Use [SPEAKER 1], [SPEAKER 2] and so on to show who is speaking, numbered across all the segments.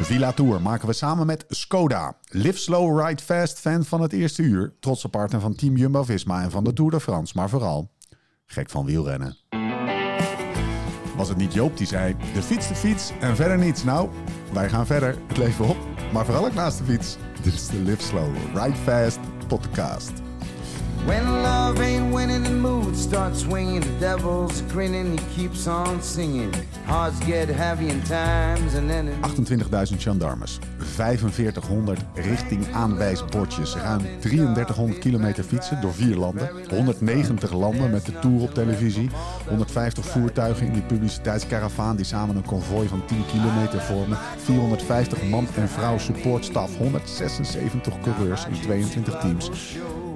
[SPEAKER 1] Villa Tour maken we samen met Skoda. Live slow, ride fast, fan van het eerste uur. Trotse partner van Team Jumbo-Visma en van de Tour de France. Maar vooral, gek van wielrennen. Was het niet Joop die zei, de fiets de fiets en verder niets. Nou, wij gaan verder, het leven op, maar vooral ook naast de fiets. Dit is de Live Slow, Ride Fast podcast.
[SPEAKER 2] When love ain't winning, the mood starts swinging. The devil's grinning, he keeps on singing. Hearts get heavy in times, and then it
[SPEAKER 1] 28.000 gendarmes, 4500 richting aanwijsbordjes, ruim 3300 kilometer fietsen door vier landen, 190 landen met de tour op televisie, 150 voertuigen in die publiciteitscaravaan die samen een konvooi van 10 kilometer vormen, 450 man en vrouw supportstaf, 176 coureurs in 22 teams.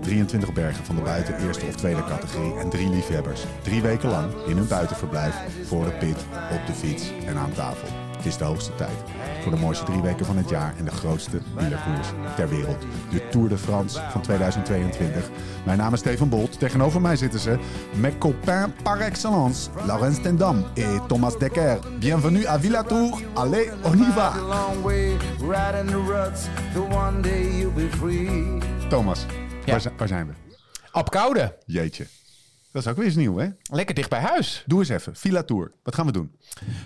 [SPEAKER 1] 23 bergen van de buiten eerste of tweede categorie en drie liefhebbers. Drie weken lang in hun buitenverblijf, voor de pit, op de fiets en aan tafel. Het is de hoogste tijd voor de mooiste drie weken van het jaar en de grootste wielerkoers ter wereld. De Tour de France van 2022. Mijn naam is Steven Bolt. Tegenover mij zitten ze mes copains par excellence, Laurens Tendam en Thomas Dekker. Bienvenue à Villa Tour. Allez, on y va!
[SPEAKER 2] a long way, riding the ruts. The one day you'll be free.
[SPEAKER 1] Thomas,
[SPEAKER 3] Ja.
[SPEAKER 1] waar, zi- waar zijn we?
[SPEAKER 3] Apkoude.
[SPEAKER 1] Jeetje. Dat is ook weer eens nieuw, hè?
[SPEAKER 3] Lekker dicht bij huis.
[SPEAKER 1] Doe eens even. Villa Tour. Wat gaan we doen?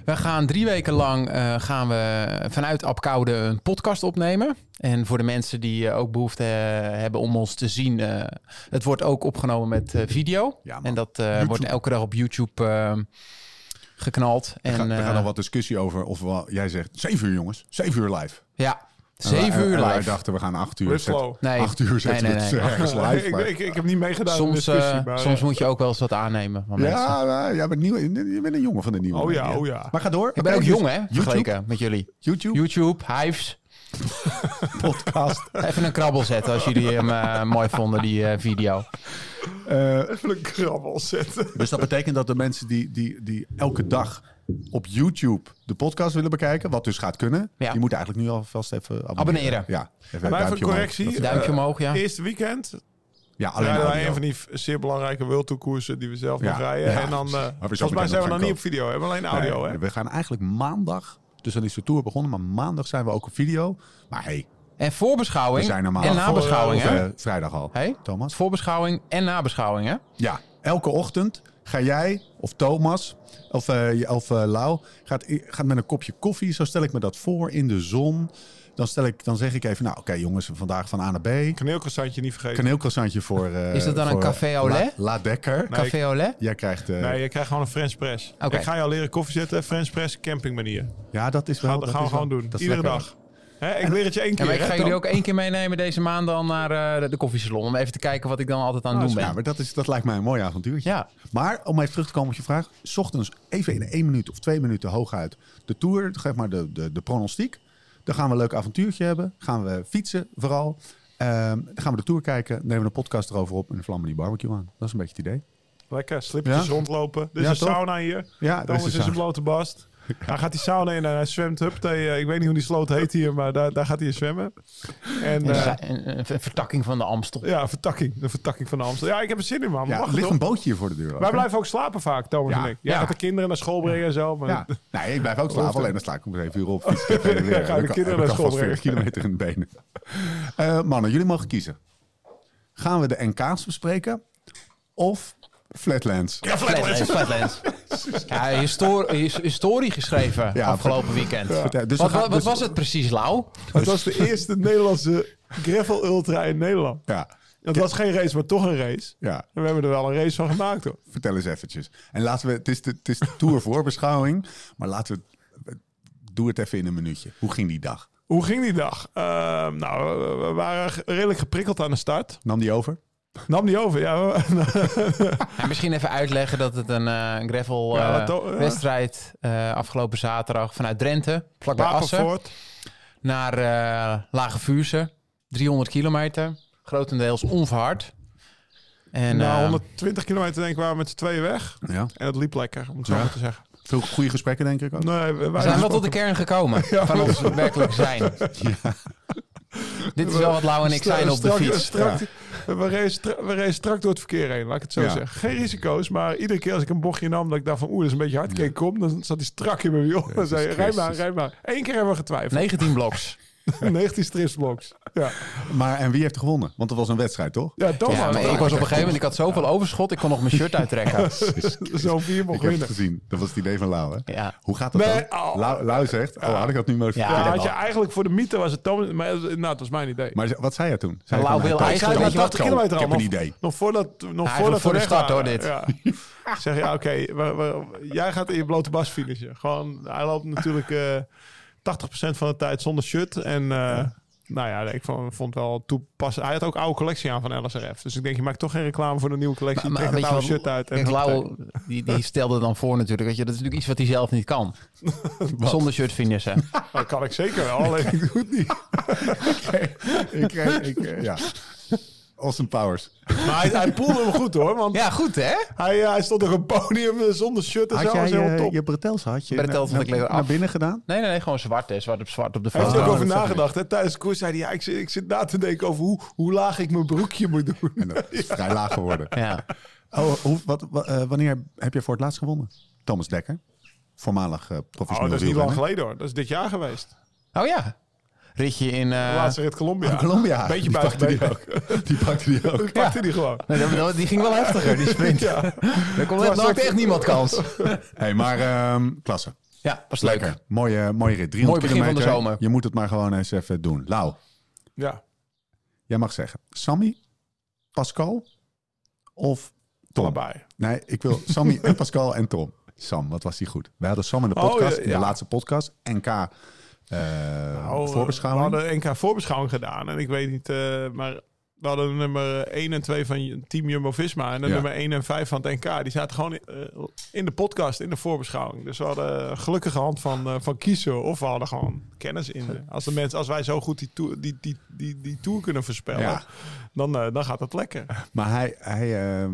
[SPEAKER 3] We gaan drie weken lang eh, gaan we vanuit Apkoude een podcast opnemen. En voor de mensen die eh, ook behoefte eh, hebben om ons te zien, eh, het wordt ook opgenomen met eh, video.
[SPEAKER 1] Ja, man.
[SPEAKER 3] en dat eh,
[SPEAKER 1] YouTube.
[SPEAKER 3] wordt elke dag op YouTube eh, geknald. En,
[SPEAKER 1] Ga, er
[SPEAKER 3] eh,
[SPEAKER 1] gaat al wat discussie over of we, jij zegt 7 uur, jongens. 7 uur live.
[SPEAKER 3] Ja,
[SPEAKER 1] En wij-
[SPEAKER 3] zeven
[SPEAKER 1] en-
[SPEAKER 3] uur
[SPEAKER 1] en Wij
[SPEAKER 3] live.
[SPEAKER 1] dachten we gaan 8 uur.
[SPEAKER 4] Live
[SPEAKER 1] zet-
[SPEAKER 4] slow.
[SPEAKER 3] Nee.
[SPEAKER 1] Acht uur zetten
[SPEAKER 3] Nee,
[SPEAKER 1] we
[SPEAKER 3] nee,
[SPEAKER 1] het
[SPEAKER 3] nee.
[SPEAKER 1] ergens live.
[SPEAKER 4] ik,
[SPEAKER 1] maar-
[SPEAKER 4] ik, ik heb niet meegedaan in de
[SPEAKER 3] Soms,
[SPEAKER 4] discussie.
[SPEAKER 3] eh,
[SPEAKER 4] maar,
[SPEAKER 3] soms
[SPEAKER 4] eh,
[SPEAKER 3] moet je ook wel eens wat aannemen van mensen.
[SPEAKER 1] ja, ja, jij bent, nieuw, je bent een jongen van de nieuwe.
[SPEAKER 4] Oh ja,
[SPEAKER 1] media.
[SPEAKER 4] oh ja.
[SPEAKER 1] Maar ga door.
[SPEAKER 3] Ik ben ook jong, hè,
[SPEAKER 1] dus YouTube,
[SPEAKER 3] vergeleken met jullie.
[SPEAKER 1] YouTube
[SPEAKER 3] YouTube, Hives.
[SPEAKER 1] podcast.
[SPEAKER 3] Even een krabbel zetten als jullie hem eh, mooi vonden, die eh, video.
[SPEAKER 1] Eh,
[SPEAKER 4] even een krabbel zetten.
[SPEAKER 1] dus dat betekent dat de mensen die, die, die elke dag op YouTube de podcast willen bekijken, wat dus gaat kunnen,
[SPEAKER 3] Ja.
[SPEAKER 1] die moeten eigenlijk nu alvast even abonneren.
[SPEAKER 3] Abonneren.
[SPEAKER 1] Ja, even
[SPEAKER 4] Maar even
[SPEAKER 1] duimpje
[SPEAKER 4] een
[SPEAKER 1] omhoog.
[SPEAKER 4] correctie.
[SPEAKER 1] Dat-
[SPEAKER 3] Duimpje omhoog, ja.
[SPEAKER 4] Eh, Eerste weekend
[SPEAKER 1] Ja, alleen
[SPEAKER 4] rijden wij
[SPEAKER 1] audio.
[SPEAKER 4] een van die v- zeer belangrijke World Tour koersen die we zelf
[SPEAKER 1] Ja,
[SPEAKER 4] nog rijden.
[SPEAKER 1] ja,
[SPEAKER 4] en dan, eh,
[SPEAKER 1] precies. Waar we zo
[SPEAKER 4] volgens mij
[SPEAKER 1] meteen
[SPEAKER 4] zijn we
[SPEAKER 1] op
[SPEAKER 4] nog
[SPEAKER 1] gaan
[SPEAKER 4] niet op video, we hebben alleen
[SPEAKER 1] Nee,
[SPEAKER 4] audio. hè?
[SPEAKER 1] We gaan eigenlijk maandag, dus dan is de tour begonnen, maar maandag zijn we ook op video. Maar hey,
[SPEAKER 3] En
[SPEAKER 1] we
[SPEAKER 3] voorbeschouwing
[SPEAKER 1] zijn er maandag.
[SPEAKER 3] en nabeschouwing,
[SPEAKER 1] Of,
[SPEAKER 3] hè?
[SPEAKER 1] eh, vrijdag al.
[SPEAKER 3] Hey?
[SPEAKER 1] Thomas?
[SPEAKER 3] Voorbeschouwing en nabeschouwing,
[SPEAKER 4] Nou,
[SPEAKER 3] hè?
[SPEAKER 1] Ja, elke ochtend ga jij of Thomas of, eh of eh, Lau gaat, gaat met een kopje koffie. Zo stel ik me dat voor in de zon. Dan, stel ik, dan zeg ik even, nou oké jongens, vandaag van A naar B.
[SPEAKER 4] Kaneelcroissantje niet vergeten.
[SPEAKER 1] Kaneelcroissantje voor... eh,
[SPEAKER 3] Is dat dan een
[SPEAKER 1] voor, eh,
[SPEAKER 3] café au lait?
[SPEAKER 1] La, La Dekker.
[SPEAKER 4] Nee,
[SPEAKER 3] Café Olé?
[SPEAKER 1] Jij krijgt... eh,
[SPEAKER 4] Nee, je krijgt gewoon een French press.
[SPEAKER 3] Oké.
[SPEAKER 4] Ik ga jou leren koffie zetten. French press campingmanier.
[SPEAKER 1] ja, dat is wel...
[SPEAKER 4] Gaan,
[SPEAKER 1] Nou, dat
[SPEAKER 4] gaan we
[SPEAKER 1] is wel-
[SPEAKER 4] gewoon doen.
[SPEAKER 1] dat is
[SPEAKER 4] Iedere
[SPEAKER 1] lekker.
[SPEAKER 4] dag. Hè, ik leer het je één
[SPEAKER 3] Ja,
[SPEAKER 4] keer.
[SPEAKER 3] maar ik
[SPEAKER 4] hè,
[SPEAKER 3] ga
[SPEAKER 4] Tom?
[SPEAKER 3] jullie ook één keer meenemen deze maand dan naar eh, de- de koffiesalon. Om even te kijken wat ik dan altijd aan het doen
[SPEAKER 1] Nou, Ja,
[SPEAKER 3] ben.
[SPEAKER 1] maar dat, is, dat lijkt mij een mooi avontuurtje.
[SPEAKER 3] Ah, Ja.
[SPEAKER 1] Maar om even terug te komen op je vraag. 's ochtends even in één minuut of twee minuten hooguit de tour. Geef maar de, de, de pronostiek. Dan gaan we een leuk avontuurtje hebben. Gaan we fietsen vooral. Ehm, dan gaan we de tour kijken. Nemen we een podcast erover op. En dan vlammen we die barbecue aan. Dat is een beetje het idee.
[SPEAKER 4] Lekker, slippertjes
[SPEAKER 1] Ja?
[SPEAKER 4] rondlopen. Er is
[SPEAKER 1] Ja,
[SPEAKER 4] een
[SPEAKER 1] toch?
[SPEAKER 4] sauna hier.
[SPEAKER 1] Ja, er
[SPEAKER 4] Thomas
[SPEAKER 1] is
[SPEAKER 4] is
[SPEAKER 1] een
[SPEAKER 4] een
[SPEAKER 1] sauna.
[SPEAKER 4] blote bast. Hij gaat die sauna in en hij zwemt. Hup, ik weet niet hoe die sloot heet hier, maar daar, daar gaat hij in zwemmen. En,
[SPEAKER 3] Een
[SPEAKER 4] eh,
[SPEAKER 3] sa- een, een ver- vertakking van de Amstel.
[SPEAKER 4] ja, vertakking. De vertakking van de Amstel. Ja, ik heb er zin in, man.
[SPEAKER 1] Ja,
[SPEAKER 4] Wacht,
[SPEAKER 1] er ligt
[SPEAKER 4] hoor.
[SPEAKER 1] een bootje hier voor de deur. ook,
[SPEAKER 4] Wij
[SPEAKER 1] hè?
[SPEAKER 4] blijven ook slapen vaak, Thomas
[SPEAKER 1] Ja,
[SPEAKER 4] en ik. Jij
[SPEAKER 1] ja.
[SPEAKER 4] gaat de kinderen naar school brengen en zo. Maar
[SPEAKER 1] Ja. Nee, ik blijf ook slapen. Alleen dan sla ik om even uur op. Fiets ik even weer.
[SPEAKER 4] Ja, ga je de
[SPEAKER 1] Dan kan-
[SPEAKER 4] kinderen
[SPEAKER 1] dan kan
[SPEAKER 4] naar
[SPEAKER 1] vast
[SPEAKER 4] school
[SPEAKER 1] 40 kilometer in de benen. Eh, mannen, jullie mogen kiezen. Gaan we de NK's bespreken? Of Flatlands?
[SPEAKER 3] Flatlands. Flatlands. Ja, histor- his- historie geschreven
[SPEAKER 1] Ja,
[SPEAKER 3] afgelopen weekend.
[SPEAKER 1] Vertel- dus
[SPEAKER 3] wat
[SPEAKER 1] we gaan-
[SPEAKER 3] wat- wat
[SPEAKER 1] dus-
[SPEAKER 3] was het precies, Lau?
[SPEAKER 4] Het was de eerste Nederlandse gravel ultra in Nederland.
[SPEAKER 1] Ja.
[SPEAKER 4] Het was geen race, maar toch een race.
[SPEAKER 1] Ja,
[SPEAKER 4] En we hebben er wel een race van gemaakt, hoor.
[SPEAKER 1] vertel eens eventjes. En laten we, het is de, het is de tour voorbeschouwing, maar laten we, doe het even in een minuutje. Hoe ging die dag?
[SPEAKER 4] Hoe ging die dag? Ehm, nou, we- we waren g- redelijk geprikkeld aan de start.
[SPEAKER 1] Nam die over?
[SPEAKER 4] Nam die over, ja. we-
[SPEAKER 3] Ja, misschien even uitleggen dat het een eh, gravel
[SPEAKER 4] Ja,
[SPEAKER 3] eh,
[SPEAKER 4] wat to- ja.
[SPEAKER 3] wedstrijd eh afgelopen zaterdag vanuit Drenthe, vlakbij Assen.
[SPEAKER 4] Wapenvoort.
[SPEAKER 3] naar eh Lage Vuurse. 300 kilometer. Grotendeels onverhard. En,
[SPEAKER 4] Na
[SPEAKER 3] eh,
[SPEAKER 4] 120 kilometer denk ik waren we met z'n tweeën weg.
[SPEAKER 1] Ja.
[SPEAKER 4] En dat liep lekker, om het zo
[SPEAKER 1] Ja.
[SPEAKER 4] maar te zeggen.
[SPEAKER 1] Veel goede gesprekken, denk ik ook.
[SPEAKER 4] Nee, we,
[SPEAKER 3] we
[SPEAKER 4] wij
[SPEAKER 3] zijn wel
[SPEAKER 4] gesproken.
[SPEAKER 3] tot de kern gekomen van ons werkelijk zijn. Dit is wel wat Lau en ik zijn op de
[SPEAKER 4] Strak-
[SPEAKER 3] fiets.
[SPEAKER 4] strak- We reden stra- we reden strak door het verkeer heen, laat ik het zo
[SPEAKER 1] Ja.
[SPEAKER 4] zeggen. Geen risico's, maar iedere keer als ik een bochtje nam... dat ik dacht van, oeh, dat is een beetje hard. Keek ik om, dan zat hij strak in mijn wiel. dan zei hij, rij maar,
[SPEAKER 1] Christus.
[SPEAKER 4] rij maar. Eén keer hebben we getwijfeld.
[SPEAKER 3] 19 bloks.
[SPEAKER 4] 19 stripsblocks. Ja.
[SPEAKER 1] Maar en wie heeft gewonnen? Want dat was een wedstrijd, toch?
[SPEAKER 4] ja, Thomas.
[SPEAKER 3] Ja, maar ik was op een gegeven moment, ik had zoveel overschot, ik kon nog mijn shirt uittrekken.
[SPEAKER 4] Zo'n vier
[SPEAKER 1] Ik
[SPEAKER 4] mocht
[SPEAKER 1] heb het
[SPEAKER 4] winnen.
[SPEAKER 1] gezien. Dat was het idee van Lau, hè?
[SPEAKER 3] Ja.
[SPEAKER 1] Hoe gaat dat
[SPEAKER 4] Nee,
[SPEAKER 1] dan?
[SPEAKER 4] oh.
[SPEAKER 1] Lau, Lau zegt, oh, had ik dat nu maar even
[SPEAKER 3] Ja,
[SPEAKER 1] verteld.
[SPEAKER 4] Ja, had je eigenlijk voor de mythe was het Thomas... Maar eh, nou, dat was mijn idee.
[SPEAKER 1] Maar wat zei jij toen? Zei
[SPEAKER 3] Lau
[SPEAKER 1] van,
[SPEAKER 3] wil
[SPEAKER 1] hij-
[SPEAKER 4] Ik zei
[SPEAKER 3] eigenlijk-
[SPEAKER 4] na
[SPEAKER 1] Weet je wat,
[SPEAKER 4] 80
[SPEAKER 1] Ko?
[SPEAKER 4] kilometer
[SPEAKER 1] Ik heb
[SPEAKER 4] al,
[SPEAKER 1] een
[SPEAKER 4] nog-
[SPEAKER 1] idee.
[SPEAKER 4] Nog voordat, nog
[SPEAKER 3] Hij
[SPEAKER 4] voordat
[SPEAKER 3] voor
[SPEAKER 4] we
[SPEAKER 3] de
[SPEAKER 4] weg
[SPEAKER 3] start, hoor,
[SPEAKER 4] waren.
[SPEAKER 3] dit.
[SPEAKER 4] Ja. Ik zeg ja, oké, we- we- jij gaat in je blote bas finishen. Gewoon, hij loopt natuurlijk eh 80% van de tijd zonder shirt. En eh, nou ja, ik vond, vond wel toepassen. Hij had ook oude collectie aan van LSRF. Dus ik denk, je maakt toch geen reclame voor de nieuwe collectie. Trek het
[SPEAKER 3] weet je
[SPEAKER 4] oude
[SPEAKER 3] wat-
[SPEAKER 4] shirt uit. En
[SPEAKER 3] Kijk, Lau, die, die stelde dan voor natuurlijk, weet je, dat is natuurlijk iets wat hij zelf niet kan. Zonder shirt finishen.
[SPEAKER 4] dat kan ik zeker wel. Alleen ik doe het niet.
[SPEAKER 1] ik, eh, ik, eh, ja. Austin Powers.
[SPEAKER 4] Maar hij, hij poelde hem goed hoor. Want
[SPEAKER 3] Ja, goed hè?
[SPEAKER 4] hij, eh, hij stond op een podium eh, zonder shirt en
[SPEAKER 1] Had
[SPEAKER 4] zo. Dat
[SPEAKER 1] jij eh,
[SPEAKER 4] was heel
[SPEAKER 1] je,
[SPEAKER 4] top.
[SPEAKER 1] je bretels had je
[SPEAKER 3] Bretels
[SPEAKER 1] naar,
[SPEAKER 3] had ik lekker
[SPEAKER 1] naar
[SPEAKER 3] af.
[SPEAKER 1] binnen gedaan?
[SPEAKER 3] Nee, nee, nee, gewoon zwart hè. Zwart op zwart op de
[SPEAKER 4] Hij heeft er
[SPEAKER 3] foto.
[SPEAKER 4] ook over nagedacht. Hè? Tijdens de koers zei hij, ja, ik, zit, ik zit na te denken over hoe, hoe laag ik mijn broekje moet doen.
[SPEAKER 1] En dat is vrij laag geworden.
[SPEAKER 3] Ja.
[SPEAKER 1] Oh, hoe, wat, wa- eh, wanneer heb je voor het laatst gewonnen? Thomas Dekker, voormalig eh,
[SPEAKER 4] Oh,
[SPEAKER 1] professioneel
[SPEAKER 4] dat is niet lang
[SPEAKER 1] wielrenner.
[SPEAKER 4] geleden hoor. Dat is dit jaar geweest.
[SPEAKER 3] Oh ja. Ritje in...
[SPEAKER 4] De
[SPEAKER 3] eh,
[SPEAKER 4] laatste rit Colombia.
[SPEAKER 1] Colombia.
[SPEAKER 4] Beetje
[SPEAKER 1] die pakte
[SPEAKER 4] buiten
[SPEAKER 1] die ook. Die pakte die ook.
[SPEAKER 4] Ik pakte die gewoon.
[SPEAKER 3] nee, dat- die ging wel heftiger, die sprint.
[SPEAKER 4] Ja.
[SPEAKER 3] Daar kon echt,
[SPEAKER 4] was ook-
[SPEAKER 3] echt niemand kans.
[SPEAKER 1] Hey, maar ehm, klasse.
[SPEAKER 3] Ja, was leuk.
[SPEAKER 1] Mooie, mooie rit. 300
[SPEAKER 3] Mooi begin van de
[SPEAKER 1] kilometer.
[SPEAKER 3] zomer.
[SPEAKER 1] Je moet het maar gewoon eens even doen. Lau,
[SPEAKER 4] Ja.
[SPEAKER 1] jij mag zeggen. Sammy, Pascal of Tom?
[SPEAKER 4] Allebei.
[SPEAKER 1] Nee, ik wil Sammy en Pascal en Tom. Sam, wat was die goed? Wij hadden Sam in de
[SPEAKER 4] Oh,
[SPEAKER 1] podcast,
[SPEAKER 4] ja,
[SPEAKER 1] in de
[SPEAKER 4] ja.
[SPEAKER 1] laatste podcast. NK eh
[SPEAKER 4] Nou,
[SPEAKER 1] voorbeschouwing.
[SPEAKER 4] We hadden NK voorbeschouwing gedaan. En ik weet niet, eh, maar we hadden nummer 1 en 2 van Team Jumbo-Visma. En de
[SPEAKER 1] Ja.
[SPEAKER 4] nummer 1 en 5 van het NK. Die zaten gewoon eh, in de podcast, in de voorbeschouwing. Dus we hadden een gelukkige hand van, eh, van kiezen. Of we hadden gewoon kennis in. de- Als, de mensen, als wij zo goed die, toer- die, die, die, die tour kunnen voorspellen,
[SPEAKER 1] Ja.
[SPEAKER 4] dan, eh, dan gaat dat lekker.
[SPEAKER 1] Maar hij, hij ehm,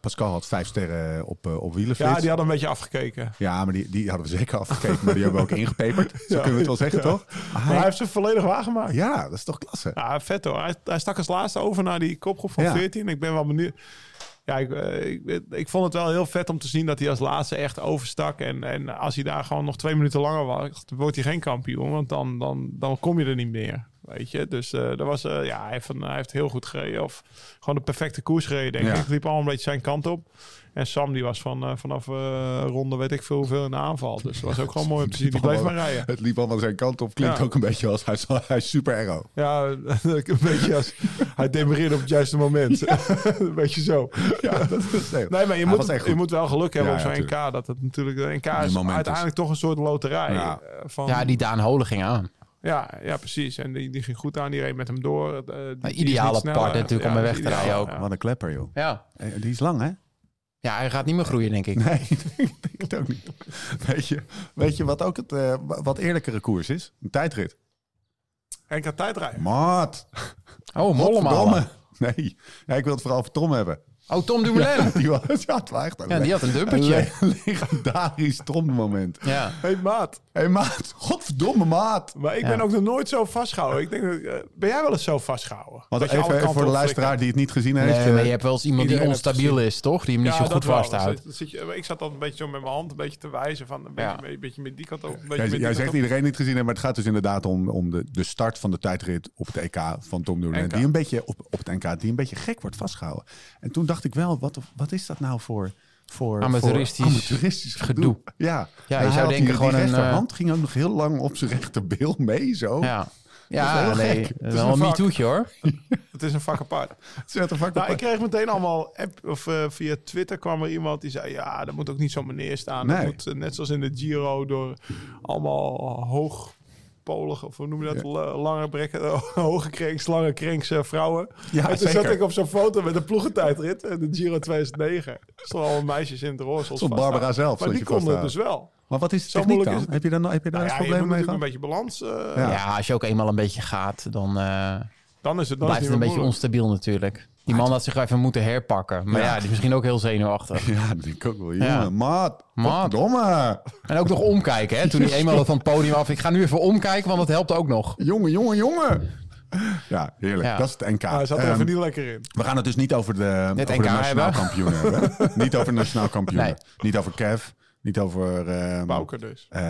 [SPEAKER 1] Pascal had vijf sterren op, eh, op wielerflits.
[SPEAKER 4] Ja, die hadden een beetje afgekeken.
[SPEAKER 1] Ja, maar die, die hadden we zeker afgekeken. Maar die hebben we ook ingepeperd. Zo kunnen we het wel zeggen, toch? Maar
[SPEAKER 4] Maar hij
[SPEAKER 1] hij-
[SPEAKER 4] heeft ze volledig waargemaakt.
[SPEAKER 1] ja, dat is toch klasse.
[SPEAKER 4] Ja, vet hoor. Hij, hij stak als laatste over naar die kopgroep van
[SPEAKER 1] Ja.
[SPEAKER 4] 14. Ik ben wel benieuwd. Ja, ik, eh, ik, ik vond het wel heel vet om te zien dat hij als laatste echt overstak. En, en als hij daar gewoon nog twee minuten langer wacht, wordt hij geen kampioen. Want dan, dan, dan kom je er niet meer. Weet je, dus eh dat was, eh, ja, hij, heeft, een- hij heeft heel goed gereden. Of gewoon de perfecte koers gereden, denk
[SPEAKER 1] Ja.
[SPEAKER 4] ik. liep al een beetje zijn kant op. En Sam, die was van, eh, vanaf eh, ronde weet ik veel hoeveel in de aanval. Dus dat was ook gewoon mooi om te zien. Die bleef maar rijden.
[SPEAKER 1] Het liep allemaal zijn kant op. Klinkt
[SPEAKER 4] Ja.
[SPEAKER 1] ook een beetje als hij, is- hij is super arrow.
[SPEAKER 4] Ja, een beetje als hij demereerde op het juiste moment. een beetje zo.
[SPEAKER 1] Ja, dat is nee,
[SPEAKER 4] Nee, maar je,
[SPEAKER 1] hij was echt
[SPEAKER 4] moet,
[SPEAKER 1] goed.
[SPEAKER 4] je moet wel geluk hebben
[SPEAKER 1] Ja,
[SPEAKER 4] op
[SPEAKER 1] ja,
[SPEAKER 4] zo'n NK. Dat het natuurlijk de NK is
[SPEAKER 1] moment is.
[SPEAKER 4] uiteindelijk toch een soort loterij.
[SPEAKER 1] Ja.
[SPEAKER 4] eh, Van,
[SPEAKER 3] Ja, die Daan Holen ging aan.
[SPEAKER 4] ja, ja, precies. En die, die ging goed aan. Die reed met hem door. Eh, die- die is
[SPEAKER 3] ideale
[SPEAKER 4] niet sneller.
[SPEAKER 3] partner natuurlijk om
[SPEAKER 4] Ja,
[SPEAKER 3] mee weg te
[SPEAKER 4] ideaal,
[SPEAKER 3] rijden ook.
[SPEAKER 4] ja.
[SPEAKER 1] Wat een klepper, joh.
[SPEAKER 3] Ja.
[SPEAKER 1] Eh, Die is lang, hè?
[SPEAKER 3] Ja, hij gaat niet meer groeien, denk ik.
[SPEAKER 1] Nee, ik denk het ook niet. Weet je, weet je wat ook het eh, wa- wat eerlijkere koers is? Een tijdrit.
[SPEAKER 4] NK tijdrijden.
[SPEAKER 1] Maat.
[SPEAKER 3] Oh, Mollema.
[SPEAKER 1] Godverdomme. Nee, ja, ik wil het vooral voor Tom hebben.
[SPEAKER 3] Oh, Tom Dumoulin. Ja,
[SPEAKER 1] Die was, ja, het was echt een,
[SPEAKER 3] die had een
[SPEAKER 1] een
[SPEAKER 3] dumpertje.
[SPEAKER 1] le- legendarisch Tom moment.
[SPEAKER 3] Ja.
[SPEAKER 4] Hey maat,
[SPEAKER 1] Hé hey, maat, godverdomme maat.
[SPEAKER 4] maar ik
[SPEAKER 3] Ja.
[SPEAKER 4] ben ook nog nooit zo vastgehouden. Ik denk, dat, eh, ben jij wel eens zo vastgehouden?
[SPEAKER 1] Want
[SPEAKER 4] Dat je alle
[SPEAKER 1] even, even
[SPEAKER 4] kanten
[SPEAKER 1] voor de
[SPEAKER 4] op
[SPEAKER 1] luisteraar die het niet gezien heeft.
[SPEAKER 3] Nee, maar
[SPEAKER 1] eh,
[SPEAKER 3] je hebt wel eens iemand die
[SPEAKER 4] Iedereen heeft
[SPEAKER 3] onstabiel is, toch? Die hem niet zo goed
[SPEAKER 4] dat wel.
[SPEAKER 3] vasthoudt.
[SPEAKER 4] Dan zit je- ik zat dan een beetje zo met mijn hand een beetje te wijzen van een beetje,
[SPEAKER 3] Ja.
[SPEAKER 4] een beetje met die kant op. Een beetje
[SPEAKER 1] Jij,
[SPEAKER 4] met die
[SPEAKER 1] jij
[SPEAKER 4] kant
[SPEAKER 1] zegt
[SPEAKER 4] op.
[SPEAKER 1] iedereen niet gezien, heeft, maar het gaat dus inderdaad om, om de, de start van de tijdrit op het EK van Tom Dumoulin.
[SPEAKER 4] NK.
[SPEAKER 1] Die een beetje op, op het NK, die een beetje gek wordt vastgehouden. En toen dacht ik wel, wat, wat is dat nou voor, voor
[SPEAKER 3] Amateuristisch
[SPEAKER 1] voor amateuristisch gedoe?
[SPEAKER 3] gedoe.
[SPEAKER 1] Ja,
[SPEAKER 3] Ja,
[SPEAKER 1] En
[SPEAKER 3] je
[SPEAKER 1] hij
[SPEAKER 3] zou
[SPEAKER 1] had
[SPEAKER 3] denken
[SPEAKER 1] die,
[SPEAKER 3] gewoon
[SPEAKER 1] die
[SPEAKER 3] een, eh,
[SPEAKER 1] rechterhand ging ook nog heel lang op zijn rechterbil mee, zo.
[SPEAKER 3] Ja.
[SPEAKER 1] oh. is
[SPEAKER 3] Ja,
[SPEAKER 1] heel
[SPEAKER 3] nee.
[SPEAKER 1] gek. Het
[SPEAKER 4] is
[SPEAKER 3] Wel
[SPEAKER 4] een
[SPEAKER 3] een
[SPEAKER 4] vak.
[SPEAKER 3] MeToo'tje, hoor.
[SPEAKER 4] Het is een vak apart.
[SPEAKER 1] Zet een vak
[SPEAKER 4] Nou, ik
[SPEAKER 1] op.
[SPEAKER 4] kreeg meteen allemaal app, of eh, via Twitter kwam er iemand die zei: Ja, dat moet ook niet zo'n meneer staan.
[SPEAKER 1] Nee.
[SPEAKER 4] Dat moet eh, net zoals in de Giro door allemaal hoogpolige, of hoe noem je dat? La- lange brekken, hoge krenks, lange krenks eh, vrouwen.
[SPEAKER 1] Ja,
[SPEAKER 4] en toen
[SPEAKER 1] zeker.
[SPEAKER 4] zat ik op zo'n foto met een ploegentijdrit en de Giro 2009. Er stonden allemaal meisjes in het roze. ons
[SPEAKER 1] Stond
[SPEAKER 4] vasthouden.
[SPEAKER 1] Barbara zelf,
[SPEAKER 4] Maar
[SPEAKER 1] stond
[SPEAKER 4] die
[SPEAKER 1] je
[SPEAKER 4] konden het dus
[SPEAKER 1] vasthouden.
[SPEAKER 4] wel.
[SPEAKER 1] Maar wat is de
[SPEAKER 4] Zo
[SPEAKER 1] techniek
[SPEAKER 4] moeilijk
[SPEAKER 1] dan?
[SPEAKER 4] is
[SPEAKER 1] Heb
[SPEAKER 4] het.
[SPEAKER 1] je daar, no- heb je daar
[SPEAKER 4] Nou
[SPEAKER 1] eens
[SPEAKER 4] ja, je moet
[SPEAKER 1] problemen mee
[SPEAKER 4] natuurlijk een
[SPEAKER 1] gehad?
[SPEAKER 4] beetje balans. eh,
[SPEAKER 1] Ja.
[SPEAKER 3] Ja, als je ook eenmaal een beetje gaat, dan eh,
[SPEAKER 4] Dan is het, dan is
[SPEAKER 3] blijft het
[SPEAKER 4] het
[SPEAKER 3] een
[SPEAKER 4] niet
[SPEAKER 3] beetje
[SPEAKER 4] meer moeilijk.
[SPEAKER 3] onstabiel natuurlijk. Die man had zich even moeten herpakken. Maar
[SPEAKER 1] Ja.
[SPEAKER 3] ja, die is misschien ook heel zenuwachtig.
[SPEAKER 1] Ja, dat denk ik ook wel. Jongen,
[SPEAKER 3] Ja.
[SPEAKER 1] maat,
[SPEAKER 3] Maat.
[SPEAKER 1] godverdomme.
[SPEAKER 3] En ook nog omkijken, hè? Toen hij eenmaal van het podium af. Ik ga nu even omkijken, want dat helpt ook nog.
[SPEAKER 1] Jongen, jongen, jongen. Ja, heerlijk.
[SPEAKER 3] Ja.
[SPEAKER 1] Dat is het NK.
[SPEAKER 4] Ah, hij zat er
[SPEAKER 1] Ehm,
[SPEAKER 4] even niet lekker in.
[SPEAKER 1] we gaan het dus niet over de,
[SPEAKER 3] Het
[SPEAKER 1] over
[SPEAKER 3] NK
[SPEAKER 1] de nationaal
[SPEAKER 3] hebben.
[SPEAKER 1] kampioen hebben. Niet over de nationaal kampioen.
[SPEAKER 3] Nee.
[SPEAKER 1] Niet over Kev. Niet over... ehm,
[SPEAKER 4] Bouke dus.
[SPEAKER 1] eh,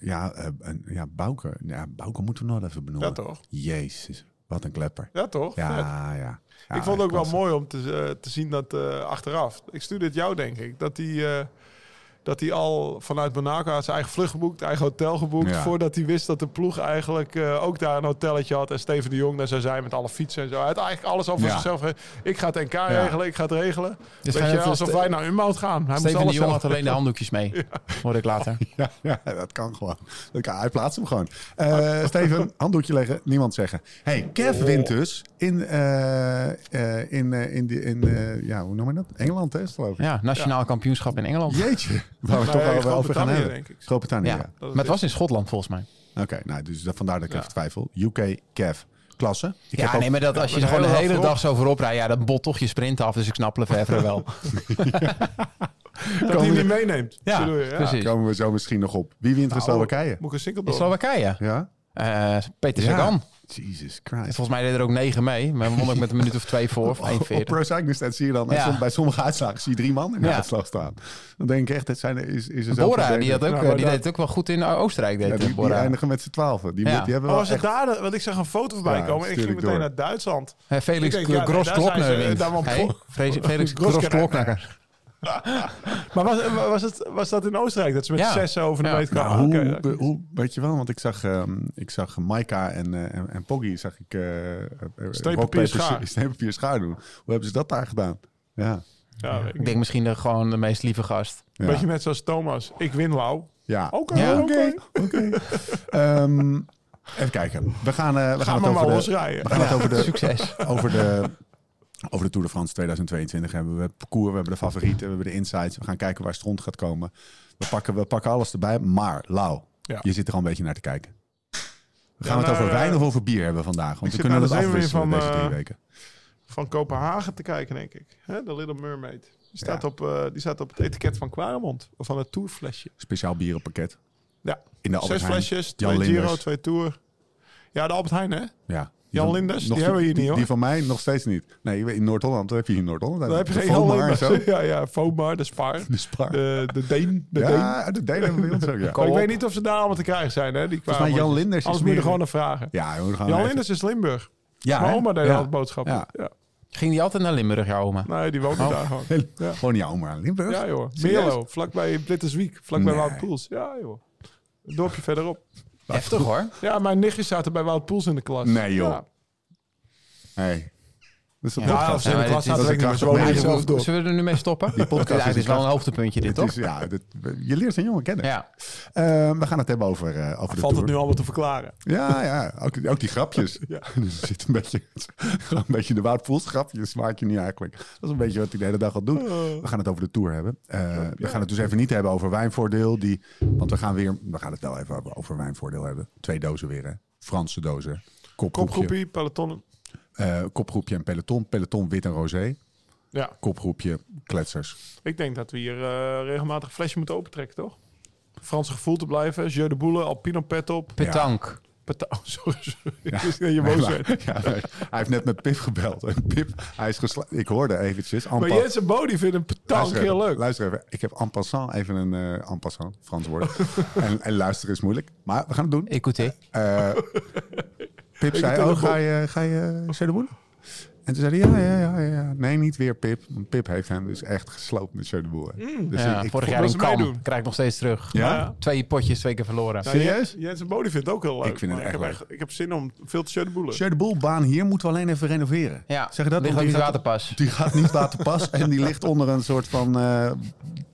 [SPEAKER 1] ja, eh, en- ja, Bouke. Ja, Bouke moeten we nog even benoemen.
[SPEAKER 4] Ja, toch?
[SPEAKER 1] Jezus, wat een klepper.
[SPEAKER 4] Ja, toch?
[SPEAKER 1] Ja,
[SPEAKER 4] Vet.
[SPEAKER 1] ja. Ja,
[SPEAKER 4] ik vond het ook wel
[SPEAKER 1] klasse.
[SPEAKER 4] mooi om te, eh, te zien dat eh, achteraf. Ik stuurde het jou, denk ik. Dat hij. eh, dat hij al vanuit Monaco had zijn eigen vlucht geboekt, eigen hotel geboekt.
[SPEAKER 1] Ja.
[SPEAKER 4] Voordat hij wist dat de ploeg eigenlijk eh, ook daar een hotelletje had. En Steven de Jong daar zou zijn met alle fietsen en zo. Hij had eigenlijk alles al voor
[SPEAKER 1] Ja.
[SPEAKER 4] zichzelf. ge- Ik ga het NK regelen, ik ga het regelen. Weet
[SPEAKER 3] hij
[SPEAKER 4] je,
[SPEAKER 3] heeft-
[SPEAKER 4] alsof wij naar Umboud gaan. Hij moest
[SPEAKER 3] Steven de
[SPEAKER 4] alles
[SPEAKER 3] Jong
[SPEAKER 4] zelf-
[SPEAKER 3] had alleen de handdoekjes mee. Hoorde ik later.
[SPEAKER 1] Ja, ja, dat kan gewoon. Dat kan, hij plaatst hem gewoon.
[SPEAKER 4] Ah.
[SPEAKER 1] Eh, Steven, handdoekje leggen, niemand zeggen. hey, Kev
[SPEAKER 4] Oh.
[SPEAKER 1] wint dus in, eh, eh, in, eh, in, die- in eh, ja, hoe noem je dat? Engeland, hè, is het geloof ik.
[SPEAKER 3] Ja, nationaal kampioenschap in Engeland. Ja,
[SPEAKER 1] Jeetje, waar we
[SPEAKER 4] Bij
[SPEAKER 1] toch wel over gaan
[SPEAKER 4] Groot-Brittannië,
[SPEAKER 1] hebben.
[SPEAKER 4] denk ik.
[SPEAKER 1] Groot-Brittannië, ja.
[SPEAKER 3] maar het was in Schotland volgens mij.
[SPEAKER 1] Oké, nou, dus dat- vandaar dat ik
[SPEAKER 4] Ja.
[SPEAKER 1] even twijfel. UK, Kev, klasse. Ik
[SPEAKER 3] ja,
[SPEAKER 1] heb ook-
[SPEAKER 3] nee, maar dat, als je er
[SPEAKER 4] maar
[SPEAKER 3] gewoon de
[SPEAKER 4] heel
[SPEAKER 3] hele
[SPEAKER 4] erg
[SPEAKER 3] dag zo voorop rijdt, ja, dan bot toch je sprint af. Dus ik snap Lefevre wel.
[SPEAKER 4] Dat hij hem niet meeneemt.
[SPEAKER 3] Ja,
[SPEAKER 4] bedoel je? Ja.
[SPEAKER 3] precies.
[SPEAKER 1] Komen we zo misschien nog op. Wie wint van
[SPEAKER 3] Nou.
[SPEAKER 1] Slowakije?
[SPEAKER 4] Moet ik een single
[SPEAKER 3] In Slowakije.
[SPEAKER 1] Ja?
[SPEAKER 3] Eh, Peter
[SPEAKER 1] Ja.
[SPEAKER 3] Sagan.
[SPEAKER 1] Jesus Christ.
[SPEAKER 3] Volgens mij deed er ook negen mee. Maar won ik met een minuut of twee voor, of
[SPEAKER 1] Op
[SPEAKER 3] 41.
[SPEAKER 1] Pro Cycling Stats zie je dan,
[SPEAKER 3] Ja.
[SPEAKER 1] som- bij sommige uitslagen zie je drie man in de
[SPEAKER 3] Ja.
[SPEAKER 1] uitslag staan. Dan denk ik echt, het zijn, is, is er zoveel
[SPEAKER 3] Bora,
[SPEAKER 1] beter.
[SPEAKER 3] die, had ook,
[SPEAKER 4] Ja,
[SPEAKER 3] eh,
[SPEAKER 4] maar
[SPEAKER 3] die
[SPEAKER 4] dat-
[SPEAKER 3] deed het ook wel goed in Oostenrijk. Deed
[SPEAKER 1] Ja, die,
[SPEAKER 3] eh,
[SPEAKER 1] die
[SPEAKER 3] Bora.
[SPEAKER 1] eindigen met z'n twaalfen. Die,
[SPEAKER 3] Ja.
[SPEAKER 1] die hebben
[SPEAKER 4] Oh,
[SPEAKER 1] wel
[SPEAKER 4] was het
[SPEAKER 1] echt-
[SPEAKER 4] daar? de- Want ik zag een foto voorbij
[SPEAKER 1] Ja,
[SPEAKER 4] komen en ik
[SPEAKER 1] stuur
[SPEAKER 4] ging
[SPEAKER 1] ik
[SPEAKER 4] meteen
[SPEAKER 1] door.
[SPEAKER 4] naar Duitsland.
[SPEAKER 3] Eh, Felix
[SPEAKER 4] Ik denk, ja,
[SPEAKER 3] Gros
[SPEAKER 4] daar zijn ze,
[SPEAKER 3] Klokner
[SPEAKER 4] eh,
[SPEAKER 3] wint.
[SPEAKER 4] daar won-
[SPEAKER 3] Hey, Felix, Felix
[SPEAKER 4] Gros-
[SPEAKER 3] Gros Klokner.
[SPEAKER 4] Maar was, was, het, was dat in Oostenrijk? Dat ze met
[SPEAKER 3] Ja.
[SPEAKER 4] zes over de
[SPEAKER 3] Ja.
[SPEAKER 4] meet
[SPEAKER 1] Nou,
[SPEAKER 4] kwamen?
[SPEAKER 1] hoe,
[SPEAKER 4] Oké, ja.
[SPEAKER 1] hoe- hoe, weet je wel, want ik zag, ehm ik zag Maika en, eh, en, en Poggi, zag ik... eh eh, rockpaper-
[SPEAKER 4] schaar.
[SPEAKER 1] Steenpapier schaar doen. Hoe hebben ze dat daar gedaan? Ja.
[SPEAKER 4] Ja, weet ik
[SPEAKER 3] Ik
[SPEAKER 4] niet.
[SPEAKER 3] denk misschien de, gewoon de meest lieve gast.
[SPEAKER 1] ja.
[SPEAKER 4] Beetje net zoals Thomas. Ik win Lau.
[SPEAKER 1] Ja.
[SPEAKER 4] Oké,
[SPEAKER 3] Ja.
[SPEAKER 4] oké.
[SPEAKER 1] Oké. Ehm, even kijken. We gaan, eh, we gaan het
[SPEAKER 4] maar
[SPEAKER 1] over
[SPEAKER 4] maar
[SPEAKER 1] de,
[SPEAKER 4] losrijden.
[SPEAKER 1] We gaan het over de,
[SPEAKER 3] Succes.
[SPEAKER 1] over de, over de Tour de France 2022 hebben we het parcours, we hebben de favorieten, we hebben de insights. We gaan kijken waar Stront gaat komen. We pakken, we pakken alles erbij. Maar, Lau,
[SPEAKER 4] Ja.
[SPEAKER 1] je zit er al een beetje naar te kijken. We gaan
[SPEAKER 4] Ja,
[SPEAKER 1] het
[SPEAKER 4] nou,
[SPEAKER 1] over
[SPEAKER 4] eh,
[SPEAKER 1] wijn of over bier hebben vandaag. Want we
[SPEAKER 4] zit
[SPEAKER 1] kunnen
[SPEAKER 4] naar
[SPEAKER 1] dat
[SPEAKER 4] de
[SPEAKER 1] afwisselen
[SPEAKER 4] zenuwen van,
[SPEAKER 1] deze drie
[SPEAKER 4] eh,
[SPEAKER 1] weken.
[SPEAKER 4] Van Kopenhagen te kijken, denk ik. Hè, de Little Mermaid. Die staat,
[SPEAKER 1] Ja.
[SPEAKER 4] op, eh, die staat op het etiket van Quaremont. Of van het tourflesje.
[SPEAKER 1] Speciaal bierenpakket.
[SPEAKER 4] Ja.
[SPEAKER 1] In de Albert
[SPEAKER 4] Zes
[SPEAKER 1] Heijn.
[SPEAKER 4] flesjes,
[SPEAKER 1] Jan
[SPEAKER 4] twee Giro,
[SPEAKER 1] Linders. Eh,
[SPEAKER 4] twee Tour. Ja, de Albert Heijn, hè?
[SPEAKER 1] Ja.
[SPEAKER 4] Jan
[SPEAKER 1] van-
[SPEAKER 4] Linders, die hebben we hier niet, hoor.
[SPEAKER 1] Die van mij nog steeds niet. Nee, je weet, in Noord-Holland heb je hier in Noord-Holland.
[SPEAKER 4] Daar heb je
[SPEAKER 1] De
[SPEAKER 4] geen
[SPEAKER 1] Vomar
[SPEAKER 4] Hollanders.
[SPEAKER 1] en zo.
[SPEAKER 4] Ja, ja, Fomar, de Spar.
[SPEAKER 1] De Spar.
[SPEAKER 4] De, de Deen. De Deen.
[SPEAKER 1] ja, de Deen hebben we bij ons ook, ja.
[SPEAKER 4] Maar ik weet niet of ze daar allemaal te krijgen zijn, hè? Die
[SPEAKER 1] Volgens mij
[SPEAKER 4] kwamen.
[SPEAKER 1] Jan Linders is
[SPEAKER 4] Anders moet je
[SPEAKER 1] meer-
[SPEAKER 4] er gewoon naar vragen.
[SPEAKER 1] Ja, jongen, we gaan
[SPEAKER 4] Jan
[SPEAKER 1] even-
[SPEAKER 4] Linders is Limburg.
[SPEAKER 1] Ja,
[SPEAKER 4] Mijn
[SPEAKER 1] hè?
[SPEAKER 4] oma deed
[SPEAKER 1] Ja.
[SPEAKER 4] altijd boodschappen.
[SPEAKER 1] Ja.
[SPEAKER 4] Ja.
[SPEAKER 3] Ging die altijd naar Limburg, jouw oma?
[SPEAKER 1] Nou,
[SPEAKER 4] Nee, die woonde
[SPEAKER 3] Oh.
[SPEAKER 4] daar gewoon. Ja.
[SPEAKER 1] Gewoon jouw oma aan Limburg.
[SPEAKER 4] Ja, joh.
[SPEAKER 1] Serieus?
[SPEAKER 4] Melo, vlakbij Blitterswijk, vlakbij
[SPEAKER 1] Nee.
[SPEAKER 4] Wout Poels. Ja, joh. Een dorpje verderop.
[SPEAKER 3] Heftig hoor.
[SPEAKER 4] Ja, mijn nichtjes zaten bij Wout Poels in de klas.
[SPEAKER 1] Nee, joh.
[SPEAKER 4] Ja.
[SPEAKER 1] Hey. Dus dat
[SPEAKER 3] Ja,
[SPEAKER 1] podcast.
[SPEAKER 4] Ja, of ze in de
[SPEAKER 3] maar
[SPEAKER 4] klas
[SPEAKER 3] dit is-
[SPEAKER 4] zaten,
[SPEAKER 1] dat
[SPEAKER 4] weet
[SPEAKER 1] is
[SPEAKER 4] ik
[SPEAKER 1] een
[SPEAKER 4] niet,
[SPEAKER 1] krachtig
[SPEAKER 4] maar ze wonen
[SPEAKER 1] Nee,
[SPEAKER 4] hier
[SPEAKER 1] meisje.
[SPEAKER 3] zullen, we,
[SPEAKER 4] zelf door.
[SPEAKER 3] zullen we er nu mee stoppen?
[SPEAKER 1] Die podcast
[SPEAKER 3] Ja,
[SPEAKER 1] is
[SPEAKER 3] dit is
[SPEAKER 1] een
[SPEAKER 3] wel een hoogtepuntje dit,
[SPEAKER 1] Het
[SPEAKER 3] toch?
[SPEAKER 1] is, ja, dit- je leert een jongen kennen.
[SPEAKER 3] Ja.
[SPEAKER 1] Eh, we gaan het hebben over, eh, over de
[SPEAKER 4] Valt het
[SPEAKER 1] tour.
[SPEAKER 4] nu allemaal te verklaren?
[SPEAKER 1] Ja, ja. Ook, ook die grapjes.
[SPEAKER 4] Ja.
[SPEAKER 1] Er zit een beetje, gewoon een beetje de Wout Poels grapjes maak je niet eigenlijk. Dat is een beetje wat hij de hele dag al doet.
[SPEAKER 4] Oh.
[SPEAKER 1] We gaan het over de Tour hebben. Eh, we gaan het dus even niet hebben over wijnvoordeel. Die, want we gaan weer, we gaan het wel even over- over wijnvoordeel hebben. Twee dozen weer hè. Franse dozen. Kopgroepje,
[SPEAKER 4] Kopgroepie, peloton.
[SPEAKER 1] eh, kopgroepje en peloton. Peloton wit en roze.
[SPEAKER 4] Ja,
[SPEAKER 1] Kopgroepje kletsers.
[SPEAKER 4] ik denk dat we hier eh, regelmatig een flesje moeten opentrekken, toch? Franse gevoel te blijven. Jeu de boule, Alpino pet op.
[SPEAKER 3] Petank.
[SPEAKER 4] Peta- oh, sorry, sorry. Ik wist niet dat je boos werd.
[SPEAKER 1] Ja, nee. hij heeft net met Pip gebeld. En Pip, hij is gesla- Ik hoorde eventjes. en
[SPEAKER 4] Maar
[SPEAKER 1] pas-
[SPEAKER 4] Jens en Bodie vinden een petank
[SPEAKER 1] Luister even,
[SPEAKER 4] heel leuk.
[SPEAKER 1] Luister even. Ik heb en passant even een eh en passant, Frans woord. en, en luisteren is moeilijk. Maar we gaan het doen.
[SPEAKER 3] Écoutez.
[SPEAKER 1] Eh, Pip zei,
[SPEAKER 4] het
[SPEAKER 1] oh,
[SPEAKER 4] ook
[SPEAKER 1] ga
[SPEAKER 4] op.
[SPEAKER 1] je, ga je Jeu de Boel? En toen zei hij, ja, ja, ja, ja, ja. Nee, niet weer Pip. Want Pip heeft hem dus echt gesloopt met Jeu de Boel. hè. Dus
[SPEAKER 3] Ja,
[SPEAKER 1] ik- ik
[SPEAKER 3] vorig
[SPEAKER 1] vond-
[SPEAKER 3] jaar in
[SPEAKER 4] dat ze meedoen.
[SPEAKER 3] Kam. Krijg ik nog steeds terug.
[SPEAKER 1] Ja?
[SPEAKER 3] Twee potjes, twee keer verloren.
[SPEAKER 4] Nou,
[SPEAKER 1] Serieus?
[SPEAKER 4] Jens- Jens en Bodie vindt het ook heel leuk.
[SPEAKER 1] Ik vind het
[SPEAKER 4] maar
[SPEAKER 1] echt
[SPEAKER 4] heb
[SPEAKER 1] leuk.
[SPEAKER 4] Ik heb zin om veel te Jeu de boelen.
[SPEAKER 1] Jeu de Boel baan hier moeten we alleen even renoveren.
[SPEAKER 3] Ja,
[SPEAKER 1] Zeg je dat? Want
[SPEAKER 3] ligt ook
[SPEAKER 1] die
[SPEAKER 3] niet
[SPEAKER 1] gaat-
[SPEAKER 3] waterpas.
[SPEAKER 1] Die gaat niet laten pas en die ligt onder een soort van eh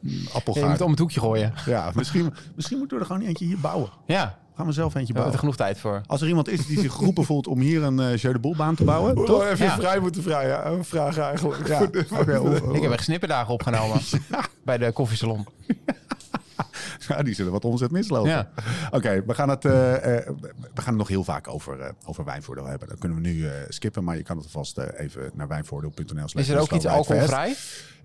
[SPEAKER 3] Je moet
[SPEAKER 1] appelgaard.
[SPEAKER 3] om het hoekje gooien.
[SPEAKER 1] Ja, misschien, misschien moeten we er gewoon eentje hier bouwen.
[SPEAKER 3] Ja,
[SPEAKER 1] Gaan we zelf eentje
[SPEAKER 3] daar hebben we
[SPEAKER 1] bouwen.
[SPEAKER 3] er genoeg tijd voor.
[SPEAKER 1] Als er iemand is die zich geroepen voelt om hier een eh Jeu de Boel baan te bouwen,
[SPEAKER 4] Hoe
[SPEAKER 1] toch?
[SPEAKER 4] lang even
[SPEAKER 3] Ja.
[SPEAKER 4] vrij moeten vragen, eh, vragen eigenlijk.
[SPEAKER 1] Ja, dus-
[SPEAKER 4] Voor
[SPEAKER 1] oké,
[SPEAKER 4] de-
[SPEAKER 1] oh, hoe-
[SPEAKER 3] Ik heb echt snipperdagen opgenomen bij de koffiesalon.
[SPEAKER 1] Ja, die zullen wat omzet mislopen.
[SPEAKER 3] Ja.
[SPEAKER 1] Oké, we, gaan het, eh, eh, we gaan het nog heel vaak over, eh, over wijnvoordeel hebben. Dat kunnen we nu eh, skippen, maar je kan het alvast eh, even naar wijnvoordeel.nl.
[SPEAKER 3] Is er ook iets alcoholvrij?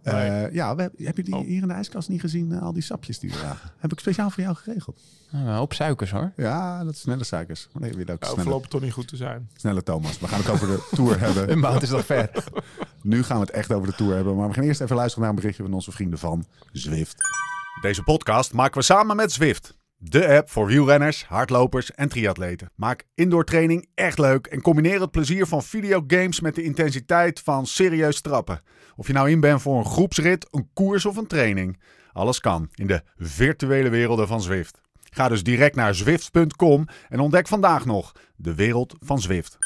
[SPEAKER 1] Eh, ja, we, heb- heb je die
[SPEAKER 4] Oh.
[SPEAKER 1] hier in de ijskast niet gezien, eh, al die sapjes die we lagen? Heb ik speciaal voor jou geregeld.
[SPEAKER 3] Nou, Een hoop suikers hoor.
[SPEAKER 1] Ja, dat is snelle suikers. Maar nee, weer ook
[SPEAKER 4] Nou,
[SPEAKER 1] snelle,
[SPEAKER 4] voorlopig toch niet goed te zijn.
[SPEAKER 1] snelle Thomas. We gaan het over de Tour hebben.
[SPEAKER 3] Een maand is nog ver.
[SPEAKER 1] Nu gaan we het echt over de Tour hebben. Maar we gaan eerst even luisteren naar een berichtje van onze vrienden van Zwift.
[SPEAKER 5] Deze podcast maken we samen met Zwift. De app voor wielrenners, hardlopers en triatleten. Maak indoor training echt leuk en combineer het plezier van videogames met de intensiteit van serieus trappen. Of je nou in bent voor een groepsrit, een koers of een training. Alles kan in de virtuele werelden van Zwift. Ga dus direct naar zwift.com en ontdek vandaag nog de wereld van Zwift.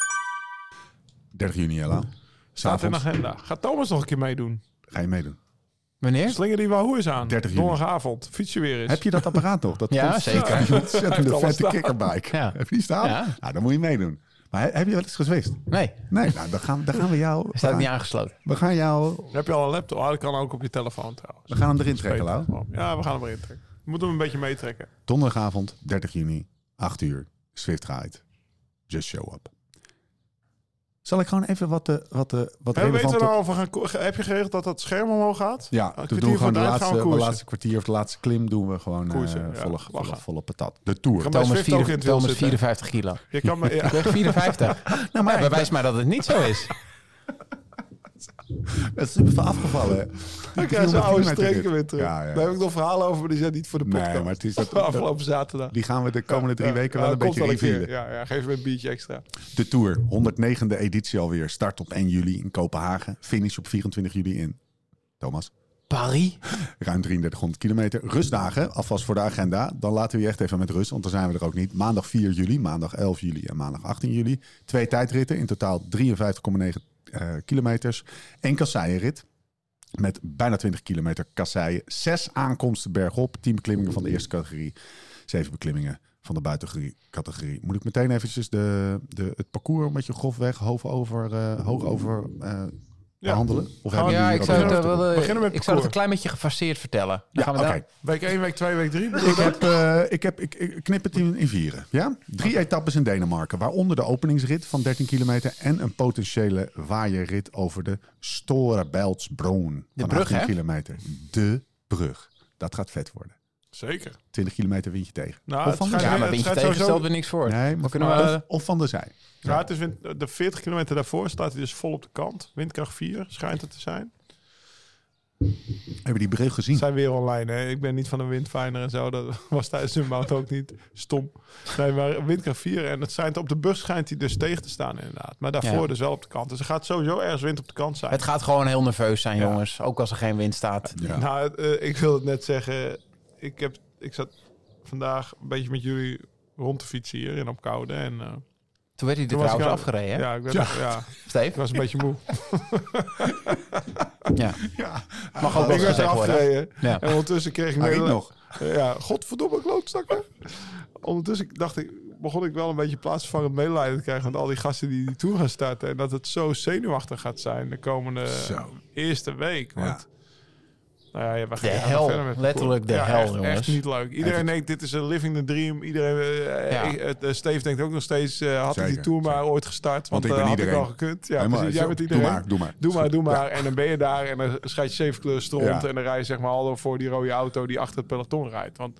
[SPEAKER 1] 30 juni, Ella.
[SPEAKER 4] Staat in de
[SPEAKER 1] S'avonds
[SPEAKER 4] agenda. Gaat Thomas nog een keer meedoen?
[SPEAKER 1] ga je meedoen.
[SPEAKER 3] Wanneer?
[SPEAKER 4] Slinger die Wahoo is aan.
[SPEAKER 1] 30 juni.
[SPEAKER 4] Donderdagavond. Fiets je weer eens.
[SPEAKER 1] Heb je dat apparaat nog? Dat
[SPEAKER 3] Ja,
[SPEAKER 1] kost-
[SPEAKER 3] zeker.
[SPEAKER 1] Ja, een
[SPEAKER 4] Heeft
[SPEAKER 1] ontzettende
[SPEAKER 4] alles
[SPEAKER 1] vette
[SPEAKER 4] staan.
[SPEAKER 1] kikkerbike.
[SPEAKER 3] Ja.
[SPEAKER 1] Heb je die staan?
[SPEAKER 3] Ja.
[SPEAKER 1] Nou, dan moet je meedoen. Maar he- heb je wel eens gezwist?
[SPEAKER 3] Nee,
[SPEAKER 1] Nee, nou, dan gaan, dan gaan we jou...
[SPEAKER 3] staat
[SPEAKER 1] we
[SPEAKER 3] niet
[SPEAKER 1] gaan-
[SPEAKER 3] aangesloten.
[SPEAKER 1] We gaan jou...
[SPEAKER 4] Heb je al een laptop? Ah, dat kan ook op je telefoon trouwens.
[SPEAKER 1] We gaan hem erin trekken, Lau.
[SPEAKER 4] Ja, we gaan hem erin trekken. We moeten hem een beetje meetrekken.
[SPEAKER 1] Donderdagavond, 30 juni, 8 uur. Zwift gaat. Just show up. Zal ik gewoon even wat de, wat de, wat
[SPEAKER 4] Hey, weten we
[SPEAKER 1] relevante...
[SPEAKER 4] nou of we gaan ko- Heb je geregeld dat dat scherm omhoog gaat?
[SPEAKER 1] Ja,
[SPEAKER 4] Een
[SPEAKER 1] toen
[SPEAKER 4] kwartier
[SPEAKER 1] doen we gewoon de
[SPEAKER 4] vooruit gaan we
[SPEAKER 1] laatste, de
[SPEAKER 4] koersen.
[SPEAKER 1] laatste kwartier of de laatste klim doen we gewoon eh,
[SPEAKER 4] Koersen, ja.
[SPEAKER 1] volle,
[SPEAKER 4] Lachen.
[SPEAKER 1] volle, volle patat. De Tour.
[SPEAKER 4] Gaan we-
[SPEAKER 3] Thomas,
[SPEAKER 4] Zwift ook in
[SPEAKER 3] vier,
[SPEAKER 4] het wiel
[SPEAKER 3] Thomas
[SPEAKER 4] zitten.
[SPEAKER 3] 54 kilo.
[SPEAKER 4] Je kan me, ja,
[SPEAKER 3] Ik weeg 54. nou, maar bewijs maar dat het niet zo is.
[SPEAKER 1] Dat is super veel afgevallen. hè.
[SPEAKER 4] dan
[SPEAKER 1] Die
[SPEAKER 4] krijg je
[SPEAKER 1] 300
[SPEAKER 4] oude
[SPEAKER 1] kilometer
[SPEAKER 4] streken
[SPEAKER 1] rit.
[SPEAKER 4] weer terug.
[SPEAKER 1] Ja, ja.
[SPEAKER 4] Daar heb ik nog verhalen over, maar die zijn niet voor de
[SPEAKER 1] Nee,
[SPEAKER 4] podcast.
[SPEAKER 1] maar het is dat-
[SPEAKER 4] Afgelopen zaterdag.
[SPEAKER 1] Die gaan we de komende drie
[SPEAKER 4] Ja,
[SPEAKER 1] weken
[SPEAKER 4] ja,
[SPEAKER 1] wel een
[SPEAKER 4] dat komt
[SPEAKER 1] beetje
[SPEAKER 4] keer.
[SPEAKER 1] revealen.
[SPEAKER 4] Ja, ja, geef me een biertje extra.
[SPEAKER 1] De Tour, 109e editie alweer. Start op 1 juli in Kopenhagen. Finish op 24 juli in... Thomas?
[SPEAKER 3] Paris?
[SPEAKER 1] Ruim 3300 kilometer. Rustdagen, alvast voor de agenda. Dan laten we je echt even met rust, want dan zijn we er ook niet. Maandag 4 juli, maandag 11 juli en maandag 18 juli. Twee tijdritten, in totaal 53,9 eh, kilometers. Eén kasseienrit met bijna 20 kilometer kasseien. Zes aankomsten bergop, 10 beklimmingen van de eerste categorie. Zeven beklimmingen van de buitencategorie. Moet ik meteen eventjes de, de, het parcours een beetje grofweg hoog over, eh, hoog over eh, behandelen? Of hebben
[SPEAKER 4] Ja,
[SPEAKER 1] jullie
[SPEAKER 3] Ja,
[SPEAKER 1] hier
[SPEAKER 3] ik
[SPEAKER 1] ook
[SPEAKER 3] zou,
[SPEAKER 1] nog wat
[SPEAKER 3] het, eh,
[SPEAKER 1] te doen?
[SPEAKER 3] wel, eh,
[SPEAKER 4] Beginnen met
[SPEAKER 3] ik zou het een
[SPEAKER 4] parcours.
[SPEAKER 3] klein beetje gefaseerd vertellen. Dan gaan we
[SPEAKER 1] Ja,
[SPEAKER 3] daar-
[SPEAKER 1] oké.
[SPEAKER 4] Week 1, week 2, week 3.
[SPEAKER 1] Ik, heb, eh, ik, heb, ik, ik knip het in, in vieren. Ja? Drie etappes in Denemarken, waaronder de openingsrit van 13 kilometer en een potentiële waaierrit over de Storebeltsbron.
[SPEAKER 3] De
[SPEAKER 1] van
[SPEAKER 3] brug,
[SPEAKER 1] 18
[SPEAKER 3] hè?
[SPEAKER 1] kilometer. De brug. Dat gaat vet worden.
[SPEAKER 4] Zeker.
[SPEAKER 1] 20 kilometer wint je tegen.
[SPEAKER 4] Nou,
[SPEAKER 1] of,
[SPEAKER 4] het
[SPEAKER 1] van de
[SPEAKER 4] schijnt-
[SPEAKER 1] zij.
[SPEAKER 3] Ja, maar
[SPEAKER 4] Het
[SPEAKER 3] ben je
[SPEAKER 4] schijnt
[SPEAKER 3] tegen,
[SPEAKER 4] sowieso-
[SPEAKER 3] stelt er niks voor.
[SPEAKER 1] Nee, maar
[SPEAKER 3] Dan kunnen we,
[SPEAKER 1] of, of van de zij.
[SPEAKER 4] Ja, het is wind, de 40 kilometer daarvoor staat hij dus vol op de kant. Windkracht 4 schijnt het te zijn.
[SPEAKER 1] Hebben we die brug gezien?
[SPEAKER 3] Hm.
[SPEAKER 4] Zijn weer online, hè? Ik ben niet van een windfinder en zo. Dat was tijdens de mout ook niet stom. Nee, maar windkracht 4. En het schijnt, op de bus schijnt hij dus tegen te staan, inderdaad. Maar daarvoor
[SPEAKER 3] Ja.
[SPEAKER 4] dus wel op de kant. Dus er gaat sowieso ergens wind op de kant zijn.
[SPEAKER 3] Het gaat gewoon heel nerveus zijn, jongens. Ook als er geen wind staat.
[SPEAKER 1] Ja.
[SPEAKER 4] Nou, eh, ik wil het net zeggen. Ik, heb, ik zat vandaag een beetje met jullie rond te fietsen hier in Opkoude. En, eh,
[SPEAKER 3] Toen werd hij er
[SPEAKER 4] toen was ik
[SPEAKER 3] trouwens
[SPEAKER 4] aan-
[SPEAKER 3] afgereden, hè?
[SPEAKER 4] Ja, ik, ben, ja.
[SPEAKER 1] Ja.
[SPEAKER 4] ik
[SPEAKER 3] Steve?
[SPEAKER 4] was een beetje moe.
[SPEAKER 3] Ja.
[SPEAKER 1] Ja,
[SPEAKER 3] Mag ook wel
[SPEAKER 4] ik was
[SPEAKER 3] gezegd worden.
[SPEAKER 4] afgereden.
[SPEAKER 3] Ja.
[SPEAKER 4] En ondertussen kreeg ik
[SPEAKER 1] Hij riep
[SPEAKER 4] Nederland-
[SPEAKER 1] nog.
[SPEAKER 4] Ja, godverdomme klootzakken. Ondertussen dacht ik, begon ik wel een beetje plaatsvervangend medelijden te krijgen... met al die gasten die die Tour gaan starten. En dat het zo zenuwachtig gaat zijn de komende
[SPEAKER 3] eh,
[SPEAKER 1] Zo.
[SPEAKER 4] eerste week. Want, nou ja, ja, we gaan
[SPEAKER 3] De
[SPEAKER 4] we gaan
[SPEAKER 3] hel.
[SPEAKER 4] verder met het
[SPEAKER 3] Letterlijk de
[SPEAKER 4] parcours.
[SPEAKER 3] hel,
[SPEAKER 4] echt,
[SPEAKER 3] jongens.
[SPEAKER 4] Echt niet leuk. Iedereen
[SPEAKER 1] Even-
[SPEAKER 4] denkt, dit is een living the dream. Iedereen, eh,
[SPEAKER 3] Ja.
[SPEAKER 4] ik- het, eh, Steve denkt ook nog steeds, eh, had ik
[SPEAKER 1] Zeker,
[SPEAKER 4] die Tour maar
[SPEAKER 1] zeker.
[SPEAKER 4] ooit
[SPEAKER 1] Want
[SPEAKER 4] gestart? Want,
[SPEAKER 1] ik
[SPEAKER 4] dat
[SPEAKER 1] ben
[SPEAKER 4] had ik
[SPEAKER 1] iedereen.
[SPEAKER 4] al gekund. Ja,
[SPEAKER 1] Helemaal,
[SPEAKER 4] precies. Jij
[SPEAKER 1] zo.
[SPEAKER 4] bent
[SPEAKER 1] Doe
[SPEAKER 4] iedereen.
[SPEAKER 1] maar, doe maar.
[SPEAKER 4] Doe
[SPEAKER 1] Is
[SPEAKER 4] maar,
[SPEAKER 1] goed.
[SPEAKER 4] doe
[SPEAKER 1] Ja.
[SPEAKER 4] maar. En dan ben je daar en dan schijt je zeven kleur stront.
[SPEAKER 1] Ja.
[SPEAKER 4] En dan rij je zeg maar al voor die rode auto die achter het peloton rijdt. Want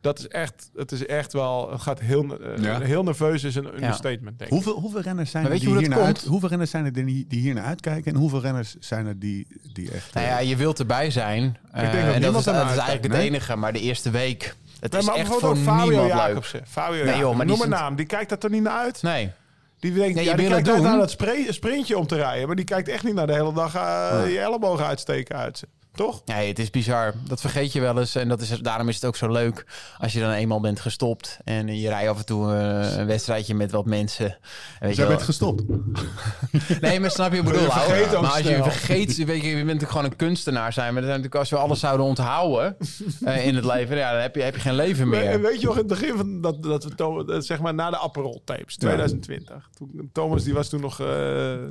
[SPEAKER 4] dat is echt, het is echt wel, het gaat heel, eh,
[SPEAKER 1] Ja.
[SPEAKER 4] heel nerveus is een understatement denk ik.
[SPEAKER 1] Hoeveel, hoeveel renners zijn
[SPEAKER 3] Maar
[SPEAKER 1] er
[SPEAKER 3] weet
[SPEAKER 1] die
[SPEAKER 3] je hoe
[SPEAKER 1] hier
[SPEAKER 3] dat
[SPEAKER 1] naar
[SPEAKER 3] komt?
[SPEAKER 1] uit- hoeveel renners zijn er die die hier naar uitkijken? En hoeveel renners zijn er die, die echt...
[SPEAKER 3] Nou
[SPEAKER 1] eh,
[SPEAKER 3] ja, je wilt erbij zijn. Eh,
[SPEAKER 4] denk dat
[SPEAKER 3] en dat
[SPEAKER 4] niemand
[SPEAKER 3] is, dat
[SPEAKER 4] ernaar
[SPEAKER 3] is eigenlijk
[SPEAKER 4] uitkijkt,
[SPEAKER 3] het
[SPEAKER 4] nee.
[SPEAKER 3] enige. Maar de eerste week, het
[SPEAKER 4] Nee,
[SPEAKER 3] is
[SPEAKER 4] maar
[SPEAKER 3] echt
[SPEAKER 4] bijvoorbeeld
[SPEAKER 3] voor
[SPEAKER 4] ook Fabio
[SPEAKER 3] niemand
[SPEAKER 4] Jacobsen. Fabio Jacobsen.
[SPEAKER 3] joh, maar die
[SPEAKER 4] Noem een
[SPEAKER 3] is-
[SPEAKER 4] naam. Die kijkt dat er niet naar uit.
[SPEAKER 3] leuk. Nee.
[SPEAKER 4] Die denkt,
[SPEAKER 3] Nee,
[SPEAKER 4] ja,
[SPEAKER 3] je
[SPEAKER 4] die
[SPEAKER 3] wil het
[SPEAKER 4] kijkt uit
[SPEAKER 3] doen.
[SPEAKER 4] naar dat spray- sprintje om te rijden. Maar die kijkt echt niet naar de hele dag eh,
[SPEAKER 3] Ah.
[SPEAKER 4] je ellebogen uitsteken uit. Toch?
[SPEAKER 3] Nee, het is bizar. Dat vergeet je wel eens. En dat is, daarom is het ook zo leuk als je dan eenmaal bent gestopt. En je rijdt af en toe eh, een wedstrijdje met wat mensen. En weet
[SPEAKER 4] Dus
[SPEAKER 1] Zij
[SPEAKER 3] je wel-
[SPEAKER 1] bent gestopt.
[SPEAKER 3] Nee, maar snap je wat ik bedoel?
[SPEAKER 4] Je vergeet
[SPEAKER 3] ouwe?
[SPEAKER 4] ook
[SPEAKER 3] maar als je
[SPEAKER 4] snel.
[SPEAKER 3] vergeet, weet je, je bent natuurlijk gewoon een kunstenaar zijn. Maar dat zijn natuurlijk, als we alles zouden onthouden eh, in het leven, ja, dan heb je, heb je geen leven
[SPEAKER 4] We- En
[SPEAKER 3] meer.
[SPEAKER 4] weet je nog, in het begin van dat, dat we Thomas, eh, zeg maar na de Aperol tapes, 2020. Toen, Thomas die was toen nog eh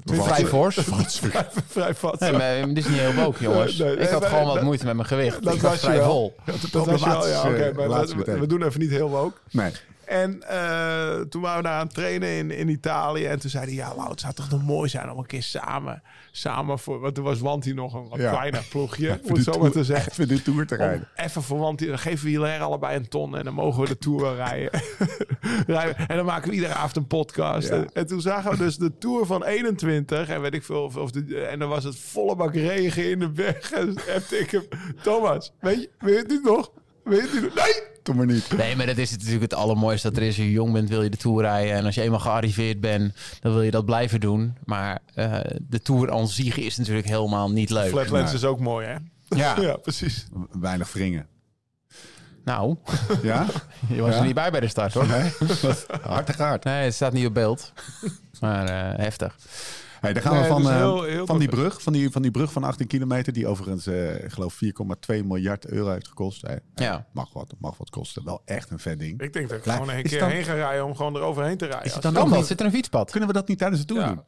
[SPEAKER 4] 20
[SPEAKER 3] Vrij fors.
[SPEAKER 1] Wat
[SPEAKER 4] vrij vat.
[SPEAKER 3] Nee, maar dit is niet heel woke, jongens.
[SPEAKER 4] Nee, nee,
[SPEAKER 3] ik had
[SPEAKER 4] maar-
[SPEAKER 3] gewoon wat
[SPEAKER 4] dat-
[SPEAKER 3] moeite met mijn gewicht.
[SPEAKER 4] dat
[SPEAKER 3] ik
[SPEAKER 4] was je
[SPEAKER 3] vrij
[SPEAKER 4] wel.
[SPEAKER 3] vol.
[SPEAKER 4] Dat was wel, ja,
[SPEAKER 1] Problematisch,
[SPEAKER 4] oké,
[SPEAKER 1] eh,
[SPEAKER 4] maar
[SPEAKER 1] relatie
[SPEAKER 4] we,
[SPEAKER 1] meteen.
[SPEAKER 4] we doen even niet heel woke.
[SPEAKER 1] Nee.
[SPEAKER 4] En eh, toen waren we daar aan het trainen in, in Italië. En toen zei hij, ja Wout, het zou toch nog mooi zijn om een keer samen... samen voor, want toen was Wanti nog een wat
[SPEAKER 1] Ja.
[SPEAKER 4] kleiner ploegje, om
[SPEAKER 1] Voor
[SPEAKER 4] het
[SPEAKER 1] de
[SPEAKER 4] zo maar
[SPEAKER 1] tour-
[SPEAKER 4] te zeggen.
[SPEAKER 1] Even de tour te
[SPEAKER 4] Om
[SPEAKER 1] rijden.
[SPEAKER 4] even voor Wanti, dan geven we Hilaire allebei een ton en dan mogen we de Tour rijden. rijden. En dan maken we iedere avond een podcast.
[SPEAKER 1] Ja.
[SPEAKER 4] En, en toen zagen we dus de Tour van 21 en weet ik veel. Of, of de, en dan was het volle bak regen in de berg. En toen heb ik hem, Thomas, weet je, weet je het niet nog? Weet je het niet nog? Nee!
[SPEAKER 1] Toen maar niet.
[SPEAKER 3] Nee, maar dat is natuurlijk het allermooiste dat er is. Als je jong bent, wil je de Tour rijden. En als je eenmaal gearriveerd bent, dan wil je dat blijven doen. Maar eh, de Tour aan zich is natuurlijk helemaal niet leuk.
[SPEAKER 4] Flatlands is ook mooi, hè?
[SPEAKER 3] Ja.
[SPEAKER 4] ja precies.
[SPEAKER 1] Weinig wringen.
[SPEAKER 3] Nou,
[SPEAKER 1] Ja?
[SPEAKER 3] je was
[SPEAKER 1] Ja.
[SPEAKER 3] er niet bij bij de start, hoor.
[SPEAKER 1] Nee? Wat Hartig hard.
[SPEAKER 3] Nee, het staat niet op beeld. Maar eh, heftig.
[SPEAKER 1] Hey, dan gaan we
[SPEAKER 4] Nee,
[SPEAKER 1] van,
[SPEAKER 4] dus
[SPEAKER 1] eh,
[SPEAKER 4] heel- heel
[SPEAKER 1] van, die
[SPEAKER 4] kort.
[SPEAKER 1] brug, van, die, van die brug van 18 kilometer, die overigens, eh, ik geloof, 4,2 miljard euro heeft gekost. Hey,
[SPEAKER 3] Ja.
[SPEAKER 1] Mag wat, mag wat kosten. Wel echt een vet ding.
[SPEAKER 4] Ik denk dat ik
[SPEAKER 1] Lijkt-
[SPEAKER 4] gewoon een
[SPEAKER 1] is
[SPEAKER 4] keer
[SPEAKER 1] dan-
[SPEAKER 4] heen ga rijden om gewoon eroverheen te rijden.
[SPEAKER 3] Is het
[SPEAKER 4] Als-
[SPEAKER 3] dan
[SPEAKER 1] ook
[SPEAKER 3] ook
[SPEAKER 1] niet?
[SPEAKER 3] Zit er een fietspad?
[SPEAKER 1] Kunnen we dat niet tijdens de tour
[SPEAKER 4] Ja.
[SPEAKER 1] doen?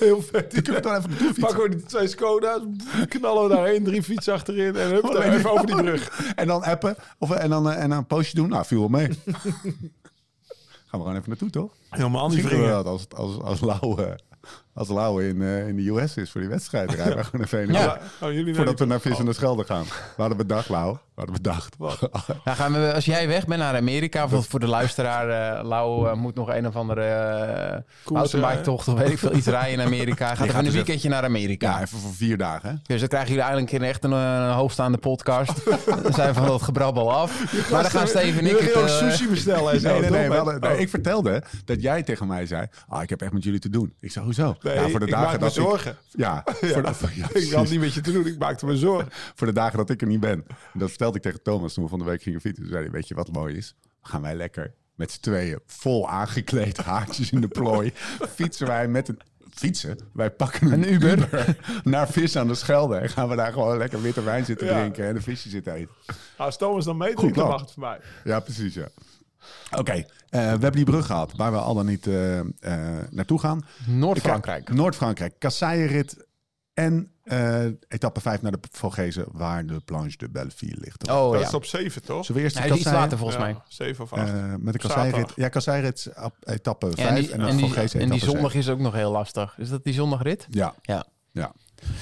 [SPEAKER 4] heel vet.
[SPEAKER 1] Dan kunnen we dan even de tour
[SPEAKER 4] Pakken
[SPEAKER 1] fietsen.
[SPEAKER 4] we die twee Skoda's, knallen we daarheen, drie fietsen achterin en hup, daar even over die brug.
[SPEAKER 1] En dan appen of, en, dan, eh, en dan een postje doen. Nou, viel wel mee. Gaan we gewoon even naartoe, toch?
[SPEAKER 4] Helemaal
[SPEAKER 1] Misschien kunnen we dat als, als, als Lauwe, als Lauwe in, eh, in de US is voor die wedstrijd. Rijden we gewoon even heen.
[SPEAKER 3] Ja.
[SPEAKER 4] Oh, jullie
[SPEAKER 1] Voordat we
[SPEAKER 4] weten-
[SPEAKER 1] naar Vis en de Schelde gaan. We hadden bedacht, Lau. We hadden bedacht.
[SPEAKER 3] Nou, gaan we, als jij weg bent naar Amerika, voor, voor de luisteraar, eh Lau eh, moet nog een of andere uh,
[SPEAKER 4] Koers,
[SPEAKER 3] mountainbike-tocht of weet ik veel, iets rijden in Amerika. Gaat even
[SPEAKER 1] gaat
[SPEAKER 3] een
[SPEAKER 1] dus
[SPEAKER 3] weekendje naar Amerika.
[SPEAKER 1] Ja, even voor vier dagen. hè?
[SPEAKER 3] Dus dan krijgen jullie eigenlijk een keer echt een, eh, hoogstaande podcast. dan zijn we van dat gebrabbel af. Maar dan gaan Steven en ik...
[SPEAKER 4] Jullie
[SPEAKER 3] het,
[SPEAKER 4] gaan ook
[SPEAKER 3] eh,
[SPEAKER 4] sushi bestellen en zo.
[SPEAKER 1] Nee, nee, nee,
[SPEAKER 4] toch?
[SPEAKER 1] we hadden- nee,
[SPEAKER 4] Oh.
[SPEAKER 1] Ik vertelde dat jij tegen mij zei: ah, Ik heb echt met jullie te doen. Ik zei: Hoezo?
[SPEAKER 4] Nee, ik maak me zorgen.
[SPEAKER 1] Ja, voor, de, ja,
[SPEAKER 4] Ik had
[SPEAKER 1] precies.
[SPEAKER 4] niet met je te doen, ik maakte me zorgen.
[SPEAKER 1] voor de dagen dat ik er niet ben. En dat vertelde ik tegen Thomas toen we van de week gingen fietsen. Toen zei hij: Weet je wat mooi is? Gaan wij lekker met z'n tweeën vol aangekleed, haartjes in de plooi. fietsen wij met een. Fietsen? Wij pakken een, Uber. naar vis aan de Schelde. En gaan we daar gewoon lekker witte wijn zitten
[SPEAKER 4] Ja.
[SPEAKER 1] drinken en een visje zitten eten.
[SPEAKER 4] Nou, Als Thomas dan
[SPEAKER 1] Goed
[SPEAKER 4] meedrinkt, dan
[SPEAKER 1] plan.
[SPEAKER 4] mag het voor
[SPEAKER 3] Oh,
[SPEAKER 4] mij.
[SPEAKER 1] Ja, precies, ja. Oké, eh, we hebben die brug gehad waar we al dan niet eh, eh, naartoe gaan.
[SPEAKER 3] Noord-Frankrijk.
[SPEAKER 1] Ik- Noord-Frankrijk, kasseienrit en eh, etappe 5 naar de Vogezen waar de Planche de Belleville ligt.
[SPEAKER 3] Oh
[SPEAKER 4] dat
[SPEAKER 3] ja,
[SPEAKER 4] is op 7, toch?
[SPEAKER 1] Zullen we eerst de
[SPEAKER 3] hij is iets
[SPEAKER 1] kasseien-
[SPEAKER 3] later volgens mij.
[SPEAKER 4] 7 of 8.
[SPEAKER 1] eh, met de kasseienrit.
[SPEAKER 4] Zaterdag.
[SPEAKER 1] Ja, kasseienrit ap- etappe 5
[SPEAKER 3] Ja, en, die,
[SPEAKER 1] en, dan
[SPEAKER 3] en, die,
[SPEAKER 1] Vogezen
[SPEAKER 3] en die
[SPEAKER 1] etappe
[SPEAKER 3] zondag
[SPEAKER 1] zeven.
[SPEAKER 3] is ook nog heel lastig. Is dat die zondagrit?
[SPEAKER 1] Ja,
[SPEAKER 3] Ja.
[SPEAKER 1] ja.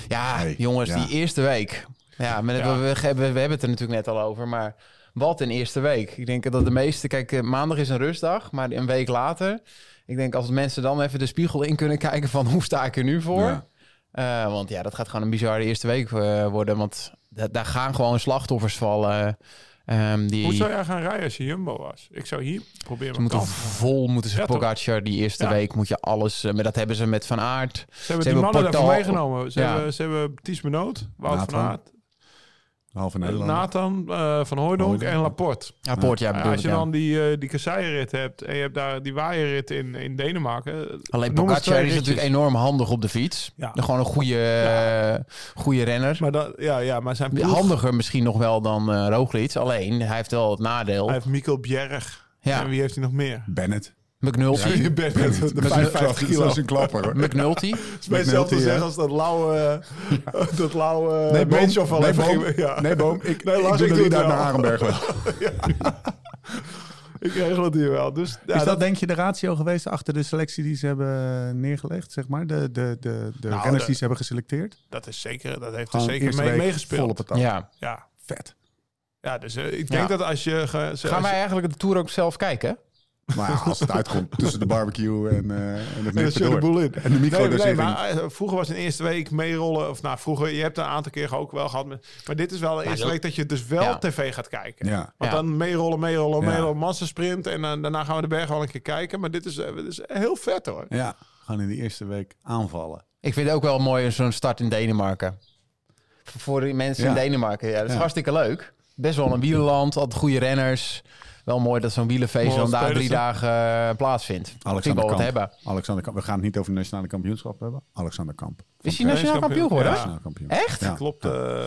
[SPEAKER 3] Ja,
[SPEAKER 1] Hey,
[SPEAKER 3] jongens,
[SPEAKER 1] ja.
[SPEAKER 3] die eerste week. Ja, maar
[SPEAKER 4] Ja.
[SPEAKER 3] We, we, we hebben het er natuurlijk net al over, maar wat een eerste week. Ik denk dat de meeste, kijk, eh, maandag is een rustdag, maar een week later, ik denk als mensen dan even de spiegel in kunnen kijken van hoe sta ik er nu voor?
[SPEAKER 1] Ja.
[SPEAKER 3] Eh, want ja, dat gaat gewoon een bizarre eerste week eh, worden, want da- daar gaan gewoon slachtoffers vallen. ehm, die,
[SPEAKER 4] Hoe zou jij gaan rijden als je Jumbo was? Ik zou hier proberen
[SPEAKER 3] ze
[SPEAKER 4] mijn
[SPEAKER 3] moeten
[SPEAKER 4] kans.
[SPEAKER 3] vol moeten ze
[SPEAKER 4] Ja, toch?
[SPEAKER 3] Pogacar die eerste
[SPEAKER 4] Ja.
[SPEAKER 3] week moet je alles, eh, maar dat hebben ze met Van Aert.
[SPEAKER 4] Ze hebben
[SPEAKER 3] Ze
[SPEAKER 4] die
[SPEAKER 3] hebben
[SPEAKER 4] mannen daarvoor
[SPEAKER 3] Portal-
[SPEAKER 4] meegenomen. Ze
[SPEAKER 3] Ja.
[SPEAKER 4] hebben, ze hebben Ties Benoot, Wout
[SPEAKER 1] Nathan.
[SPEAKER 4] van Aert,
[SPEAKER 1] halve Nederland.
[SPEAKER 4] Nathan eh, van Hooydonk
[SPEAKER 1] Hooijdonk.
[SPEAKER 4] en Laporte.
[SPEAKER 3] Ja, Poort, ja,
[SPEAKER 4] Ja,
[SPEAKER 3] bedoel
[SPEAKER 4] als je
[SPEAKER 3] ik, ja.
[SPEAKER 4] dan die, eh, die kasseienrit hebt en je hebt daar die waaierrit in, in Denemarken. eh,
[SPEAKER 3] Alleen
[SPEAKER 4] noem eens
[SPEAKER 3] Pogacar
[SPEAKER 4] twee
[SPEAKER 3] is
[SPEAKER 4] ritjes.
[SPEAKER 3] natuurlijk enorm handig op de fiets.
[SPEAKER 4] Ja.
[SPEAKER 3] Gewoon een goede, eh, goede renner.
[SPEAKER 4] Maar, dat, ja, ja, maar zijn ploeg,
[SPEAKER 3] Handiger misschien nog wel dan eh Roglic. Alleen, hij heeft wel het nadeel.
[SPEAKER 4] Hij heeft Mikkel Bjerg.
[SPEAKER 3] Ja.
[SPEAKER 4] En wie heeft hij nog meer?
[SPEAKER 1] Bennett.
[SPEAKER 3] McNulty.
[SPEAKER 1] Ja,
[SPEAKER 4] bent net
[SPEAKER 1] De 55 kilo is een klapper. hoor.
[SPEAKER 3] McNulty.
[SPEAKER 4] Het is hetzelfde
[SPEAKER 1] McNulty,
[SPEAKER 4] zeggen
[SPEAKER 1] hè?
[SPEAKER 4] als dat lauwe... dat lauwe...
[SPEAKER 1] Nee, boom.
[SPEAKER 4] Bench of al
[SPEAKER 1] Nee,
[SPEAKER 4] even
[SPEAKER 1] boom.
[SPEAKER 4] ging- ja.
[SPEAKER 1] Nee, boom. Ik,
[SPEAKER 4] Nee, Lars,
[SPEAKER 1] ik doe
[SPEAKER 4] ik
[SPEAKER 1] er
[SPEAKER 4] doe
[SPEAKER 1] niet
[SPEAKER 4] het
[SPEAKER 1] uit naar
[SPEAKER 4] wel.
[SPEAKER 1] Arenberg wel.
[SPEAKER 4] Ik regel het hier wel. Dus, ja,
[SPEAKER 1] is dat,
[SPEAKER 4] dat-
[SPEAKER 1] denk je de ratio geweest achter de selectie die ze hebben eh, neergelegd, zeg maar? De, de, de, de
[SPEAKER 4] Nou,
[SPEAKER 1] renners
[SPEAKER 4] de-
[SPEAKER 1] die ze hebben geselecteerd?
[SPEAKER 4] Dat is zeker, dat heeft er
[SPEAKER 1] Gewoon
[SPEAKER 4] zeker
[SPEAKER 1] eerste
[SPEAKER 4] mee,
[SPEAKER 1] week
[SPEAKER 4] meegespeeld.
[SPEAKER 1] Vol op het dak.
[SPEAKER 3] Ja.
[SPEAKER 4] Ja,
[SPEAKER 1] Vet.
[SPEAKER 4] ja dus eh, ik
[SPEAKER 3] Ja.
[SPEAKER 4] denk dat als je... Ge, als
[SPEAKER 3] Gaan
[SPEAKER 4] je-
[SPEAKER 3] wij eigenlijk de Tour ook zelf kijken?
[SPEAKER 1] Maar ja, als het uitkomt tussen de barbecue en, eh en het
[SPEAKER 4] En dan
[SPEAKER 1] neppen
[SPEAKER 4] zit de boel in.
[SPEAKER 1] En de micro
[SPEAKER 4] nee, nee, maar eh, vroeger was in de eerste week meerollen. Of nou, vroeger, je hebt een aantal keer ook wel gehad. met- Maar dit is wel de eerste
[SPEAKER 3] dat-
[SPEAKER 4] week dat je dus wel
[SPEAKER 3] Ja.
[SPEAKER 4] tv gaat kijken.
[SPEAKER 1] Ja.
[SPEAKER 4] Want
[SPEAKER 3] Ja.
[SPEAKER 4] dan meerollen, meerollen,
[SPEAKER 1] Ja.
[SPEAKER 4] meerollen, massasprint. En eh, daarna gaan we de berg wel een keer kijken. Maar dit is, eh, dit is heel vet hoor.
[SPEAKER 1] Ja, gewoon in de eerste week aanvallen.
[SPEAKER 3] Ik vind het ook wel mooi zo'n start in Denemarken. Voor die mensen in
[SPEAKER 1] Ja.
[SPEAKER 3] Denemarken. Ja, dat is
[SPEAKER 1] Ja.
[SPEAKER 3] hartstikke leuk. Best wel een wielerland. Altijd goede renners. Wel mooi dat zo'n wielenfeest
[SPEAKER 4] Mooi
[SPEAKER 3] dan daar drie
[SPEAKER 4] spelers, hè?
[SPEAKER 3] dagen eh, plaatsvindt. Vind ik
[SPEAKER 1] Alexander
[SPEAKER 3] wel wat
[SPEAKER 1] Kamp.
[SPEAKER 3] hebben.
[SPEAKER 1] Alexander Kamp. We gaan het niet over de nationale kampioenschap hebben. Alexander Kamp.
[SPEAKER 3] Is hij nationaal kampioen geworden?
[SPEAKER 4] Ja.
[SPEAKER 1] Nationale kampioen.
[SPEAKER 3] Ah, Echt?
[SPEAKER 1] Ja.
[SPEAKER 4] Klopt. eh,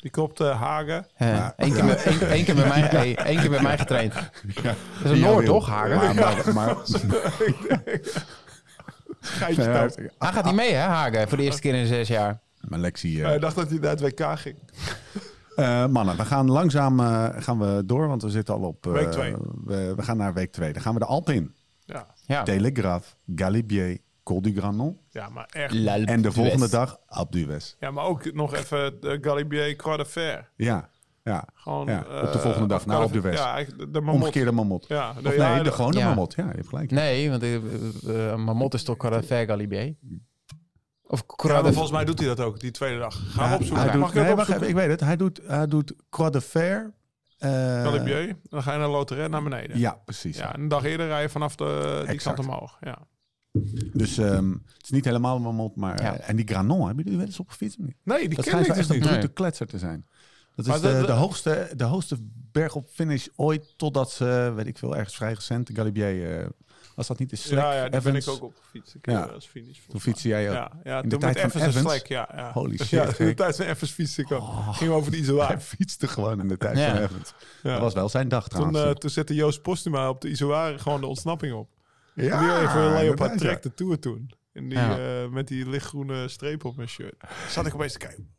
[SPEAKER 4] die klopt eh, Hagen.
[SPEAKER 3] Eh, Eén keer, met- één- één keer, met mij- hey, één keer bij mij getraind.
[SPEAKER 1] Ja.
[SPEAKER 3] Dat is een Noord, toch, Hagen?
[SPEAKER 1] Maar, maar, maar,
[SPEAKER 4] Geitje
[SPEAKER 1] Nee,
[SPEAKER 4] thuis.
[SPEAKER 1] hij-
[SPEAKER 3] Hij gaat niet mee, hè, Hagen? Voor de eerste keer in zes jaar.
[SPEAKER 1] Maar Lexi... eh,
[SPEAKER 4] Hij dacht dat hij naar het WK ging.
[SPEAKER 1] Eh, mannen, we gaan langzaam eh, gaan we door, want we zitten al op... eh,
[SPEAKER 4] Week twee.
[SPEAKER 1] We, we gaan naar week 2. Dan gaan we de Alpen in.
[SPEAKER 4] Ja,
[SPEAKER 3] Ja.
[SPEAKER 1] Telegraaf, Galibier, Col du Granon.
[SPEAKER 4] ja maar echt.
[SPEAKER 1] En de volgende dag Abdues.
[SPEAKER 4] Ja, maar ook nog even de Galibier Croix de Fer.
[SPEAKER 1] Ja, ja.
[SPEAKER 4] Gewoon,
[SPEAKER 1] Ja,
[SPEAKER 4] eh,
[SPEAKER 1] op de volgende dag
[SPEAKER 4] of
[SPEAKER 1] naar
[SPEAKER 4] Calif-
[SPEAKER 1] Abdues.
[SPEAKER 4] Ja, eigenlijk de mamot.
[SPEAKER 1] Omgekeerde mamot.
[SPEAKER 4] Ja,
[SPEAKER 1] Of
[SPEAKER 4] de-
[SPEAKER 1] nee,
[SPEAKER 4] ja,
[SPEAKER 1] de
[SPEAKER 4] de-
[SPEAKER 1] gewone
[SPEAKER 3] ja.
[SPEAKER 1] mamot. Ja, je hebt gelijk.
[SPEAKER 3] Nee, want eh, eh, eh, Mamot is toch Carafer Galibier? Of
[SPEAKER 4] Ja, maar
[SPEAKER 3] Carafer?
[SPEAKER 4] volgens mij doet hij dat ook, die tweede dag. Ga
[SPEAKER 1] Ja,
[SPEAKER 4] hem opzoeken.
[SPEAKER 1] hij doet-
[SPEAKER 4] Mag ik
[SPEAKER 1] nee,
[SPEAKER 4] ook
[SPEAKER 1] wacht
[SPEAKER 4] opzoeken?
[SPEAKER 1] even, ik weet het. Hij doet, hij doet Croix de Fer. eh,
[SPEAKER 4] Galibier, dan ga je naar Loteret naar beneden.
[SPEAKER 1] Ja, precies.
[SPEAKER 4] Ja, en een dag eerder rij je vanaf de, die
[SPEAKER 1] Exact.
[SPEAKER 4] kant omhoog. Ja.
[SPEAKER 1] Dus ehm, het is niet helemaal een mamot, maar...
[SPEAKER 3] Ja.
[SPEAKER 1] eh, en die Granon, hebben jullie wel eens op gefietst? of niet?
[SPEAKER 4] Nee, die
[SPEAKER 1] Dat
[SPEAKER 4] ken
[SPEAKER 1] schijnt
[SPEAKER 4] ik
[SPEAKER 1] wel
[SPEAKER 4] dus
[SPEAKER 1] echt een
[SPEAKER 4] niet.
[SPEAKER 1] brute kletser te zijn. Dat is
[SPEAKER 4] Maar
[SPEAKER 1] de,
[SPEAKER 4] dat-
[SPEAKER 1] de, hoogste, de hoogste berg op finish ooit, totdat ze, weet ik veel, ergens vrij recent, de Galibier, eh, was dat niet de Slack
[SPEAKER 4] Ja, ja, daar ben
[SPEAKER 1] Evans,
[SPEAKER 4] ik ook op gefietst. Ik
[SPEAKER 1] Ja.
[SPEAKER 4] ja. als finish.
[SPEAKER 1] Toen fietste jij ook.
[SPEAKER 4] Ja, ja
[SPEAKER 1] de
[SPEAKER 4] toen
[SPEAKER 1] tijd
[SPEAKER 4] met
[SPEAKER 1] van
[SPEAKER 4] Evans en
[SPEAKER 1] Evans?
[SPEAKER 4] Slack. Ja, ja.
[SPEAKER 1] Holy shit,
[SPEAKER 4] Ja, in de
[SPEAKER 1] gek.
[SPEAKER 4] tijd van Evans fietste ik ook.
[SPEAKER 1] Oh.
[SPEAKER 4] Ging over de
[SPEAKER 1] Hij
[SPEAKER 4] Izoar.
[SPEAKER 1] fietste gewoon in de tijd
[SPEAKER 3] Ja.
[SPEAKER 1] van Evans.
[SPEAKER 4] Ja.
[SPEAKER 1] Dat was wel zijn dag
[SPEAKER 4] Toen,
[SPEAKER 1] trouwens.
[SPEAKER 4] eh, toen zette Joost Postuma op de Izoar gewoon de ontsnapping op.
[SPEAKER 1] ja,
[SPEAKER 4] die even Leopard
[SPEAKER 1] inderdaad, ja.
[SPEAKER 4] Trek de Tour toen. En die,
[SPEAKER 3] Ja.
[SPEAKER 4] eh, met die lichtgroene streep op mijn shirt. Zat ik opeens te kijken.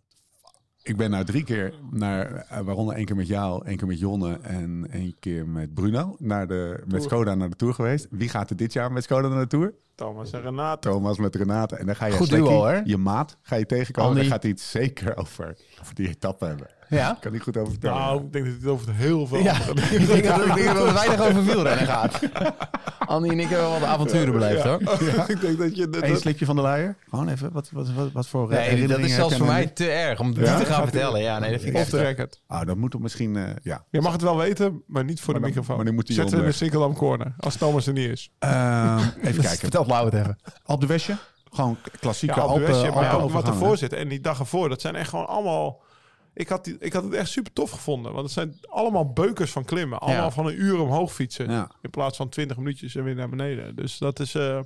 [SPEAKER 1] Ik ben nou drie keer, naar, eh, waaronder één keer met jou, één keer met Jonne en één keer met Bruno, naar de, met Skoda naar de Tour geweest. Wie gaat er dit jaar met Skoda naar de Tour?
[SPEAKER 4] Thomas en Renate.
[SPEAKER 1] Thomas met Renate. En dan ga je
[SPEAKER 3] Goed
[SPEAKER 1] Slekkie,
[SPEAKER 3] duo, hè?
[SPEAKER 1] je maat, ga je tegenkomen.
[SPEAKER 3] Andy.
[SPEAKER 1] Dan gaat hij het zeker over, over die etappe hebben.
[SPEAKER 3] Ja.
[SPEAKER 1] Kan hij goed over vertellen.
[SPEAKER 4] Nou, ik denk dat het over heel veel
[SPEAKER 3] Ja,
[SPEAKER 4] anderen-
[SPEAKER 3] ik denk dat ik denk dat het weinig over wielrennen gaat. Andy en ik hebben wel de avonturen beleefd
[SPEAKER 4] Ja.
[SPEAKER 3] hoor.
[SPEAKER 4] ik denk dat je... Dat,
[SPEAKER 1] Eén slipje van de luier. Gewoon even, wat, wat, wat, wat voor eh,
[SPEAKER 3] Nee, dat
[SPEAKER 1] herinneringen
[SPEAKER 3] is zelfs voor
[SPEAKER 1] herkennen
[SPEAKER 3] mij te erg om dit
[SPEAKER 1] Ja?
[SPEAKER 3] te gaan vertellen. Ja, nee, dat vind ik
[SPEAKER 4] Of
[SPEAKER 3] echt...
[SPEAKER 4] de record.
[SPEAKER 1] jullie? Oh, dat moet er misschien, eh, ja.
[SPEAKER 4] Je mag het wel weten, maar niet voor
[SPEAKER 1] Maar
[SPEAKER 4] de
[SPEAKER 1] dan-
[SPEAKER 4] microfoon.
[SPEAKER 1] maar dan moet hij
[SPEAKER 4] Zetten we in de
[SPEAKER 1] onder.
[SPEAKER 4] Sinkeldam Corner, als Thomas er niet is.
[SPEAKER 1] Ehm, even kijken.
[SPEAKER 3] Vertel Blauw het even.
[SPEAKER 1] Op de Westje. Gewoon k- klassieke
[SPEAKER 4] Ja, op de
[SPEAKER 1] Alpen-
[SPEAKER 4] Westje, maar
[SPEAKER 1] Alpen-
[SPEAKER 4] ook wat
[SPEAKER 1] overgangen,
[SPEAKER 4] ervoor zit. En die dag ervoor, dat zijn echt gewoon allemaal... Ik had, die, ik had het echt super tof gevonden. Want het zijn allemaal beukers van klimmen. Allemaal
[SPEAKER 3] Ja.
[SPEAKER 4] van een uur omhoog fietsen.
[SPEAKER 1] hè? Ja.
[SPEAKER 4] In plaats van 20 minuutjes en weer naar beneden. Dus dat is. eh, eh,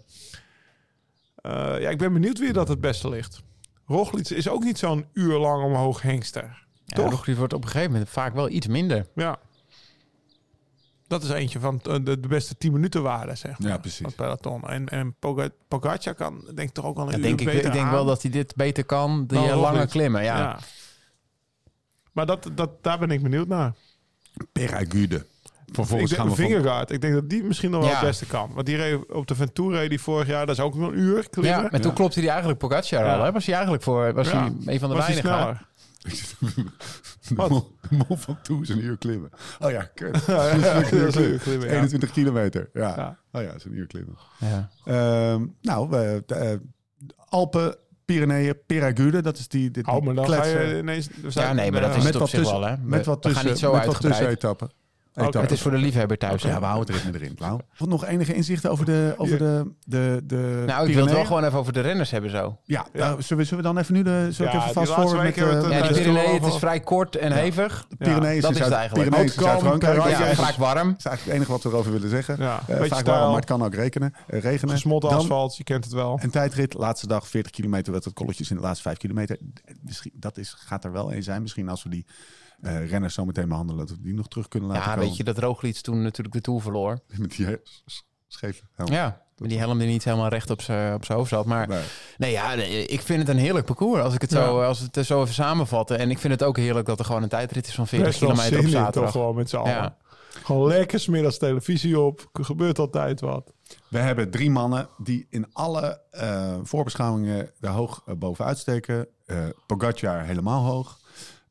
[SPEAKER 4] ja, ik ben benieuwd wie dat het beste ligt. Roglic is ook niet zo'n uur lang omhoog hengster.
[SPEAKER 3] Ja,
[SPEAKER 4] Toch?
[SPEAKER 3] Roglic wordt op een gegeven moment vaak wel iets minder.
[SPEAKER 4] Ja. Dat is eentje van t- de, de beste 10 minuten waarde, zeg maar.
[SPEAKER 1] Ja, precies.
[SPEAKER 4] Van het peloton. En, en Poga- Pogacar kan, denk ik, toch ook al een
[SPEAKER 3] Dat
[SPEAKER 4] uur
[SPEAKER 3] denk ik,
[SPEAKER 4] beter
[SPEAKER 3] ik denk wel
[SPEAKER 4] aan.
[SPEAKER 3] dat hij dit beter kan, die
[SPEAKER 4] Dan
[SPEAKER 3] eh,
[SPEAKER 4] Roglic.
[SPEAKER 3] lange klimmen. Ja.
[SPEAKER 4] Maar dat, dat, daar ben ik benieuwd naar.
[SPEAKER 1] Peragude. Vervolgens
[SPEAKER 4] ik
[SPEAKER 1] gaan
[SPEAKER 4] denk,
[SPEAKER 1] we van...
[SPEAKER 4] Vingegaard, ik denk dat die misschien nog wel
[SPEAKER 3] Ja.
[SPEAKER 4] het beste kan. Want die reed op de Ventura reed die vorig jaar, dat is ook wel een uur klimmen.
[SPEAKER 3] Ja, maar toen
[SPEAKER 1] Ja.
[SPEAKER 3] klopte hij eigenlijk Pogacar
[SPEAKER 4] Ja.
[SPEAKER 3] al. Hè? Was hij eigenlijk voor was hij een van de
[SPEAKER 4] was hij
[SPEAKER 3] weinigen.
[SPEAKER 4] sneller.
[SPEAKER 1] de,
[SPEAKER 4] Wat?
[SPEAKER 1] mol, de mol van Toe is een uur klimmen. Oh ja, kut.
[SPEAKER 4] dat is een uur klimmen, ja.
[SPEAKER 1] 21 kilometer. Ja.
[SPEAKER 4] Ja.
[SPEAKER 1] Oh ja, dat is een uur klimmen.
[SPEAKER 3] Ja.
[SPEAKER 1] Ehm, nou, we, eh, Alpen, Pyreneeën, Peragude. Dat is die, dit
[SPEAKER 4] Oh, maar dan ga
[SPEAKER 1] kletsen.
[SPEAKER 4] je ineens... we zijn-
[SPEAKER 3] Ja, nee, maar dat
[SPEAKER 4] ja.
[SPEAKER 3] is
[SPEAKER 1] met
[SPEAKER 3] het op
[SPEAKER 1] wat
[SPEAKER 3] zich
[SPEAKER 1] tussen,
[SPEAKER 3] wel, hè? eh, We-
[SPEAKER 1] Met wat
[SPEAKER 3] we gaan
[SPEAKER 1] tussen,
[SPEAKER 3] niet zo
[SPEAKER 1] met wat
[SPEAKER 3] uitgebreid.
[SPEAKER 1] tussen etappen. Etappen.
[SPEAKER 3] Het is voor de liefhebber thuis.
[SPEAKER 1] Ja, we houden het ritme erin, Blauw. Wat nog enige inzichten over de, over de, de, de
[SPEAKER 3] Nou, ik wil het wel
[SPEAKER 1] Pyreneeën?
[SPEAKER 3] gewoon even over de renners hebben zo.
[SPEAKER 1] Ja, nou, zullen, we, zullen we dan even nu de... Zullen we even
[SPEAKER 4] Ja, die
[SPEAKER 1] vast voor
[SPEAKER 4] laatste
[SPEAKER 1] met
[SPEAKER 4] weken
[SPEAKER 1] eh,
[SPEAKER 4] hebben
[SPEAKER 3] Ja,
[SPEAKER 4] we Ja,
[SPEAKER 3] de
[SPEAKER 4] dat is
[SPEAKER 3] Pyreneeën,
[SPEAKER 4] toch
[SPEAKER 3] het
[SPEAKER 4] wel-
[SPEAKER 3] is vrij kort en hevig.
[SPEAKER 1] de Pyrenees
[SPEAKER 3] dat
[SPEAKER 1] in
[SPEAKER 3] is het
[SPEAKER 1] Zuid-
[SPEAKER 3] eigenlijk.
[SPEAKER 1] Pyrenees in
[SPEAKER 4] Ook kalm,
[SPEAKER 1] Zuid-Frankrijk. Nou,
[SPEAKER 4] Ja,
[SPEAKER 1] Dat
[SPEAKER 3] Ja,
[SPEAKER 1] is
[SPEAKER 4] ja,
[SPEAKER 1] eigenlijk-
[SPEAKER 3] vaak warm.
[SPEAKER 1] dat is eigenlijk het enige wat we erover willen zeggen.
[SPEAKER 4] Ja,
[SPEAKER 1] Eh,
[SPEAKER 4] beetje
[SPEAKER 1] vaak
[SPEAKER 4] stijl.
[SPEAKER 1] warm, maar het kan ook rekenen, eh, regenen.
[SPEAKER 4] Gesmolten
[SPEAKER 1] Dan
[SPEAKER 4] asfalt, je kent het wel.
[SPEAKER 1] Een tijdrit, laatste dag, 40 kilometer, wat het kolletjes in de laatste 5 kilometer. Eh, Misschien, dat is, gaat er wel een zijn. Misschien als we die eh, renners zo meteen behandelen, dat we die nog terug kunnen laten
[SPEAKER 3] Ja,
[SPEAKER 1] komen.
[SPEAKER 3] weet je dat Roglic toen natuurlijk de Tour verloor.
[SPEAKER 1] Met die eh, s- s- scheve helm.
[SPEAKER 3] Ja, met die helm die niet helemaal recht op zijn op z'n hoofd zat. Maar
[SPEAKER 1] Nee.
[SPEAKER 3] nee, ja, nee, ik vind het een heerlijk parcours als ik het zo, als we het zo even samenvatten. En ik vind het ook heerlijk dat er gewoon een tijdrit is van 40
[SPEAKER 4] Best wel
[SPEAKER 3] kilometer op
[SPEAKER 4] zin in, toch
[SPEAKER 3] zaterdag.
[SPEAKER 4] gewoon met z'n allen.
[SPEAKER 3] Ja.
[SPEAKER 4] Gewoon lekker smiddags televisie op. Er gebeurt altijd wat.
[SPEAKER 1] We hebben drie mannen die in alle eh, voorbeschouwingen er hoog eh, bovenuit steken. Eh Pogacar helemaal hoog.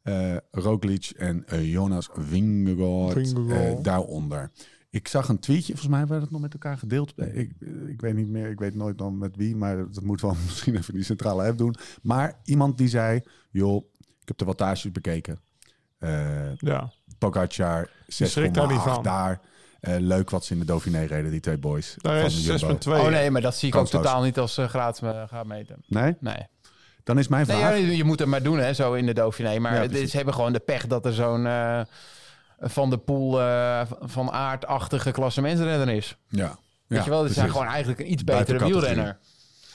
[SPEAKER 1] Eh Roglic en eh, Jonas Vingegaard
[SPEAKER 4] Vingegaard.
[SPEAKER 1] eh, daaronder. Ik zag een tweetje, volgens mij werd het nog met elkaar gedeeld. Eh, Ik, eh, ik weet niet meer, ik weet nooit dan met wie, maar dat moet wel misschien even in die centrale app doen. Maar iemand die zei, joh, ik heb de wattages bekeken. Eh
[SPEAKER 4] Ja.
[SPEAKER 1] Pogacar, 6,8
[SPEAKER 4] schrikt daar niet van.
[SPEAKER 1] daar. Eh, leuk wat ze in de Dauphiné reden, die twee boys.
[SPEAKER 4] Daar
[SPEAKER 1] van
[SPEAKER 4] is
[SPEAKER 1] Jumbo.
[SPEAKER 4] 6,2.
[SPEAKER 3] Oh nee, maar dat zie ik ook
[SPEAKER 1] Kansloos.
[SPEAKER 3] totaal niet als eh, graad me gaat meten.
[SPEAKER 1] Nee?
[SPEAKER 3] Nee.
[SPEAKER 1] Dan is mijn
[SPEAKER 3] nee
[SPEAKER 1] vraag...
[SPEAKER 3] ja, je je moet het maar doen, hè, zo in de Dauphiné. Maar
[SPEAKER 1] Ja,
[SPEAKER 3] het is-
[SPEAKER 1] precies.
[SPEAKER 3] ze hebben gewoon de pech dat er zo'n eh, Van de Poel eh, van aardachtige klassementsrenner is.
[SPEAKER 1] Ja.
[SPEAKER 3] Weet
[SPEAKER 1] Ja,
[SPEAKER 3] je wel, ze zijn
[SPEAKER 1] precies.
[SPEAKER 3] gewoon eigenlijk een iets
[SPEAKER 1] Buiten
[SPEAKER 3] betere
[SPEAKER 1] categorie.
[SPEAKER 3] wielrenner.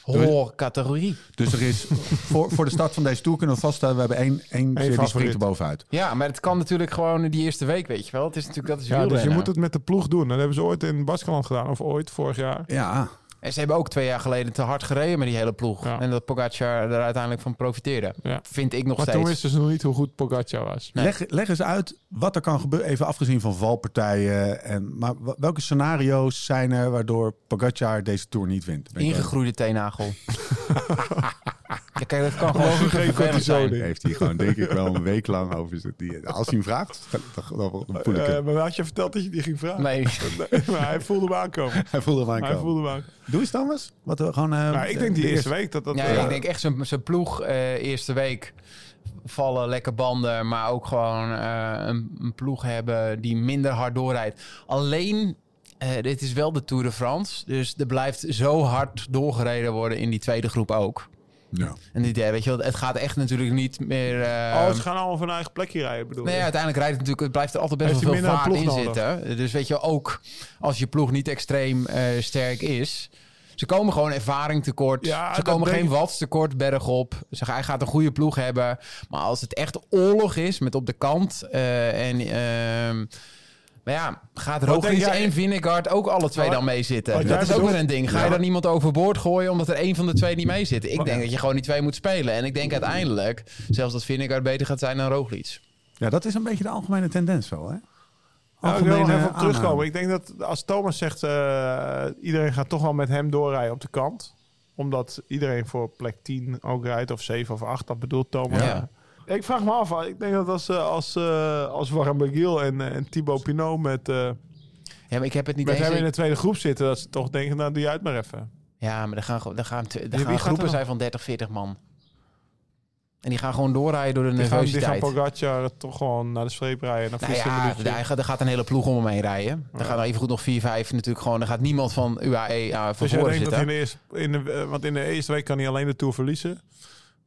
[SPEAKER 3] Hoor categorie.
[SPEAKER 1] Dus er is voor, voor de start van deze tour kunnen we vaststellen... we hebben één, één, één die
[SPEAKER 4] favoriet.
[SPEAKER 1] springt er bovenuit.
[SPEAKER 3] Ja, maar het kan natuurlijk gewoon in die eerste week, weet je wel. Het is natuurlijk, dat is
[SPEAKER 4] Ja, dus je
[SPEAKER 3] wielrennen.
[SPEAKER 4] moet het met de ploeg doen. Dat hebben ze ooit in Baskeland gedaan. Of ooit, vorig jaar.
[SPEAKER 1] Ja,
[SPEAKER 3] En ze hebben ook twee jaar geleden te hard gereden met die hele ploeg.
[SPEAKER 4] Ja.
[SPEAKER 3] En dat Pogacar er uiteindelijk van profiteerde.
[SPEAKER 4] Ja.
[SPEAKER 3] Vind ik nog
[SPEAKER 4] Maar
[SPEAKER 3] steeds.
[SPEAKER 4] toen wisten ze nog niet hoe goed Pogacar was.
[SPEAKER 3] Nee.
[SPEAKER 1] Leg, leg eens uit wat er kan gebeuren, even afgezien van valpartijen. En, maar wa- welke scenario's zijn er waardoor Pogacar deze Tour niet wint? Ben ik wel-
[SPEAKER 3] Ingegroeide teenagel. ja, kijk, dat kan gewoon vervelend zijn.
[SPEAKER 1] Heeft hij gewoon denk ik wel een week lang over zit die, Als hij hem vraagt, dan, dan, dan voel ik
[SPEAKER 4] Eh,
[SPEAKER 1] hem.
[SPEAKER 4] maar had je verteld dat je die ging vragen?
[SPEAKER 3] Nee,
[SPEAKER 4] Nee, maar hij voelde me aankomen.
[SPEAKER 1] Hij voelde hem
[SPEAKER 4] Hij
[SPEAKER 1] aankomen.
[SPEAKER 4] voelde me aankomen.
[SPEAKER 1] Doe eens dan eens. Wat we gewoon, eh,
[SPEAKER 4] Maar Nou, ik denk die
[SPEAKER 1] de
[SPEAKER 4] eerste week dat dat...
[SPEAKER 3] ja,
[SPEAKER 4] eh,
[SPEAKER 3] ik denk echt zijn- zijn ploeg eh, eerste week vallen lekker banden, maar ook gewoon eh, een, een ploeg hebben die minder hard doorrijdt. Alleen, eh, dit is wel de Tour de France, dus er blijft zo hard doorgereden worden in die tweede groep ook.
[SPEAKER 1] Ja.
[SPEAKER 3] En die derde, weet je wel, het gaat echt natuurlijk niet meer. eh,
[SPEAKER 4] Oh, ze gaan allemaal van hun eigen plekje rijden, bedoel
[SPEAKER 3] Nee,
[SPEAKER 4] je?
[SPEAKER 3] uiteindelijk rijdt het natuurlijk, het blijft er altijd best
[SPEAKER 4] Heeft
[SPEAKER 3] wel
[SPEAKER 4] hij
[SPEAKER 3] veel vaart in
[SPEAKER 4] minder een ploeg
[SPEAKER 3] zitten. Dus weet je, ook als je ploeg niet extreem eh, sterk is. Ze komen gewoon ervaring tekort.
[SPEAKER 4] Ja,
[SPEAKER 3] ze
[SPEAKER 4] dat
[SPEAKER 3] komen
[SPEAKER 4] denk
[SPEAKER 3] geen
[SPEAKER 4] ik.
[SPEAKER 3] watts tekort bergop. Ze, hij gaat een goede ploeg hebben. Maar als het echt oorlog is met op de kant. eh, en, ehm, maar ja, gaat
[SPEAKER 4] Wat
[SPEAKER 3] Roglic
[SPEAKER 4] denk jij-
[SPEAKER 3] en Vingegaard ook alle twee
[SPEAKER 4] Wat-
[SPEAKER 3] dan mee
[SPEAKER 4] wat
[SPEAKER 3] zitten?
[SPEAKER 4] jij
[SPEAKER 3] Dat is ook
[SPEAKER 4] bedoelt-
[SPEAKER 3] weer een ding. Ga
[SPEAKER 4] Ja.
[SPEAKER 3] je dan iemand overboord gooien omdat er één van de twee niet mee zit? Ik
[SPEAKER 4] Wat-
[SPEAKER 3] denk dat je gewoon die twee moet spelen. En ik denk uiteindelijk zelfs dat Vingegaard beter gaat zijn dan Roglic.
[SPEAKER 1] ja, dat is een beetje de algemene tendens wel, hè?
[SPEAKER 4] Nou, ik wil nog even op
[SPEAKER 1] aanname.
[SPEAKER 4] terugkomen. Ik denk dat als Thomas zegt, eh, iedereen gaat toch wel met hem doorrijden op de kant. Omdat iedereen voor plek 10 ook rijdt, of 7 of 8, dat bedoelt Thomas.
[SPEAKER 3] Ja.
[SPEAKER 4] Ik vraag me af, ik denk dat als, eh, als, eh, als Warren Begiel en, eh, en Thibaut Pinot met, eh,
[SPEAKER 3] Ja, maar ik heb het niet
[SPEAKER 4] met
[SPEAKER 3] eens.
[SPEAKER 4] hem in de tweede groep zitten, dat ze toch denken, nou doe je uit maar even.
[SPEAKER 3] Ja, maar er gaan, gewoon- er gaan, te- er
[SPEAKER 4] wie
[SPEAKER 3] gaan
[SPEAKER 4] gaat er
[SPEAKER 3] groepen
[SPEAKER 4] dan?
[SPEAKER 3] zijn van 30, 40 man. En die gaan gewoon doorrijden door de
[SPEAKER 4] Die gaan, die gaan
[SPEAKER 3] nervositeit.
[SPEAKER 4] Pogacar toch gewoon naar de streep rijden. Dan
[SPEAKER 3] Nou
[SPEAKER 4] fietsen een
[SPEAKER 3] ja,
[SPEAKER 4] minuutje.
[SPEAKER 3] daar gaat, er gaat een hele ploeg om hem heen rijden. Dan gaan er evengoed nog 4, 5 natuurlijk gewoon. Er gaat niemand van UAE eh, van
[SPEAKER 4] Dus jij
[SPEAKER 3] voren
[SPEAKER 4] denkt dat hij in
[SPEAKER 3] zitten.
[SPEAKER 4] de eerste, in de, eh, want in de eerste week kan hij alleen de Tour verliezen.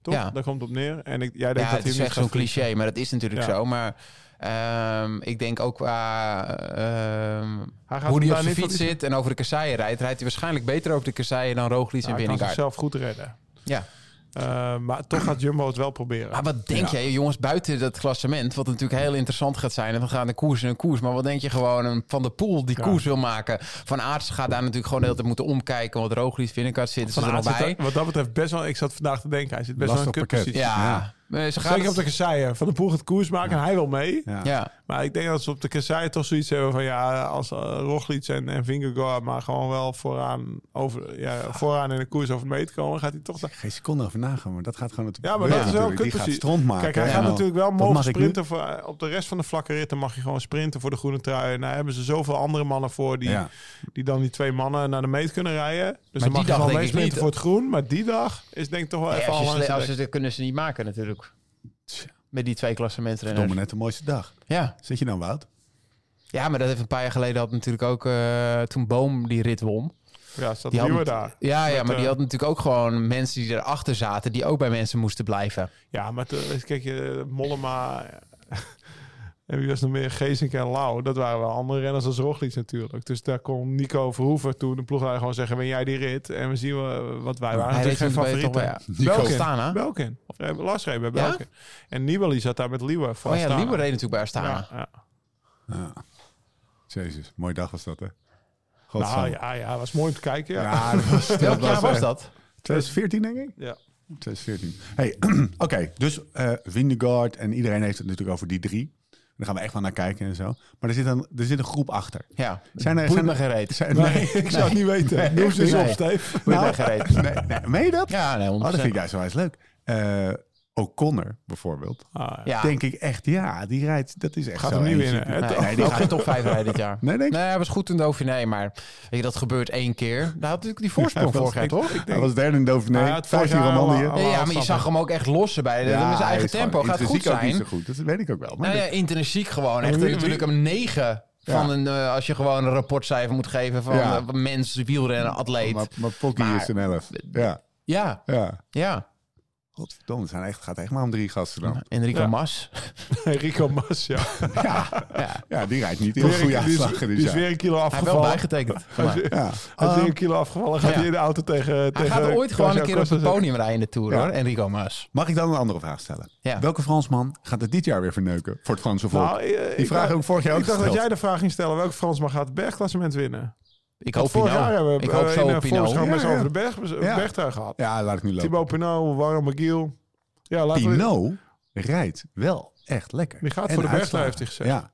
[SPEAKER 4] Toch?
[SPEAKER 3] Ja.
[SPEAKER 4] Daar komt het op neer. En ik, jij denkt
[SPEAKER 3] Ja,
[SPEAKER 4] dat
[SPEAKER 3] het
[SPEAKER 4] hij
[SPEAKER 3] is
[SPEAKER 4] hem
[SPEAKER 3] echt
[SPEAKER 4] niet gaat
[SPEAKER 3] zo'n
[SPEAKER 4] verliezen.
[SPEAKER 3] cliché, maar dat is natuurlijk
[SPEAKER 4] Ja.
[SPEAKER 3] zo. Maar ehm, ik denk ook qua ehm,
[SPEAKER 4] Hij gaat
[SPEAKER 3] hoe
[SPEAKER 4] hem
[SPEAKER 3] hij op zijn
[SPEAKER 4] daar niet
[SPEAKER 3] fiets
[SPEAKER 4] verliezen.
[SPEAKER 3] zit en over de kasseien rijdt, rijdt hij waarschijnlijk beter over de kasseien dan Roglic en
[SPEAKER 4] Nou, hij kan
[SPEAKER 3] Vingegaard.
[SPEAKER 4] zichzelf goed redden.
[SPEAKER 3] Ja.
[SPEAKER 4] Eh, maar toch gaat Jumbo het wel
[SPEAKER 1] Ah,
[SPEAKER 4] proberen.
[SPEAKER 3] Maar wat denk jij, jongens, buiten dat klassement, wat natuurlijk heel interessant gaat zijn. En we gaan de koers in een koers. Maar wat denk je gewoon een van de pool die
[SPEAKER 4] Ja.
[SPEAKER 3] koers wil maken? Van Aerts gaat daar natuurlijk gewoon de hele tijd moeten omkijken. Want Roglic, Vinnegaard zitten ze
[SPEAKER 4] Van
[SPEAKER 3] er al
[SPEAKER 4] Aert zit
[SPEAKER 3] bij.
[SPEAKER 4] daar- wat dat betreft best wel... Ik zat vandaag te denken, hij zit best
[SPEAKER 1] Lastig
[SPEAKER 4] wel in een
[SPEAKER 1] pakket.
[SPEAKER 4] kutpositie.
[SPEAKER 3] Ja, Maar ze gaan
[SPEAKER 4] Zeker op de kasseien. Van de Poel gaat koers maken en hij wil mee.
[SPEAKER 1] Ja.
[SPEAKER 3] ja.
[SPEAKER 4] Maar ik denk dat ze op de kasseien toch zoiets hebben van... Ja, als eh, Roglic en, en Vingegaard maar gewoon wel vooraan, over, ja, vooraan in de koers over het meet komen... gaat hij toch... daar-
[SPEAKER 1] Geen seconde over nagaan, maar dat gaat gewoon het
[SPEAKER 4] Ja, maar dat is wel een
[SPEAKER 1] Die gaat
[SPEAKER 4] kutpositie.
[SPEAKER 1] stront maken.
[SPEAKER 4] Kijk, hij
[SPEAKER 1] Ja.
[SPEAKER 4] gaat natuurlijk wel
[SPEAKER 1] Dat
[SPEAKER 4] mogen
[SPEAKER 1] mag ik nu.
[SPEAKER 4] sprinten. Voor, eh, op de rest van de vlakke ritten mag je gewoon sprinten voor de groene trui. En daar hebben ze zoveel andere mannen voor die,
[SPEAKER 1] Ja.
[SPEAKER 4] die dan die twee mannen naar de meet kunnen rijden. Dus
[SPEAKER 3] die
[SPEAKER 4] dan mag je
[SPEAKER 3] dag
[SPEAKER 4] gewoon
[SPEAKER 3] denk
[SPEAKER 4] mee
[SPEAKER 3] ik
[SPEAKER 4] sprinten
[SPEAKER 3] niet.
[SPEAKER 4] voor het groen. Maar die dag is denk ik toch wel
[SPEAKER 3] Nee,
[SPEAKER 4] even
[SPEAKER 3] als je
[SPEAKER 4] al langs
[SPEAKER 3] sle-
[SPEAKER 4] de
[SPEAKER 3] als
[SPEAKER 4] dek.
[SPEAKER 3] ze, dat kunnen ze niet maken natuurlijk. Met die twee
[SPEAKER 1] Domme
[SPEAKER 3] klassementrenners.
[SPEAKER 1] net de mooiste dag.
[SPEAKER 3] Ja.
[SPEAKER 1] Zit je dan, Wout?
[SPEAKER 3] ja, maar dat heeft een paar jaar geleden had natuurlijk ook eh, toen Boom die rit won.
[SPEAKER 4] Ja, staat
[SPEAKER 3] Die had-
[SPEAKER 4] Nieuwe daar.
[SPEAKER 3] Ja, ja
[SPEAKER 4] Met,
[SPEAKER 3] maar die
[SPEAKER 4] eh,
[SPEAKER 3] had natuurlijk ook gewoon mensen die erachter zaten, die ook bij mensen moesten blijven.
[SPEAKER 4] Ja, maar te- kijk, je eh, Mollema... En wie was nog meer? Geesink en Lau. Dat waren wel andere renners als Roglic natuurlijk. Dus daar kon Nico Verhoeven toen de ploegleider gewoon zeggen... win jij die rit? En we zien wel eh, wat wij waren.
[SPEAKER 3] Hij
[SPEAKER 4] natuurlijk
[SPEAKER 3] reed
[SPEAKER 4] geen
[SPEAKER 3] toen bij- toch
[SPEAKER 4] favorieten.
[SPEAKER 3] bij
[SPEAKER 1] Nico.
[SPEAKER 3] Nico Astana.
[SPEAKER 4] Belkin. Of eh, Lars reed bij
[SPEAKER 3] Ja?
[SPEAKER 4] Belkin. En Nibali zat daar met Liewe. van
[SPEAKER 3] Oh ja,
[SPEAKER 4] Astana.
[SPEAKER 3] Lieber reed natuurlijk bij Astana.
[SPEAKER 4] Ja, ja.
[SPEAKER 1] Jezus, mooie dag was dat, hè?
[SPEAKER 4] Nou
[SPEAKER 1] Godsamme.
[SPEAKER 4] ja, ja, was mooi om te kijken. Ja.
[SPEAKER 1] Ja, dat was, dat
[SPEAKER 3] Welk jaar
[SPEAKER 1] was,
[SPEAKER 3] was
[SPEAKER 1] eh,
[SPEAKER 3] dat?
[SPEAKER 1] 2014, denk ik?
[SPEAKER 4] Ja.
[SPEAKER 1] 2014. Hey, oké, dus eh Vindegaard en iedereen heeft het natuurlijk over die drie. Daar gaan we echt wel naar kijken en zo. Maar er zit een, er zit een groep achter.
[SPEAKER 3] Ja,
[SPEAKER 1] Zijn er-
[SPEAKER 3] boeit
[SPEAKER 1] zijn
[SPEAKER 3] me
[SPEAKER 1] er-
[SPEAKER 3] gereed.
[SPEAKER 1] Zijn,
[SPEAKER 4] Nee,
[SPEAKER 1] nee,
[SPEAKER 4] ik zou het niet weten.
[SPEAKER 1] Nee.
[SPEAKER 4] Noem ze eens
[SPEAKER 3] Nee.
[SPEAKER 4] op, Steve.
[SPEAKER 3] Boeit
[SPEAKER 1] Nou,
[SPEAKER 3] me gereed.
[SPEAKER 1] nee, nee, meen je dat?
[SPEAKER 3] Ja, nee, 100%.
[SPEAKER 1] Oh, dat vind ik juist wel eens leuk. Eh, O'Connor bijvoorbeeld.
[SPEAKER 4] Ah, ja.
[SPEAKER 3] Ja,
[SPEAKER 1] Denk ik echt, ja, die rijdt, dat is echt
[SPEAKER 4] Gaat
[SPEAKER 1] zo
[SPEAKER 4] hem niet
[SPEAKER 1] eentje.
[SPEAKER 4] winnen, hè?
[SPEAKER 1] Nee,
[SPEAKER 3] nee,
[SPEAKER 1] nee, die
[SPEAKER 3] ook geen
[SPEAKER 1] gaat...
[SPEAKER 3] top 5 rijden dit jaar.
[SPEAKER 1] Nee, denk ik.
[SPEAKER 3] Nee, hij was goed in Dauphiné, E, maar weet je, dat gebeurt één keer. Daar had natuurlijk die
[SPEAKER 1] Hij
[SPEAKER 3] voorsprong
[SPEAKER 1] was-
[SPEAKER 3] vorig jaar,
[SPEAKER 1] ik-
[SPEAKER 3] toch?
[SPEAKER 1] Hij was derde in Dauphiné,
[SPEAKER 4] Hij had vorig
[SPEAKER 1] 15
[SPEAKER 4] jaar al-
[SPEAKER 1] Romandie.
[SPEAKER 4] al-
[SPEAKER 3] Ja, ja, maar je
[SPEAKER 4] afstappen.
[SPEAKER 3] zag hem ook echt lossen bij. de met zijn eigen
[SPEAKER 1] hij is
[SPEAKER 3] tempo.
[SPEAKER 1] gewoon
[SPEAKER 3] Gaat goed
[SPEAKER 1] intrinsiek ook
[SPEAKER 3] zijn.
[SPEAKER 1] niet zo goed, dat weet ik ook wel. Maar
[SPEAKER 3] Nou ja,
[SPEAKER 1] dat-
[SPEAKER 3] intrinsiek gewoon. Echt
[SPEAKER 4] wie-
[SPEAKER 3] eh,
[SPEAKER 4] wie-
[SPEAKER 3] natuurlijk een 9 van
[SPEAKER 1] Ja.
[SPEAKER 3] een... eh, als je gewoon een rapportcijfer moet geven van
[SPEAKER 1] Ja.
[SPEAKER 3] eh, mens, wielrenner, atleet.
[SPEAKER 1] maar, maar Pocky
[SPEAKER 3] Maar-
[SPEAKER 1] is een 11. Ja,
[SPEAKER 3] Ja,
[SPEAKER 1] ja.
[SPEAKER 3] ja.
[SPEAKER 1] Godverdomme, het zijn echt, gaat echt maar om drie gasten dan.
[SPEAKER 3] Enrico
[SPEAKER 4] Ja.
[SPEAKER 3] Mas.
[SPEAKER 4] Rico Mas, ja.
[SPEAKER 1] Ja,
[SPEAKER 3] Ja.
[SPEAKER 1] ja die rijdt niet heel goede
[SPEAKER 4] die, is,
[SPEAKER 1] aanslagen.
[SPEAKER 4] die
[SPEAKER 1] Dus
[SPEAKER 4] is
[SPEAKER 1] ja.
[SPEAKER 4] weer een kilo
[SPEAKER 3] Hij heeft wel
[SPEAKER 4] afgevallen.
[SPEAKER 3] bijgetekend.
[SPEAKER 4] Hij is weer-
[SPEAKER 1] Ja.
[SPEAKER 4] hij is weer
[SPEAKER 1] Ah,
[SPEAKER 4] een kilo afgevallen. Gaat
[SPEAKER 3] Ja.
[SPEAKER 4] hij in de auto tegen...
[SPEAKER 3] Hij
[SPEAKER 4] tegen
[SPEAKER 3] gaat ooit gewoon een keer
[SPEAKER 4] Sergio
[SPEAKER 3] op het
[SPEAKER 4] Costa zeggen.
[SPEAKER 3] podium rijden in de Tour,
[SPEAKER 1] Ja.
[SPEAKER 3] hoor. Enrico Mas.
[SPEAKER 1] mag ik dan een andere vraag stellen?
[SPEAKER 3] Ja.
[SPEAKER 1] Welke Fransman gaat het dit jaar weer verneuken voor het Franse volk?
[SPEAKER 4] Nou, eh,
[SPEAKER 1] die vraag
[SPEAKER 4] dacht-
[SPEAKER 1] heb ik vorig jaar ook
[SPEAKER 4] Ik dacht dat
[SPEAKER 1] gesteld.
[SPEAKER 4] jij de vraag ging stellen. Welke Fransman gaat het bergklassement winnen?
[SPEAKER 3] Ik
[SPEAKER 4] Want
[SPEAKER 3] hoop
[SPEAKER 4] vorig jaar hebben
[SPEAKER 3] Pinot.
[SPEAKER 4] we
[SPEAKER 3] nou. Ik hoop
[SPEAKER 4] eh,
[SPEAKER 3] zo
[SPEAKER 4] in
[SPEAKER 3] op nou.
[SPEAKER 4] een
[SPEAKER 3] Pinot.
[SPEAKER 4] voorbeschouwing
[SPEAKER 1] Ja,
[SPEAKER 4] mensen over
[SPEAKER 1] ja.
[SPEAKER 4] de berg,
[SPEAKER 1] Ja.
[SPEAKER 4] bergtuig gehad.
[SPEAKER 1] Ja, laat ik nu lopen.
[SPEAKER 4] Thibaut Pinot, Warren McGill. Ja, laten we-
[SPEAKER 1] Pinot rijdt wel echt lekker.
[SPEAKER 4] Die gaat
[SPEAKER 1] En
[SPEAKER 4] voor de bergtrui,
[SPEAKER 1] uitslagen.
[SPEAKER 4] heeft hij gezegd.
[SPEAKER 1] Ja,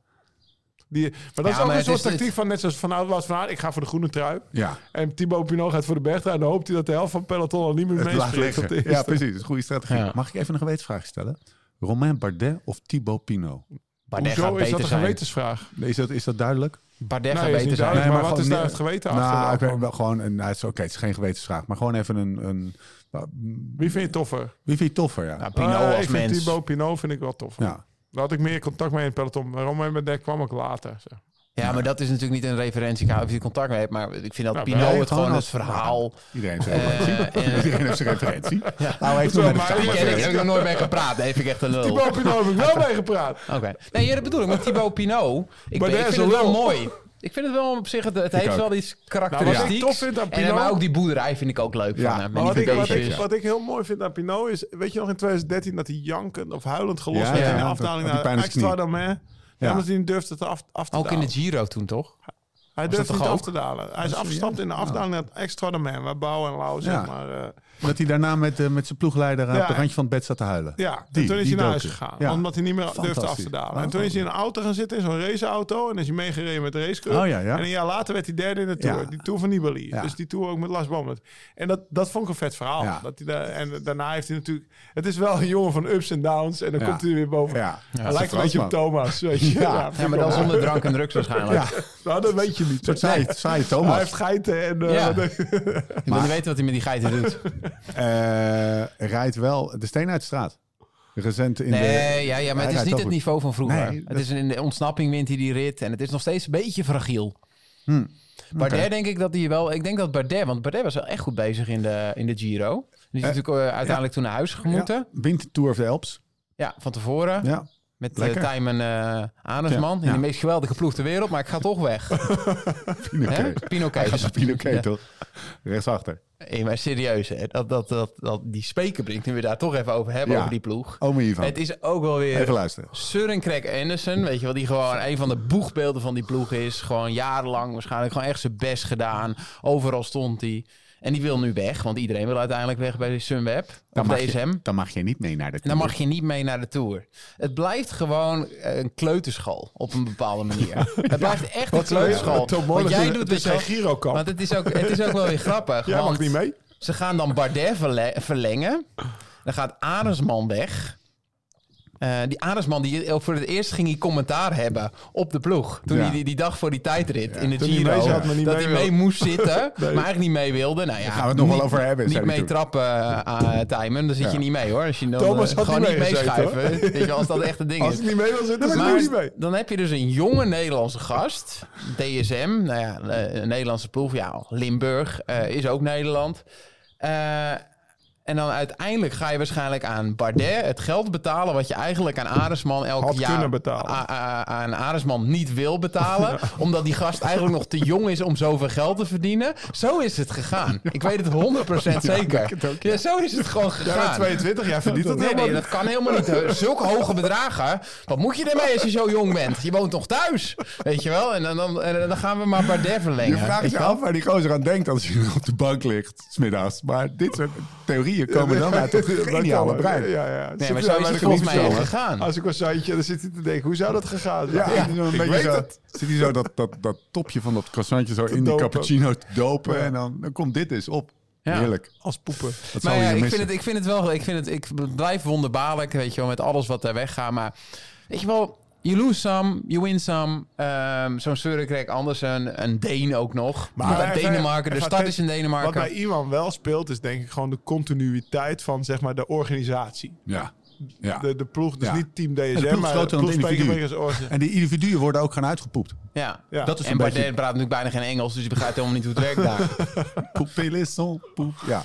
[SPEAKER 4] Die, maar dat is
[SPEAKER 3] maar
[SPEAKER 4] ook een
[SPEAKER 3] het
[SPEAKER 4] soort
[SPEAKER 3] is dit-
[SPEAKER 4] tactiek van net zoals van Aert was van Aert, ik ga voor de groene trui.
[SPEAKER 1] ja.
[SPEAKER 4] En Thibaut Pinot gaat voor de bergtrui. En dan hoopt hij dat de helft van peloton al niet meer
[SPEAKER 1] Het laat
[SPEAKER 4] meespreekt. op de
[SPEAKER 1] liggen.
[SPEAKER 4] eerste.
[SPEAKER 1] Ja, precies. Goede strategie.
[SPEAKER 3] Ja.
[SPEAKER 1] Mag ik even een gewetensvraag stellen? Romain Bardet of Thibaut Pinot?
[SPEAKER 3] Bardet gaat
[SPEAKER 4] Hoezo is
[SPEAKER 3] beter
[SPEAKER 4] dat een
[SPEAKER 3] zijn.
[SPEAKER 4] gewetensvraag?
[SPEAKER 1] Is dat, is dat duidelijk?
[SPEAKER 3] Bardet
[SPEAKER 4] Nee,
[SPEAKER 3] gaat
[SPEAKER 4] is
[SPEAKER 3] beter
[SPEAKER 4] niet
[SPEAKER 3] zijn.
[SPEAKER 4] duidelijk. maar wat
[SPEAKER 1] gewoon
[SPEAKER 4] is daar
[SPEAKER 1] niet-
[SPEAKER 4] het geweten
[SPEAKER 1] Nou,
[SPEAKER 4] achter?
[SPEAKER 1] ik weet wel gewoon een. nou, het is oké, het is geen gewetensvraag, maar gewoon even een. een nou, mm,
[SPEAKER 4] Wie vind je toffer?
[SPEAKER 1] wie vind je toffer? Ja.
[SPEAKER 3] Ja, Pinot
[SPEAKER 4] Eh,
[SPEAKER 3] Nou, als
[SPEAKER 4] ik vind
[SPEAKER 3] mens.
[SPEAKER 4] Thibaut Pinot vind ik wel toffer.
[SPEAKER 1] Ja.
[SPEAKER 4] Daar had ik meer contact mee in het peloton. Waarom hij met Dek kwam ik later. zeg.
[SPEAKER 3] Ja, maar dat is natuurlijk niet een referentiekader of je contact mee hebt. Maar ik vind dat
[SPEAKER 4] Nou,
[SPEAKER 3] Pinot
[SPEAKER 4] Bardet
[SPEAKER 3] het gewoon
[SPEAKER 1] als-
[SPEAKER 3] het verhaal...
[SPEAKER 1] Iedereen heeft zijn
[SPEAKER 3] eh,
[SPEAKER 1] referentie.
[SPEAKER 3] eh,
[SPEAKER 1] Iedereen heeft zijn referentie.
[SPEAKER 3] Ja.
[SPEAKER 1] Nou, heeft
[SPEAKER 4] Zo,
[SPEAKER 1] nog met
[SPEAKER 4] maar-
[SPEAKER 1] elkaar
[SPEAKER 3] Ik ken- ik
[SPEAKER 1] referentie.
[SPEAKER 3] heb er nooit mee gepraat. Nee, vind ik echt een lul.
[SPEAKER 1] Oh.
[SPEAKER 4] Thibaut Pinot heb ik wel mee gepraat.
[SPEAKER 3] Oké. Nee, ja, dat bedoel ik. Maar Thibaut Pinot, ik, ben, ik
[SPEAKER 4] daar is
[SPEAKER 3] vind
[SPEAKER 4] een
[SPEAKER 3] het wel
[SPEAKER 4] lul.
[SPEAKER 3] mooi. Ik vind het wel op zich, het, het heeft
[SPEAKER 1] ook.
[SPEAKER 3] wel iets
[SPEAKER 4] Nou, wat
[SPEAKER 3] karakteristieks.
[SPEAKER 4] ik tof vind aan
[SPEAKER 3] En,
[SPEAKER 4] Pinot-
[SPEAKER 3] maar ook die boerderij vind ik ook leuk.
[SPEAKER 1] Ja,
[SPEAKER 3] van, hem.
[SPEAKER 1] maar
[SPEAKER 3] En
[SPEAKER 4] Maar
[SPEAKER 3] die
[SPEAKER 4] wat ik, wat, ik,
[SPEAKER 3] beestjes.
[SPEAKER 4] wat ik heel mooi vind aan Pinot is... Weet je nog in 2013 dat hij jankend of huilend gelost
[SPEAKER 1] Ja,
[SPEAKER 4] werd
[SPEAKER 3] ja,
[SPEAKER 4] in de
[SPEAKER 1] ja,
[SPEAKER 4] afdaling
[SPEAKER 1] dat- dat die pijn
[SPEAKER 4] naar
[SPEAKER 1] in zijn knie.
[SPEAKER 4] Amsterdam, hè? Ja.
[SPEAKER 1] Ja.
[SPEAKER 4] Omdat hij niet durfde te af, af te
[SPEAKER 3] Ook in
[SPEAKER 4] dalen.
[SPEAKER 3] de Giro toen, toch?
[SPEAKER 4] Hij
[SPEAKER 3] dat
[SPEAKER 4] durft
[SPEAKER 3] toch
[SPEAKER 4] niet
[SPEAKER 3] ook?
[SPEAKER 4] af te dalen. Hij is
[SPEAKER 1] zo,
[SPEAKER 4] afgestapt
[SPEAKER 1] ja.
[SPEAKER 4] in de afdaling naar het extra domein, waar Bouw en Lau, zeg
[SPEAKER 1] Oh. Ja.
[SPEAKER 4] maar... eh,
[SPEAKER 1] Dat hij daarna met, eh, met zijn ploegleider aan
[SPEAKER 4] Ja.
[SPEAKER 1] het randje van het bed zat te huilen.
[SPEAKER 4] ja,
[SPEAKER 1] Die-
[SPEAKER 4] en toen is
[SPEAKER 1] die
[SPEAKER 4] hij naar huis
[SPEAKER 1] docu.
[SPEAKER 4] gegaan.
[SPEAKER 1] Ja.
[SPEAKER 4] Omdat hij niet meer durfde af
[SPEAKER 1] Fantastisch. Nou,
[SPEAKER 4] te dalen. En toen is hij in een auto gaan zitten, in zo'n raceauto. En is hij meegereden met de raceclub.
[SPEAKER 1] Oh, ja, ja.
[SPEAKER 4] En een jaar later werd hij derde in de Tour.
[SPEAKER 1] Ja.
[SPEAKER 4] Die Tour van Nibali.
[SPEAKER 1] Ja.
[SPEAKER 4] Dus die Tour ook met Lars Bommert. En dat, dat vond ik een vet verhaal.
[SPEAKER 1] Ja.
[SPEAKER 4] Dat hij daar, en daarna heeft hij natuurlijk... Het is wel een jongen van ups en downs. En dan
[SPEAKER 1] Ja.
[SPEAKER 4] komt hij er weer boven.
[SPEAKER 1] Ja.
[SPEAKER 4] hij lijkt een
[SPEAKER 1] Fransman.
[SPEAKER 4] beetje op Thomas. Weet je.
[SPEAKER 1] Ja.
[SPEAKER 4] vind
[SPEAKER 3] Ja,
[SPEAKER 4] ik
[SPEAKER 3] maar
[SPEAKER 4] wel
[SPEAKER 3] dan
[SPEAKER 4] mooi.
[SPEAKER 3] zonder drank en drugs waarschijnlijk.
[SPEAKER 1] Ja, een
[SPEAKER 4] Nou, dat weet je niet.
[SPEAKER 1] soort saai, saai Thomas.
[SPEAKER 4] Hij heeft geiten en... eh,
[SPEAKER 3] Ja.
[SPEAKER 4] wat-
[SPEAKER 3] Ik wil niet weten wat hij met die geiten doet.
[SPEAKER 1] Eh, rijdt wel de steen uit de straat. Recent in de...
[SPEAKER 3] Nee, ja, ja, maar
[SPEAKER 1] Hij
[SPEAKER 3] het is
[SPEAKER 1] rijdt
[SPEAKER 3] niet
[SPEAKER 1] ook
[SPEAKER 3] het
[SPEAKER 1] goed.
[SPEAKER 3] niveau van vroeger.
[SPEAKER 1] Nee, dat-
[SPEAKER 3] Het is een, in de ontsnapping wint hij die rit. En het is nog steeds een beetje fragiel. Bardet
[SPEAKER 1] Hm. Oké.
[SPEAKER 3] denk ik dat hij wel... Ik denk dat Bardet... Want Bardet was wel echt goed bezig in de, in de Giro. Die is
[SPEAKER 1] Eh,
[SPEAKER 3] natuurlijk eh, uiteindelijk toen naar huis gemoeten.
[SPEAKER 1] Ja,
[SPEAKER 3] Ja,
[SPEAKER 1] wint de Tour of the Alps.
[SPEAKER 3] van tevoren.
[SPEAKER 1] Ja.
[SPEAKER 3] Met uh,
[SPEAKER 1] Lekker.
[SPEAKER 3] Tijmen eh Anersman.
[SPEAKER 1] Ja,
[SPEAKER 3] In
[SPEAKER 1] ja.
[SPEAKER 3] de meest geweldige ploeg ter wereld. Maar ik ga toch weg. Hè?
[SPEAKER 1] Pinoquet.
[SPEAKER 3] Pinoquet.
[SPEAKER 1] Hij gaat
[SPEAKER 3] Dus-
[SPEAKER 1] naar Pinoquet,
[SPEAKER 3] Ja.
[SPEAKER 1] toch? Rechtsachter.
[SPEAKER 3] Hey, maar serieus, hè? Dat, dat, dat, dat, die spekerbrink, nu we daar toch even over hebben,
[SPEAKER 1] Ja.
[SPEAKER 3] over die eh, ploeg.
[SPEAKER 1] Ome Ivan.
[SPEAKER 3] Het is ook wel weer...
[SPEAKER 1] Even luisteren.
[SPEAKER 3] Søren Craig Anderson, weet je wel, die gewoon een van de boegbeelden van die ploeg is. Gewoon jarenlang waarschijnlijk gewoon echt zijn best gedaan. Overal stond hij. En die wil nu weg, want iedereen wil uiteindelijk weg bij de Sunweb.
[SPEAKER 1] Dan
[SPEAKER 3] of
[SPEAKER 1] mag,
[SPEAKER 3] DSM.
[SPEAKER 1] je, dan mag je niet mee naar de
[SPEAKER 3] En
[SPEAKER 1] Tour.
[SPEAKER 3] dan mag je niet mee naar de Tour. Het blijft gewoon eh, een kleuterschool op een bepaalde manier. Het blijft echt een kleuterschool.
[SPEAKER 4] Tom
[SPEAKER 3] Want
[SPEAKER 4] Mollens
[SPEAKER 3] jij
[SPEAKER 4] is-
[SPEAKER 3] doet
[SPEAKER 4] het is
[SPEAKER 3] het wel.
[SPEAKER 4] geen Girokamp.
[SPEAKER 3] Want het is ook, het is ook wel weer grappig.
[SPEAKER 4] Jij mag
[SPEAKER 3] want
[SPEAKER 4] niet mee.
[SPEAKER 3] Ze gaan dan Bardet verle- verlengen. Dan gaat Arendsman weg. Eh, die Arendsman, die ook voor het eerst ging hij commentaar hebben op de ploeg. Toen
[SPEAKER 1] Ja.
[SPEAKER 3] hij die, die dag voor die tijdrit in de
[SPEAKER 4] toen hij
[SPEAKER 3] Giro.
[SPEAKER 4] mee zat, maar niet
[SPEAKER 3] dat
[SPEAKER 4] mee
[SPEAKER 3] hij mee
[SPEAKER 4] wilde.
[SPEAKER 3] moest zitten, maar eigenlijk niet mee wilde. Nou ja,
[SPEAKER 1] gaan we het nog wel
[SPEAKER 3] niet-
[SPEAKER 1] over hebben, zei
[SPEAKER 3] Niet
[SPEAKER 1] hij
[SPEAKER 3] mee
[SPEAKER 1] toen.
[SPEAKER 3] trappen, eh, eh, Timen. Dan zit je
[SPEAKER 1] Ja.
[SPEAKER 3] niet mee hoor. Als je dan,
[SPEAKER 4] Thomas
[SPEAKER 3] eh,
[SPEAKER 4] had
[SPEAKER 3] gewoon
[SPEAKER 4] niet
[SPEAKER 3] niet
[SPEAKER 4] meegezeten,
[SPEAKER 3] meeschuiven. Weet je wel, als dat echt een ding
[SPEAKER 4] Als
[SPEAKER 3] is.
[SPEAKER 4] ik niet mee wil zitten, dan ben ik
[SPEAKER 3] Maar
[SPEAKER 4] ook niet mee.
[SPEAKER 3] dan heb je dus een jonge Nederlandse gast, DSM, nou ja, eh, een Nederlandse ploeg, ja, Limburg eh, is ook Nederland. Eh, en dan uiteindelijk ga je waarschijnlijk aan Bardet het geld betalen wat je eigenlijk aan Aresman elk
[SPEAKER 4] Had
[SPEAKER 3] jaar
[SPEAKER 4] kunnen betalen.
[SPEAKER 3] a- a- aan Aresman niet wil betalen, omdat die gast eigenlijk nog te jong is om zoveel geld te verdienen. Zo is het gegaan. Ik weet het 100% zeker. Ja, zo is het gewoon
[SPEAKER 4] Ja,
[SPEAKER 3] gegaan.
[SPEAKER 4] 22 jaar verdient dat
[SPEAKER 3] Nee,
[SPEAKER 4] helemaal
[SPEAKER 3] nee, dat kan helemaal niet. Eh, Zulke hoge bedragen. Wat moet je ermee als je zo jong bent? Je woont nog thuis. Weet je wel? En dan, dan, en dan gaan we maar Bardet
[SPEAKER 1] Je
[SPEAKER 3] verlengen.
[SPEAKER 1] vraagt je af waar die gozer aan denkt als hij op de bank ligt, smiddags. Maar dit soort theorieën komen dan uit het geniale brein.
[SPEAKER 4] Ja, ja.
[SPEAKER 3] Nee, maar
[SPEAKER 4] Zit
[SPEAKER 3] zo
[SPEAKER 4] hij
[SPEAKER 3] is
[SPEAKER 4] bij
[SPEAKER 3] het
[SPEAKER 4] de
[SPEAKER 3] volgens
[SPEAKER 4] computer,
[SPEAKER 3] mij echt
[SPEAKER 4] hoor.
[SPEAKER 3] gegaan.
[SPEAKER 4] Als ik was Zandje, dan zit hij te denken, hoe zou dat gegaan zijn?
[SPEAKER 1] Ja, zit hij zo een
[SPEAKER 4] ik
[SPEAKER 1] beetje
[SPEAKER 4] weet
[SPEAKER 1] zo-
[SPEAKER 4] het.
[SPEAKER 1] Zit hij zo dat, dat, dat topje van dat croissantje zo in die
[SPEAKER 4] dopen.
[SPEAKER 1] cappuccino te dopen. En dan, dan komt dit eens op.
[SPEAKER 3] Ja.
[SPEAKER 1] Heerlijk.
[SPEAKER 4] Als poepen.
[SPEAKER 1] Dat zou
[SPEAKER 3] Maar ja,
[SPEAKER 1] je
[SPEAKER 3] ik
[SPEAKER 1] missen.
[SPEAKER 3] vind, het, ik vind het wel. Ik, vind het, ik blijf wonderbaarlijk, weet je wel, met alles wat daar weggaat. Maar weet je wel, you lose some, you win some. Ehm, Zo'n Søren Craig Andersen, een Deen ook nog. Maar
[SPEAKER 4] even-
[SPEAKER 3] Denemarken, de
[SPEAKER 4] even
[SPEAKER 3] stad is in
[SPEAKER 4] attent- Wat bij
[SPEAKER 3] Denemarken.
[SPEAKER 4] Iwan wel speelt, is denk ik gewoon de continuïteit van zeg maar, de organisatie.
[SPEAKER 1] Ja. ja.
[SPEAKER 4] De, de ploeg, dus
[SPEAKER 1] Ja.
[SPEAKER 4] niet team
[SPEAKER 1] En de
[SPEAKER 4] DSM,
[SPEAKER 1] ploeg
[SPEAKER 4] maar
[SPEAKER 1] is groter
[SPEAKER 4] de
[SPEAKER 1] dan
[SPEAKER 4] ploeg
[SPEAKER 1] het individu.
[SPEAKER 4] Spekenburg is organisatie.
[SPEAKER 1] En die individuen worden ook gaan uitgepoept.
[SPEAKER 3] Ja.
[SPEAKER 4] Ja.
[SPEAKER 1] Dat is
[SPEAKER 3] En
[SPEAKER 1] een
[SPEAKER 3] Bardet
[SPEAKER 1] beetje...
[SPEAKER 3] praat natuurlijk bijna geen Engels, dus je begrijpt helemaal niet hoe het werkt daar.
[SPEAKER 1] Poepelisson, poep. Ja.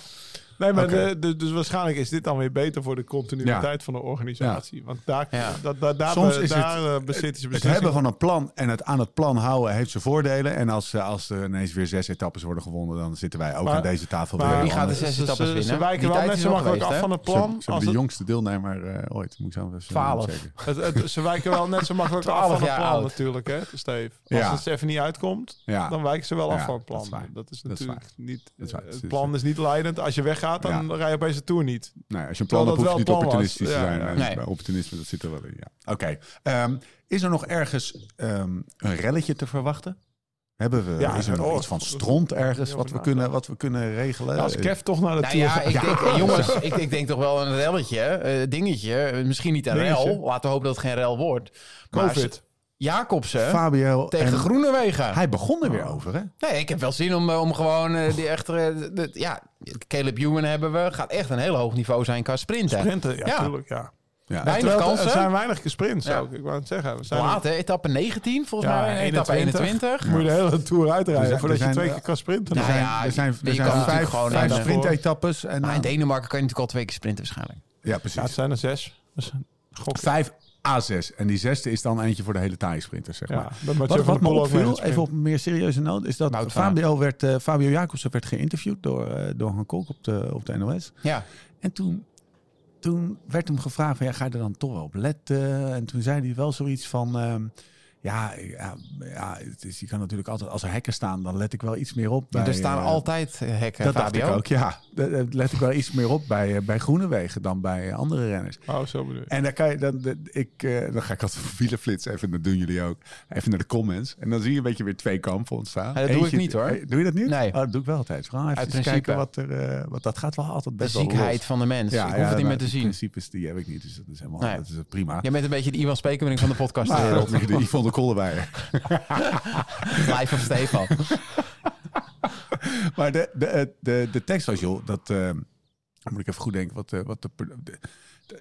[SPEAKER 4] Nee, maar
[SPEAKER 1] Oké.
[SPEAKER 4] de, de- dus waarschijnlijk is dit dan weer beter voor de continuïteit van de organisatie. Want daar,
[SPEAKER 3] Ja.
[SPEAKER 4] dat, dat, daar,
[SPEAKER 1] Soms
[SPEAKER 4] be-
[SPEAKER 1] is het-
[SPEAKER 4] daar eh, bezit is
[SPEAKER 1] Het
[SPEAKER 4] beslissing.
[SPEAKER 1] hebben van een plan en het aan het plan houden heeft zijn voordelen. En als, eh, als er ineens weer zes etappes worden gewonnen, dan zitten wij ook
[SPEAKER 4] Maar-
[SPEAKER 1] aan deze tafel
[SPEAKER 4] maar-
[SPEAKER 1] weer.
[SPEAKER 4] Wie
[SPEAKER 3] Die gaat de
[SPEAKER 4] Ze-
[SPEAKER 3] zes
[SPEAKER 4] ze-
[SPEAKER 3] etappes
[SPEAKER 4] ze-
[SPEAKER 3] winnen.
[SPEAKER 4] Ze wijken
[SPEAKER 3] Die
[SPEAKER 4] wel
[SPEAKER 3] tijd
[SPEAKER 4] net
[SPEAKER 3] is
[SPEAKER 4] zo
[SPEAKER 3] al
[SPEAKER 4] makkelijk af
[SPEAKER 3] geweest,
[SPEAKER 4] van
[SPEAKER 3] hè?
[SPEAKER 4] het
[SPEAKER 1] Ze hebben-
[SPEAKER 4] plan.
[SPEAKER 1] ze hebben
[SPEAKER 4] als
[SPEAKER 1] de
[SPEAKER 4] het-
[SPEAKER 1] jongste deelnemer eh, ooit, moet ik zo even
[SPEAKER 3] Twaalf.
[SPEAKER 1] zeggen.
[SPEAKER 4] het- het- Ze wijken wel net zo makkelijk af van
[SPEAKER 3] 12
[SPEAKER 4] het
[SPEAKER 3] jaar
[SPEAKER 4] plan
[SPEAKER 3] oud.
[SPEAKER 4] natuurlijk, hè, Steve. Als
[SPEAKER 1] Ja.
[SPEAKER 4] het even niet uitkomt,
[SPEAKER 1] Ja.
[SPEAKER 4] dan wijken ze wel af
[SPEAKER 1] Ja,
[SPEAKER 4] van het
[SPEAKER 1] dat
[SPEAKER 4] plan.
[SPEAKER 1] is
[SPEAKER 4] Dat
[SPEAKER 1] waar.
[SPEAKER 4] is,
[SPEAKER 1] Dat is
[SPEAKER 4] natuurlijk niet... eh,
[SPEAKER 1] Dat is waar.
[SPEAKER 4] Het plan is niet leidend. Als je weggaat, dan
[SPEAKER 1] Ja.
[SPEAKER 4] rij je opeens de Tour niet.
[SPEAKER 1] Nee, Nou als je een plan hebt,
[SPEAKER 4] Terwijl dat
[SPEAKER 1] hoef je niet
[SPEAKER 4] wel plan
[SPEAKER 1] opportunistisch
[SPEAKER 4] was.
[SPEAKER 1] te
[SPEAKER 4] Ja,
[SPEAKER 1] zijn.
[SPEAKER 4] ja.
[SPEAKER 1] Eh,
[SPEAKER 3] Nee.
[SPEAKER 1] Bij opportunisme, dat zit er wel in. Ja. Oké. Ehm, is er nog ergens ehm, een relletje te verwachten? Hebben we,
[SPEAKER 4] Ja,
[SPEAKER 1] is er nog
[SPEAKER 4] oh,
[SPEAKER 1] iets van
[SPEAKER 4] dat-
[SPEAKER 1] stront ergens
[SPEAKER 4] heel
[SPEAKER 1] wat we,
[SPEAKER 4] vandaag.
[SPEAKER 1] kunnen, wat we kunnen regelen?
[SPEAKER 4] Als
[SPEAKER 1] Eh,
[SPEAKER 4] Kev toch naar de
[SPEAKER 3] Nou
[SPEAKER 4] Tour
[SPEAKER 3] ja,
[SPEAKER 4] gaat.
[SPEAKER 3] ik denk, jongens, ik, ik denk toch wel een relletje, eh, dingetje. Eh, Misschien niet een
[SPEAKER 4] Dingetje.
[SPEAKER 3] rel. Laten we hopen dat het geen rel wordt. Maar
[SPEAKER 4] Covid.
[SPEAKER 3] Jacobsen
[SPEAKER 1] Fabio
[SPEAKER 3] tegen
[SPEAKER 1] en-
[SPEAKER 3] Groenewegen.
[SPEAKER 1] Hij begon er weer
[SPEAKER 4] Oh.
[SPEAKER 1] over, hè?
[SPEAKER 3] Nee, ik heb wel zin om, eh, om gewoon eh, die echte... eh, de- ja, Caleb Ewan hebben we. Gaat echt een heel hoog niveau zijn qua sprinten.
[SPEAKER 4] Sprinten, ja,
[SPEAKER 3] Ja.
[SPEAKER 4] tuurlijk, ja.
[SPEAKER 1] Ja.
[SPEAKER 3] Wij- Weinig
[SPEAKER 4] Terwijl het-
[SPEAKER 3] kansen.
[SPEAKER 4] Er zijn weinig gesprints
[SPEAKER 3] Ja.
[SPEAKER 4] ook. Ik wou het zeggen. We zijn
[SPEAKER 3] Laat, hè? Etappe 19 volgens mij. en Etappe 21.
[SPEAKER 4] Moet je de hele Tour uitrijden
[SPEAKER 1] Er zijn-
[SPEAKER 4] voordat
[SPEAKER 1] er
[SPEAKER 4] je
[SPEAKER 1] zijn-
[SPEAKER 4] twee keer kan sprinten.
[SPEAKER 3] Nou
[SPEAKER 1] Er zijn,
[SPEAKER 3] ja,
[SPEAKER 1] er zijn,
[SPEAKER 3] je
[SPEAKER 1] er zijn
[SPEAKER 3] kan natuurlijk
[SPEAKER 1] vijf,
[SPEAKER 3] gewoon
[SPEAKER 1] vijf
[SPEAKER 3] naar de-
[SPEAKER 1] sprintetappes. En,
[SPEAKER 3] Maar
[SPEAKER 1] dan-
[SPEAKER 3] in Denemarken kan je natuurlijk al twee keer sprinten waarschijnlijk.
[SPEAKER 1] ja,
[SPEAKER 4] Ja, het
[SPEAKER 1] precies.
[SPEAKER 4] zijn er zes. Dat is een gok.
[SPEAKER 1] Vijf A6. En die zesde is dan eentje voor de hele taaie sprinters, zeg
[SPEAKER 4] Ja,
[SPEAKER 1] maar.
[SPEAKER 4] dat maakt
[SPEAKER 1] Wat,
[SPEAKER 4] Jeff van
[SPEAKER 1] wat me
[SPEAKER 4] de Poel ook mee
[SPEAKER 1] opviel,
[SPEAKER 4] gesprint.
[SPEAKER 1] even op een meer serieuze noot, is dat
[SPEAKER 3] Wout van Aert.
[SPEAKER 1] Fabio, werd, eh, Fabio Jacobsen werd geïnterviewd door, eh door Han Kolk op de, op de NOS.
[SPEAKER 3] Ja.
[SPEAKER 1] En toen, toen werd hem gevraagd, van, ja, ga je er dan toch wel op letten? En toen zei hij wel zoiets van, ehm, ja, ja, ja het is, je kan natuurlijk altijd, als er hekken staan, dan let ik wel iets meer op.
[SPEAKER 3] Maar
[SPEAKER 1] bij,
[SPEAKER 3] er staan
[SPEAKER 1] eh,
[SPEAKER 3] altijd eh, hekken,
[SPEAKER 1] dat
[SPEAKER 3] Fabio.
[SPEAKER 1] dacht ik ook, ja. Daar daar let ik wel iets meer op bij, eh, bij Groenewegen dan bij eh, andere renners.
[SPEAKER 4] Oh, zo bedoel je.
[SPEAKER 1] En dan, kan je, dan, dan- ik, eh, dan ga ik altijd voor wielerflits even, dat doen jullie ook, even naar de comments. En dan zie je een beetje weer twee kampen ontstaan.
[SPEAKER 3] Ja, dat doe ik niet, hoor.
[SPEAKER 1] Eh, Doe je dat niet?
[SPEAKER 3] Nee.
[SPEAKER 1] Oh, dat doe ik wel altijd. Gewoon even
[SPEAKER 3] Uit
[SPEAKER 1] eens kijken
[SPEAKER 3] principe.
[SPEAKER 1] wat er, eh, want dat gaat wel altijd
[SPEAKER 3] De
[SPEAKER 1] best wel
[SPEAKER 3] ziekheid
[SPEAKER 1] los.
[SPEAKER 3] van de mens. ik hoef het niet
[SPEAKER 1] maar
[SPEAKER 3] meer te
[SPEAKER 1] die
[SPEAKER 3] zien.
[SPEAKER 1] principes die heb ik niet, dus dat is helemaal
[SPEAKER 3] Nee.
[SPEAKER 1] dat is prima.
[SPEAKER 3] Jij bent een beetje de Iwan Spekeling van de podcast. eh,
[SPEAKER 1] Maar dat is de Yvonne de Kollebijer.
[SPEAKER 3] Live van Stefan.
[SPEAKER 1] Maar de, de, de, de, de tekst was, joh, dat... eh, dan moet ik even goed denken. Wat, eh, wat de, de- de-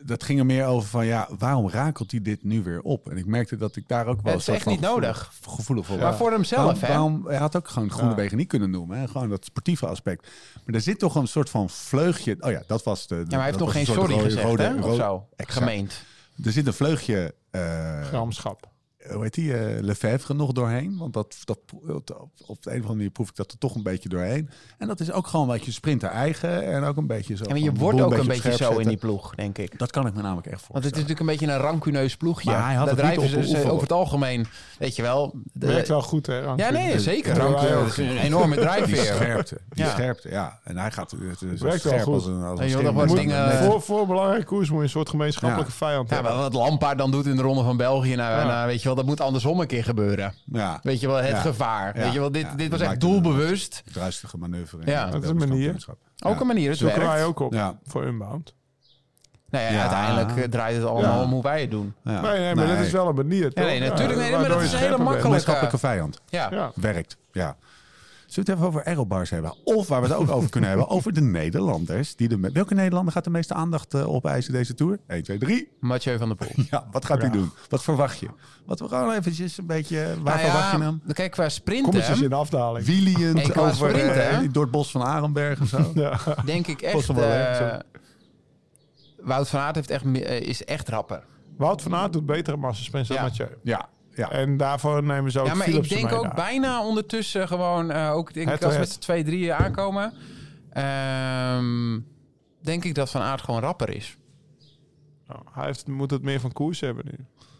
[SPEAKER 1] dat ging er meer over van, ja, waarom rakelt hij dit nu weer op? En ik merkte dat ik daar ook wel...
[SPEAKER 3] Het
[SPEAKER 1] een
[SPEAKER 3] is
[SPEAKER 1] soort
[SPEAKER 3] echt
[SPEAKER 1] van
[SPEAKER 3] niet
[SPEAKER 1] gevoelig-
[SPEAKER 3] nodig.
[SPEAKER 1] Gevoelig voor
[SPEAKER 3] Maar
[SPEAKER 1] was.
[SPEAKER 3] voor hemzelf, hè?
[SPEAKER 1] waarom, Hij had ook gewoon Groenewegen wegen niet kunnen noemen. Hè? Gewoon dat sportieve aspect. Maar er zit toch een soort van vleugje... Oh ja, dat was de...
[SPEAKER 3] Ja, maar hij heeft nog geen sorry gezegd, hè? Of zo. Gemeend.
[SPEAKER 1] Er zit een vleugje... eh,
[SPEAKER 4] Gramschap.
[SPEAKER 1] hoe heet die, eh Lefebvre nog doorheen. Want dat, dat, op, op de een of andere manier proef ik dat er toch een beetje doorheen. En dat is ook gewoon wat je sprinter eigen en ook een beetje zo.
[SPEAKER 3] En
[SPEAKER 1] van
[SPEAKER 3] je
[SPEAKER 1] de
[SPEAKER 3] wordt
[SPEAKER 1] boel
[SPEAKER 3] ook een beetje
[SPEAKER 1] op
[SPEAKER 3] zo
[SPEAKER 1] scherp
[SPEAKER 3] in die
[SPEAKER 1] zetten.
[SPEAKER 3] ploeg, denk ik.
[SPEAKER 1] Dat kan ik me namelijk echt
[SPEAKER 3] Want het is
[SPEAKER 1] voorstellen.
[SPEAKER 3] natuurlijk een beetje een rancuneus ploegje.
[SPEAKER 1] Maar hij had
[SPEAKER 3] Daar
[SPEAKER 1] het niet
[SPEAKER 3] drijven
[SPEAKER 1] op
[SPEAKER 3] ze-
[SPEAKER 1] een
[SPEAKER 3] ze
[SPEAKER 1] oefenrol.
[SPEAKER 3] over het algemeen, weet je wel. de-
[SPEAKER 4] Werkt wel goed, hè?
[SPEAKER 3] ja,
[SPEAKER 4] Rancune.
[SPEAKER 3] nee, zeker.
[SPEAKER 4] Ja,
[SPEAKER 3] Rancuneus,
[SPEAKER 4] wij ook.
[SPEAKER 3] dat is een enorme
[SPEAKER 1] Die
[SPEAKER 3] drijfveer.
[SPEAKER 1] scherpte, die
[SPEAKER 3] Ja.
[SPEAKER 1] scherpte, ja. En hij gaat het is
[SPEAKER 4] Werkt wel
[SPEAKER 1] scherp
[SPEAKER 4] goed.
[SPEAKER 1] als een, als een
[SPEAKER 3] Ja, joh, dat
[SPEAKER 1] scherm.
[SPEAKER 3] wordt
[SPEAKER 1] Met-
[SPEAKER 3] dingen-
[SPEAKER 1] met-
[SPEAKER 4] Voor, voor een belangrijke koers moet je een soort gemeenschappelijke
[SPEAKER 1] Ja.
[SPEAKER 4] vijand
[SPEAKER 3] eh, Ja,
[SPEAKER 4] hebben.
[SPEAKER 3] maar wat Lampaard dan doet in de Ronde van België, nou,
[SPEAKER 4] Ja.
[SPEAKER 3] nou, weet je wel, dat moet andersom een keer gebeuren.
[SPEAKER 1] Ja,
[SPEAKER 3] Weet je wel, het
[SPEAKER 1] Ja.
[SPEAKER 3] gevaar.
[SPEAKER 1] Ja.
[SPEAKER 3] Weet je wel, dit,
[SPEAKER 1] Ja,
[SPEAKER 3] dit was
[SPEAKER 1] dat
[SPEAKER 3] echt
[SPEAKER 1] maakt het-
[SPEAKER 3] doelbewust.
[SPEAKER 1] druistige manoeuvre. in
[SPEAKER 3] Ja.
[SPEAKER 1] het
[SPEAKER 4] Dat is een
[SPEAKER 1] Belgisch
[SPEAKER 4] manier.
[SPEAKER 1] kampioenschap.
[SPEAKER 3] Ook
[SPEAKER 1] Ja.
[SPEAKER 3] een manier, het
[SPEAKER 4] Zoeken wij
[SPEAKER 3] werkt.
[SPEAKER 4] ook op
[SPEAKER 1] Ja.
[SPEAKER 4] voor Unbound.
[SPEAKER 3] Nou ja,
[SPEAKER 1] Ja.
[SPEAKER 3] uiteindelijk eh, draait het allemaal
[SPEAKER 1] Ja.
[SPEAKER 3] om hoe wij het doen.
[SPEAKER 1] Ja.
[SPEAKER 4] Nee, nee, maar dat is wel een manier, toch?
[SPEAKER 3] Ja, nee, natuurlijk. Nee, maar
[SPEAKER 4] waardoor
[SPEAKER 3] dat
[SPEAKER 4] je
[SPEAKER 3] is een hele
[SPEAKER 4] scherper bent.
[SPEAKER 3] makkelijke-
[SPEAKER 1] Maatschappelijke vijand.
[SPEAKER 3] Ja.
[SPEAKER 4] Ja.
[SPEAKER 1] Werkt, ja. Zullen we het even over aerobars hebben? Of waar we het ook over kunnen hebben, over de Nederlanders. Die de, me- welke Nederlander gaat de meeste aandacht eh, opeisen deze Tour? 1, 2, 3.
[SPEAKER 3] Mathieu van der Poel.
[SPEAKER 1] Ja, wat gaat hij doen? Wat verwacht je? Wat we gewoon eventjes een beetje... Waar
[SPEAKER 3] Nou ja,
[SPEAKER 1] verwacht je hem?
[SPEAKER 3] Kijk, qua
[SPEAKER 4] Kom
[SPEAKER 3] sprinten
[SPEAKER 4] eens eens dus in de afdaling.
[SPEAKER 1] Wieliend
[SPEAKER 3] Hey, qua
[SPEAKER 1] over,
[SPEAKER 3] sprinten,
[SPEAKER 1] eh,
[SPEAKER 3] hè?
[SPEAKER 1] door het bos van Arenberg en zo.
[SPEAKER 3] denk ik echt...
[SPEAKER 1] Kost hem wel, hè,
[SPEAKER 3] eh,
[SPEAKER 1] zo.
[SPEAKER 3] Wout van Aert heeft echt, me- eh, is echt rapper.
[SPEAKER 4] Wout van Aert doet betere massasprints dan
[SPEAKER 3] Ja.
[SPEAKER 4] Mathieu.
[SPEAKER 1] Ja, ja.
[SPEAKER 4] En daarvoor nemen ze ook
[SPEAKER 3] Ja, maar ik
[SPEAKER 4] Philipsen
[SPEAKER 3] denk
[SPEAKER 4] mee
[SPEAKER 3] ook
[SPEAKER 4] daar.
[SPEAKER 3] bijna ondertussen gewoon... eh, ook denk ik, als we
[SPEAKER 4] Het-
[SPEAKER 3] met z'n twee, drieën aankomen... ehm, denk ik dat Van Aert gewoon rapper is.
[SPEAKER 4] Nou, hij heeft, moet het meer van koers hebben nu.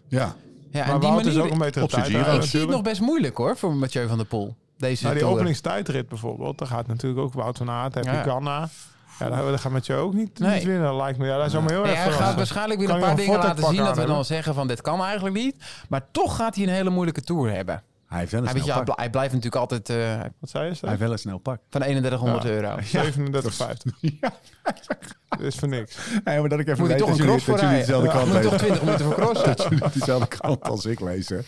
[SPEAKER 1] ja.
[SPEAKER 3] Ja, en
[SPEAKER 4] maar
[SPEAKER 3] die
[SPEAKER 4] Wout
[SPEAKER 3] manier...
[SPEAKER 4] is ook een betere
[SPEAKER 1] op zijn
[SPEAKER 4] tijd.
[SPEAKER 1] Giro.
[SPEAKER 4] rijden
[SPEAKER 3] ik zie het
[SPEAKER 4] natuurlijk.
[SPEAKER 3] nog best moeilijk hoor, voor Mathieu van der Poel. Deze
[SPEAKER 4] Nou, die
[SPEAKER 3] tour.
[SPEAKER 4] openingstijdrit bijvoorbeeld, daar gaat natuurlijk ook Wout van Aert, heb
[SPEAKER 3] Ja.
[SPEAKER 4] je Ganna. Ja, daar, daar gaat met je ook niet,
[SPEAKER 3] Nee.
[SPEAKER 4] niet winnen, lijkt me. Ja, daar is allemaal heel
[SPEAKER 3] Nee,
[SPEAKER 4] erg
[SPEAKER 3] hij
[SPEAKER 4] verrast.
[SPEAKER 3] gaat waarschijnlijk weer
[SPEAKER 4] Kan
[SPEAKER 3] een
[SPEAKER 4] je
[SPEAKER 3] paar
[SPEAKER 4] een
[SPEAKER 3] dingen laten
[SPEAKER 4] fotopak
[SPEAKER 3] zien dat we dan
[SPEAKER 4] aan hebben?
[SPEAKER 3] zeggen van dit kan eigenlijk niet. Maar toch gaat hij een hele moeilijke tour hebben.
[SPEAKER 1] Hij heeft wel een
[SPEAKER 3] Hij, weet je,
[SPEAKER 1] snel
[SPEAKER 3] hij
[SPEAKER 1] pak.
[SPEAKER 3] bl- hij blijft natuurlijk altijd eh,
[SPEAKER 4] Wat zei je? Stef?
[SPEAKER 1] Hij heeft wel een snel pak.
[SPEAKER 3] van 3100
[SPEAKER 4] Ja.
[SPEAKER 3] euro.
[SPEAKER 4] 37,50. Dat is voor niks.
[SPEAKER 1] Hey, maar dat ik even
[SPEAKER 3] Moet hij
[SPEAKER 1] weet
[SPEAKER 3] toch
[SPEAKER 1] dat
[SPEAKER 3] een
[SPEAKER 1] jullie-
[SPEAKER 3] cross voor
[SPEAKER 1] dat jullie
[SPEAKER 3] rijden?
[SPEAKER 1] dezelfde
[SPEAKER 3] Ja,
[SPEAKER 1] kant
[SPEAKER 3] Moet
[SPEAKER 1] lezen.
[SPEAKER 3] toch 20 minuten voor crossen?
[SPEAKER 1] dat jullie dezelfde kant als ik lezen.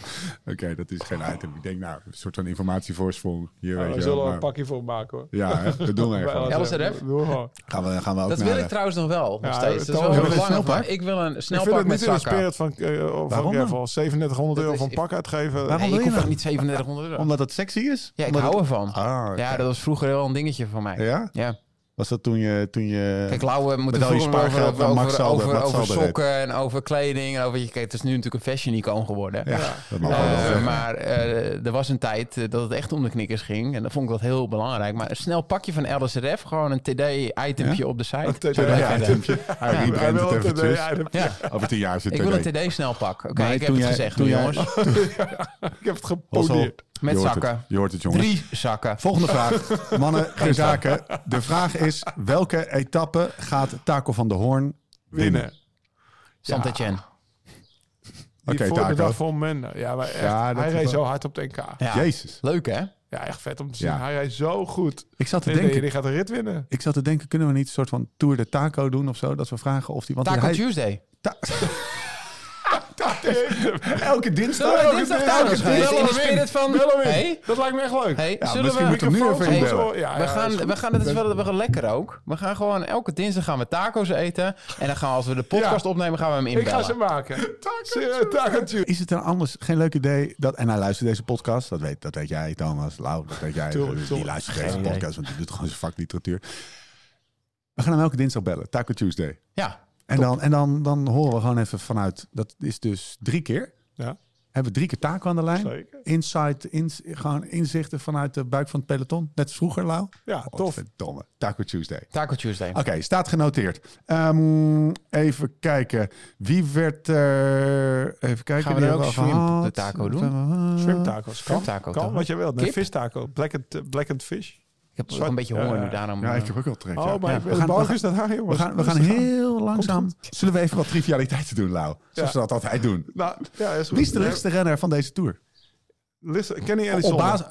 [SPEAKER 1] Oké, dat is geen item. Ik denk, nou, een soort van informatievoorsprong. Hier, weet
[SPEAKER 4] Nou, we
[SPEAKER 1] je wel,
[SPEAKER 4] zullen er
[SPEAKER 1] maar-
[SPEAKER 4] een pakje voor maken hoor.
[SPEAKER 1] Ja, hè, dat doen we
[SPEAKER 4] Bij
[SPEAKER 1] even.
[SPEAKER 4] LSR.
[SPEAKER 3] LSRF?
[SPEAKER 4] Doe gewoon.
[SPEAKER 1] Gaan we, gaan we ook
[SPEAKER 3] Dat
[SPEAKER 1] naar
[SPEAKER 3] wil
[SPEAKER 1] de-
[SPEAKER 3] ik trouwens nog wel.
[SPEAKER 4] Ja,
[SPEAKER 3] nog steeds.
[SPEAKER 4] dat
[SPEAKER 3] Dat is
[SPEAKER 4] wil
[SPEAKER 3] wel
[SPEAKER 4] ik
[SPEAKER 3] heel
[SPEAKER 4] een
[SPEAKER 3] belangrijk.
[SPEAKER 1] snelpak?
[SPEAKER 3] maar Ik wil een
[SPEAKER 4] Ik vind
[SPEAKER 3] snelpak
[SPEAKER 4] het
[SPEAKER 3] met
[SPEAKER 4] niet in de
[SPEAKER 3] zakken.
[SPEAKER 4] spirit van, eh van
[SPEAKER 1] Waarom dan?
[SPEAKER 4] Gravel. 3700
[SPEAKER 3] Dat
[SPEAKER 4] euro
[SPEAKER 3] is-
[SPEAKER 4] van pak uitgeven.
[SPEAKER 1] Waarom?
[SPEAKER 3] Nee,
[SPEAKER 1] wil
[SPEAKER 3] ik
[SPEAKER 1] je
[SPEAKER 3] hoef
[SPEAKER 1] nou?
[SPEAKER 3] ook niet 3700 euro.
[SPEAKER 1] Omdat dat sexy is?
[SPEAKER 3] Ja, ik
[SPEAKER 1] Omdat
[SPEAKER 3] hou
[SPEAKER 1] het-
[SPEAKER 3] ervan.
[SPEAKER 1] Ah, oké.
[SPEAKER 3] Ja, dat was vroeger wel een dingetje voor mij.
[SPEAKER 1] Ja?
[SPEAKER 3] Ja.
[SPEAKER 1] Was dat toen je... Toen je...
[SPEAKER 3] Kijk, Lauwe moet het
[SPEAKER 1] Medaille
[SPEAKER 3] vroeger over,
[SPEAKER 1] spaargeld
[SPEAKER 3] over,
[SPEAKER 1] naar Max
[SPEAKER 3] over,
[SPEAKER 1] Zalder,
[SPEAKER 3] over,
[SPEAKER 1] Max
[SPEAKER 3] over
[SPEAKER 1] Zalder
[SPEAKER 3] sokken en over kleding. En over, je, kijk, het is nu natuurlijk een fashion icoon geworden.
[SPEAKER 1] ja, Oh, dat mag
[SPEAKER 3] Eh,
[SPEAKER 1] wel wel zeggen.
[SPEAKER 3] maar eh, er was een tijd eh, dat het echt om de knikkers ging. En dan vond ik dat heel belangrijk. Maar een snel pakje van LSRF, gewoon een TD-itempje op de site.
[SPEAKER 4] TD
[SPEAKER 3] Zo,
[SPEAKER 1] Ja,
[SPEAKER 3] dat-
[SPEAKER 1] het filmpje. Hij
[SPEAKER 3] Ja.
[SPEAKER 1] rebrandt
[SPEAKER 4] Hij wil
[SPEAKER 1] Ah, het
[SPEAKER 4] het,
[SPEAKER 1] eventjes.
[SPEAKER 4] eh, ja,
[SPEAKER 3] Ja,
[SPEAKER 1] Over tien jaar zit
[SPEAKER 3] ik
[SPEAKER 1] TD.
[SPEAKER 3] wil een TD-snel pak. Oké,
[SPEAKER 1] Maar
[SPEAKER 3] ik heb
[SPEAKER 1] toen
[SPEAKER 3] het
[SPEAKER 1] jij-
[SPEAKER 3] gezegd
[SPEAKER 1] toen
[SPEAKER 3] nu,
[SPEAKER 1] jij- Oh,
[SPEAKER 3] jongens. Oh,
[SPEAKER 4] Ik heb het
[SPEAKER 1] Hossel,
[SPEAKER 4] geponeerd.
[SPEAKER 3] Met
[SPEAKER 1] je hoort het.
[SPEAKER 3] zakken.
[SPEAKER 1] Je hoort het, jongens.
[SPEAKER 3] Drie zakken.
[SPEAKER 1] Volgende vraag. Mannen, geen zaken. De vraag is, welke etappe gaat Taco van der Hoorn winnen?
[SPEAKER 4] Winnen.
[SPEAKER 3] Sant'Etienne.
[SPEAKER 4] Die
[SPEAKER 1] Oké,
[SPEAKER 4] voor de
[SPEAKER 1] Taco.
[SPEAKER 4] dag van Menda. Ja, maar echt,
[SPEAKER 1] Ja, dat
[SPEAKER 4] hij
[SPEAKER 1] is
[SPEAKER 4] reed
[SPEAKER 1] wel-
[SPEAKER 4] zo hard op het NK. Ja,
[SPEAKER 3] Ja.
[SPEAKER 1] Jezus.
[SPEAKER 3] Leuk, hè?
[SPEAKER 4] echt vet om te zien.
[SPEAKER 1] Ja.
[SPEAKER 4] Hij reed zo goed.
[SPEAKER 1] Ik zat te
[SPEAKER 4] En
[SPEAKER 1] denken,
[SPEAKER 4] die gaat de rit winnen.
[SPEAKER 1] ik zat te denken, kunnen we niet een soort van Tour de Taco doen of zo? Dat we vragen of die... Want
[SPEAKER 3] Taco
[SPEAKER 1] hij-
[SPEAKER 3] Tuesday.
[SPEAKER 1] Ta- elke dinsdag?
[SPEAKER 3] Zullen we
[SPEAKER 1] elke
[SPEAKER 3] dinsdag
[SPEAKER 1] dinsdag.
[SPEAKER 3] Taco's gaan eten? In de
[SPEAKER 4] Bellen hem
[SPEAKER 3] spirit van...
[SPEAKER 4] Bel hem in.
[SPEAKER 3] Hey,
[SPEAKER 4] Dat lijkt me echt leuk.
[SPEAKER 3] hey,
[SPEAKER 1] Ja,
[SPEAKER 3] zullen
[SPEAKER 1] misschien
[SPEAKER 3] we...
[SPEAKER 1] moeten we nu
[SPEAKER 4] Microfoon
[SPEAKER 1] even
[SPEAKER 4] voor-
[SPEAKER 1] inbellen.
[SPEAKER 4] Ja,
[SPEAKER 3] We
[SPEAKER 4] ja,
[SPEAKER 3] gaan,
[SPEAKER 4] is goed.
[SPEAKER 3] we gaan, dat is wel, we gaan lekker ook. We gaan gewoon elke dinsdag gaan we taco's eten. En dan gaan we, als we de podcast
[SPEAKER 4] Ja.
[SPEAKER 3] opnemen, gaan we hem
[SPEAKER 4] Ik
[SPEAKER 3] inbellen.
[SPEAKER 4] ga ze maken. eh, Takantje.
[SPEAKER 1] Is het dan anders geen leuk idee dat... En hij luistert deze podcast. Dat weet, dat weet jij, Thomas. Lau, dat weet jij.
[SPEAKER 4] Tuurlijk,
[SPEAKER 1] die
[SPEAKER 4] tuurlijk.
[SPEAKER 1] luistert deze
[SPEAKER 3] idee.
[SPEAKER 1] podcast, want die doet gewoon zijn vak literatuur. We gaan hem elke dinsdag bellen. Taco Tuesday.
[SPEAKER 3] Ja,
[SPEAKER 1] En, dan, en dan, dan horen we gewoon even vanuit... Dat is dus drie keer.
[SPEAKER 4] Ja,
[SPEAKER 1] Hebben we drie keer taco aan de lijn.
[SPEAKER 4] Zeker.
[SPEAKER 1] Insight, ins, gewoon inzichten vanuit de buik van het peloton. Net als vroeger, Lau.
[SPEAKER 4] ja tof.
[SPEAKER 1] Godverdomme. Taco Tuesday.
[SPEAKER 3] Taco Tuesday.
[SPEAKER 1] Oké, staat genoteerd. Ehm, even kijken. Wie werd er... Even kijken.
[SPEAKER 3] Gaan we
[SPEAKER 1] die
[SPEAKER 3] dan ook
[SPEAKER 1] hebben al
[SPEAKER 3] shrimp
[SPEAKER 1] gehad.
[SPEAKER 3] de taco
[SPEAKER 1] Wat
[SPEAKER 3] doen?
[SPEAKER 1] hebben we gehad?
[SPEAKER 4] Shrimp
[SPEAKER 1] Mm.
[SPEAKER 4] tacos. Kan,
[SPEAKER 3] Shrimp taco,
[SPEAKER 4] kan
[SPEAKER 3] toch?
[SPEAKER 4] wat je wilt. Nee,
[SPEAKER 3] Kip?
[SPEAKER 4] vis taco. Black and, eh, black and fish.
[SPEAKER 3] Ik heb ook
[SPEAKER 4] Zwart-
[SPEAKER 3] een beetje honger
[SPEAKER 4] Ja,
[SPEAKER 3] nu,
[SPEAKER 4] ja.
[SPEAKER 3] daarom...
[SPEAKER 1] Ja,
[SPEAKER 3] eh,
[SPEAKER 1] ik heb ook wel trek. ja.
[SPEAKER 4] Oh, maar
[SPEAKER 1] Ja,
[SPEAKER 4] ik
[SPEAKER 1] we, gaan, we, gaan,
[SPEAKER 4] is dat haar,
[SPEAKER 1] we,
[SPEAKER 4] jongens.
[SPEAKER 1] gaan, we gaan heel langzaam.
[SPEAKER 4] goed.
[SPEAKER 1] Zullen we even wat trivialiteiten doen, Lau? Zoals
[SPEAKER 4] Ja.
[SPEAKER 1] we dat altijd doen.
[SPEAKER 4] Nou, ja, is goed.
[SPEAKER 1] Wie is de lichtste renner van deze Tour?
[SPEAKER 4] Listen, Kenny Ellison.
[SPEAKER 1] Op basis...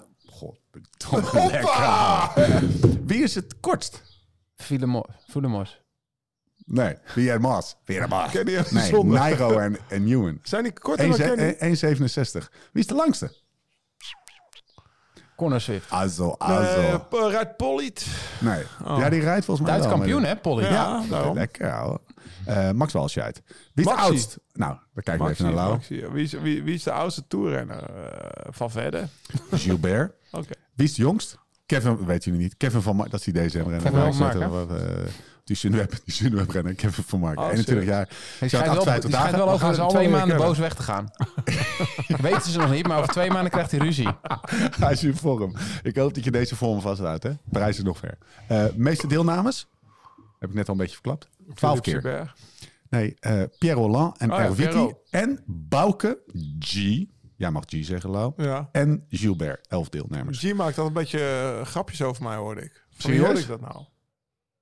[SPEAKER 1] Godverdomme,
[SPEAKER 4] Hoppa!
[SPEAKER 1] lekker. Wie is het kortst?
[SPEAKER 3] Filemo- Fulemos.
[SPEAKER 1] Nee, Pierre Mas. Pierre Mas.
[SPEAKER 4] Kenny
[SPEAKER 1] Nee,
[SPEAKER 4] Ellison.
[SPEAKER 1] Nairo en, en Newman.
[SPEAKER 4] Zijn die korter dan Kenny?
[SPEAKER 1] eh, 1,67. Wie is de langste?
[SPEAKER 3] Connor Swift.
[SPEAKER 1] Azo,
[SPEAKER 4] Eh,
[SPEAKER 1] azo.
[SPEAKER 4] P- Ruud Polliet.
[SPEAKER 1] Nee. Ja, die rijdt volgens mij
[SPEAKER 3] Duits
[SPEAKER 1] wel, maar-
[SPEAKER 3] kampioen, hè, Polly?
[SPEAKER 4] Ja.
[SPEAKER 1] Oh. Ja,
[SPEAKER 4] daarom.
[SPEAKER 1] lekker ouwe. Eh, Max Walscheid. Wie is de
[SPEAKER 4] Maxi.
[SPEAKER 1] oudst? Nou, we kijken we even naar Lau.
[SPEAKER 4] Maxi, ja. Wie, is, wie, wie is de oudste toerrenner eh, van verder?
[SPEAKER 1] Gilbert.
[SPEAKER 4] Oké.
[SPEAKER 1] Wie is de jongst? Kevin, weet jullie niet. Kevin van Mark, dat is die deze renner.
[SPEAKER 3] Kevin
[SPEAKER 1] Ja,
[SPEAKER 3] van
[SPEAKER 1] ik
[SPEAKER 3] Mark,
[SPEAKER 1] zat er wel, eh, Die Sunweb, die Sunweb renner, Kevin van Mark.
[SPEAKER 4] Oh,
[SPEAKER 1] 21 jaar.
[SPEAKER 3] Hij
[SPEAKER 1] Ze had
[SPEAKER 3] schijnt wel,
[SPEAKER 1] 58
[SPEAKER 3] die schijnt
[SPEAKER 1] dagen.
[SPEAKER 3] wel
[SPEAKER 4] We gaan ze
[SPEAKER 3] over twee
[SPEAKER 4] allemaal
[SPEAKER 3] maanden
[SPEAKER 4] leren
[SPEAKER 3] boos weg te gaan. Weten ze nog niet, maar over twee maanden krijgt hij ruzie.
[SPEAKER 1] Hij is in vorm. Ik hoop dat je deze vorm vasthoudt. Hè? Parijs is nog ver. Eh, meeste deelnames? Heb ik net al een beetje verklapt. 12
[SPEAKER 4] Philip
[SPEAKER 1] keer.
[SPEAKER 4] Gilbert.
[SPEAKER 1] Nee, eh, Pierre Roland en
[SPEAKER 4] Oh ja,
[SPEAKER 1] Erwiti
[SPEAKER 4] Pierrot.
[SPEAKER 1] en Bouke G. Jij mag G zeggen, Lau.
[SPEAKER 4] Ja.
[SPEAKER 1] En Gilbert, elf deelnemers.
[SPEAKER 4] G maakt altijd een beetje eh, grapjes over mij, hoorde ik. Van wie
[SPEAKER 1] Serieus?
[SPEAKER 4] hoorde ik dat nou?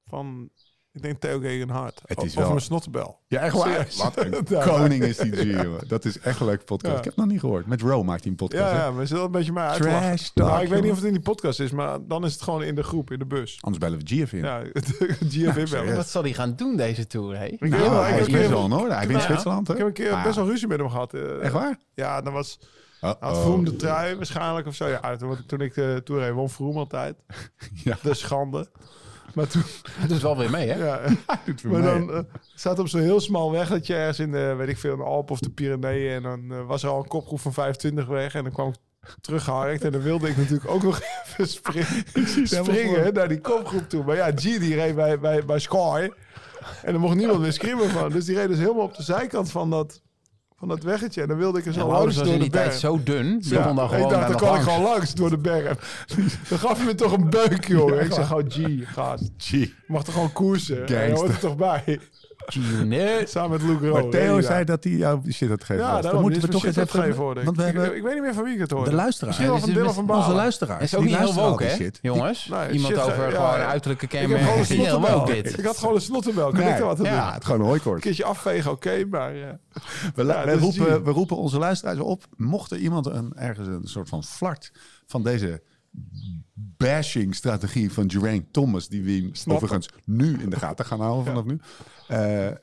[SPEAKER 4] Van, ik denk Theo Gegenhardt.
[SPEAKER 1] Het
[SPEAKER 4] O-
[SPEAKER 1] is
[SPEAKER 4] of
[SPEAKER 1] wel-
[SPEAKER 4] een snottebel.
[SPEAKER 1] Ja, echt
[SPEAKER 4] Serieus?
[SPEAKER 1] Wat een
[SPEAKER 4] Ja.
[SPEAKER 1] koning is die G, jongen. Dat is echt een leuke podcast.
[SPEAKER 4] Ja.
[SPEAKER 1] Ik heb het nog niet gehoord. Met Ro maakt hij een podcast.
[SPEAKER 4] Ja,
[SPEAKER 1] hè?
[SPEAKER 4] ja, maar ze dat een beetje mij
[SPEAKER 1] Trash
[SPEAKER 4] uitlachen.
[SPEAKER 1] talk,
[SPEAKER 4] nou, ik weet
[SPEAKER 1] jongen.
[SPEAKER 4] niet of het in die podcast is, maar dan is het gewoon in de groep, in de bus.
[SPEAKER 1] Anders bellen we G even in.
[SPEAKER 4] Ja, GFW bellen.
[SPEAKER 3] Wat zal hij gaan doen deze tour, hé?
[SPEAKER 4] Ik
[SPEAKER 1] Nou,
[SPEAKER 4] weet wel, ik
[SPEAKER 1] hij
[SPEAKER 4] heb
[SPEAKER 1] is
[SPEAKER 4] een keer-
[SPEAKER 1] best wel in orde. Hij wint
[SPEAKER 3] Ja.
[SPEAKER 1] Zwitserland, hè?
[SPEAKER 4] Ik heb een keer
[SPEAKER 1] Ah,
[SPEAKER 4] best wel ruzie met hem gehad. eh.
[SPEAKER 1] Echt waar? Oh.
[SPEAKER 4] Ja, dat was... Hij had
[SPEAKER 1] Uh-oh.
[SPEAKER 4] Vroom de trui waarschijnlijk of zo. Ja, toen, toen ik de Tour heen won Vroom altijd.
[SPEAKER 1] Ja.
[SPEAKER 4] De schande. Maar toen...
[SPEAKER 3] Dat doet wel weer mee, hè?
[SPEAKER 4] Ja,
[SPEAKER 1] Doet voor
[SPEAKER 4] maar
[SPEAKER 1] mij.
[SPEAKER 4] dan eh, zat op zo'n heel smal weggetje ergens in de, weet ik veel, in de Alpen of de Pyreneeën. En dan eh, was er al een kopgroep van 25 weg. En dan kwam ik teruggeharkt. En dan wilde ik natuurlijk ook nog even springen, springen hè, naar die kopgroep toe. Maar ja, G die reed bij, bij, bij Sky. En er mocht niemand meer screamen van. Dus die reed dus helemaal op de zijkant van dat, van dat weggetje. En dan wilde ik er
[SPEAKER 3] Ja,
[SPEAKER 4] zo
[SPEAKER 3] Laurens
[SPEAKER 4] langs
[SPEAKER 3] was
[SPEAKER 4] door
[SPEAKER 3] in
[SPEAKER 4] de
[SPEAKER 3] die tijd
[SPEAKER 4] berg.
[SPEAKER 3] zo dun. Die
[SPEAKER 4] Ja,
[SPEAKER 3] kon dan gewoon
[SPEAKER 4] ik dacht,
[SPEAKER 3] aan
[SPEAKER 4] dan
[SPEAKER 3] de
[SPEAKER 4] kan ik
[SPEAKER 3] bank.
[SPEAKER 4] gewoon langs door de bergen. Dan gaf je me toch een beuk, joh. ik zeg gewoon, G, gast.
[SPEAKER 1] G.
[SPEAKER 4] Je mag toch gewoon koersen? Hij hoort er toch bij?
[SPEAKER 3] Nee.
[SPEAKER 4] Samen met Luke Rowe.
[SPEAKER 1] Maar Theo
[SPEAKER 4] Ja.
[SPEAKER 1] zei dat hij jou shit had gegeven.
[SPEAKER 4] Ja,
[SPEAKER 1] was.
[SPEAKER 4] daarom
[SPEAKER 1] moeten we toch eens even...
[SPEAKER 4] geven worden.
[SPEAKER 1] Want we
[SPEAKER 4] ik,
[SPEAKER 1] hebben
[SPEAKER 4] ik weet niet meer van wie ik het hoorde.
[SPEAKER 1] de luisteraar.
[SPEAKER 4] Misschien wel
[SPEAKER 3] Ja,
[SPEAKER 4] van
[SPEAKER 3] dit is
[SPEAKER 4] Dylan van
[SPEAKER 1] Onze
[SPEAKER 4] Baal.
[SPEAKER 1] luisteraars.
[SPEAKER 3] Dat is ook
[SPEAKER 1] die
[SPEAKER 3] niet heel
[SPEAKER 1] luisteren al
[SPEAKER 3] woke,
[SPEAKER 1] die
[SPEAKER 3] hè,
[SPEAKER 1] shit.
[SPEAKER 3] jongens?
[SPEAKER 4] Nee,
[SPEAKER 3] Iemand
[SPEAKER 4] shit,
[SPEAKER 3] over
[SPEAKER 4] ja,
[SPEAKER 3] gewoon
[SPEAKER 4] ja.
[SPEAKER 3] uiterlijke
[SPEAKER 4] Ik heb gewoon
[SPEAKER 3] kenmerken.
[SPEAKER 4] een
[SPEAKER 3] Is niet heel
[SPEAKER 4] slottenbel.
[SPEAKER 3] woke, dit.
[SPEAKER 4] Ik had gewoon een slottenbel. Kan
[SPEAKER 1] Nee.
[SPEAKER 4] ik er wat aan
[SPEAKER 1] Ja,
[SPEAKER 4] doen?
[SPEAKER 1] het is gewoon een
[SPEAKER 4] Een
[SPEAKER 1] hooikoord.
[SPEAKER 4] keertje afvegen, oké, maar... eh,
[SPEAKER 1] We,
[SPEAKER 4] Ja, dus
[SPEAKER 1] we
[SPEAKER 4] dat is
[SPEAKER 1] roepen,
[SPEAKER 4] Gene.
[SPEAKER 1] we roepen onze luisteraars op. Mocht er iemand een, ergens een soort van flart van deze bashing-strategie van Geraint Thomas, die we hem overigens nu in de gaten gaan houden vanaf nu, eh, eh,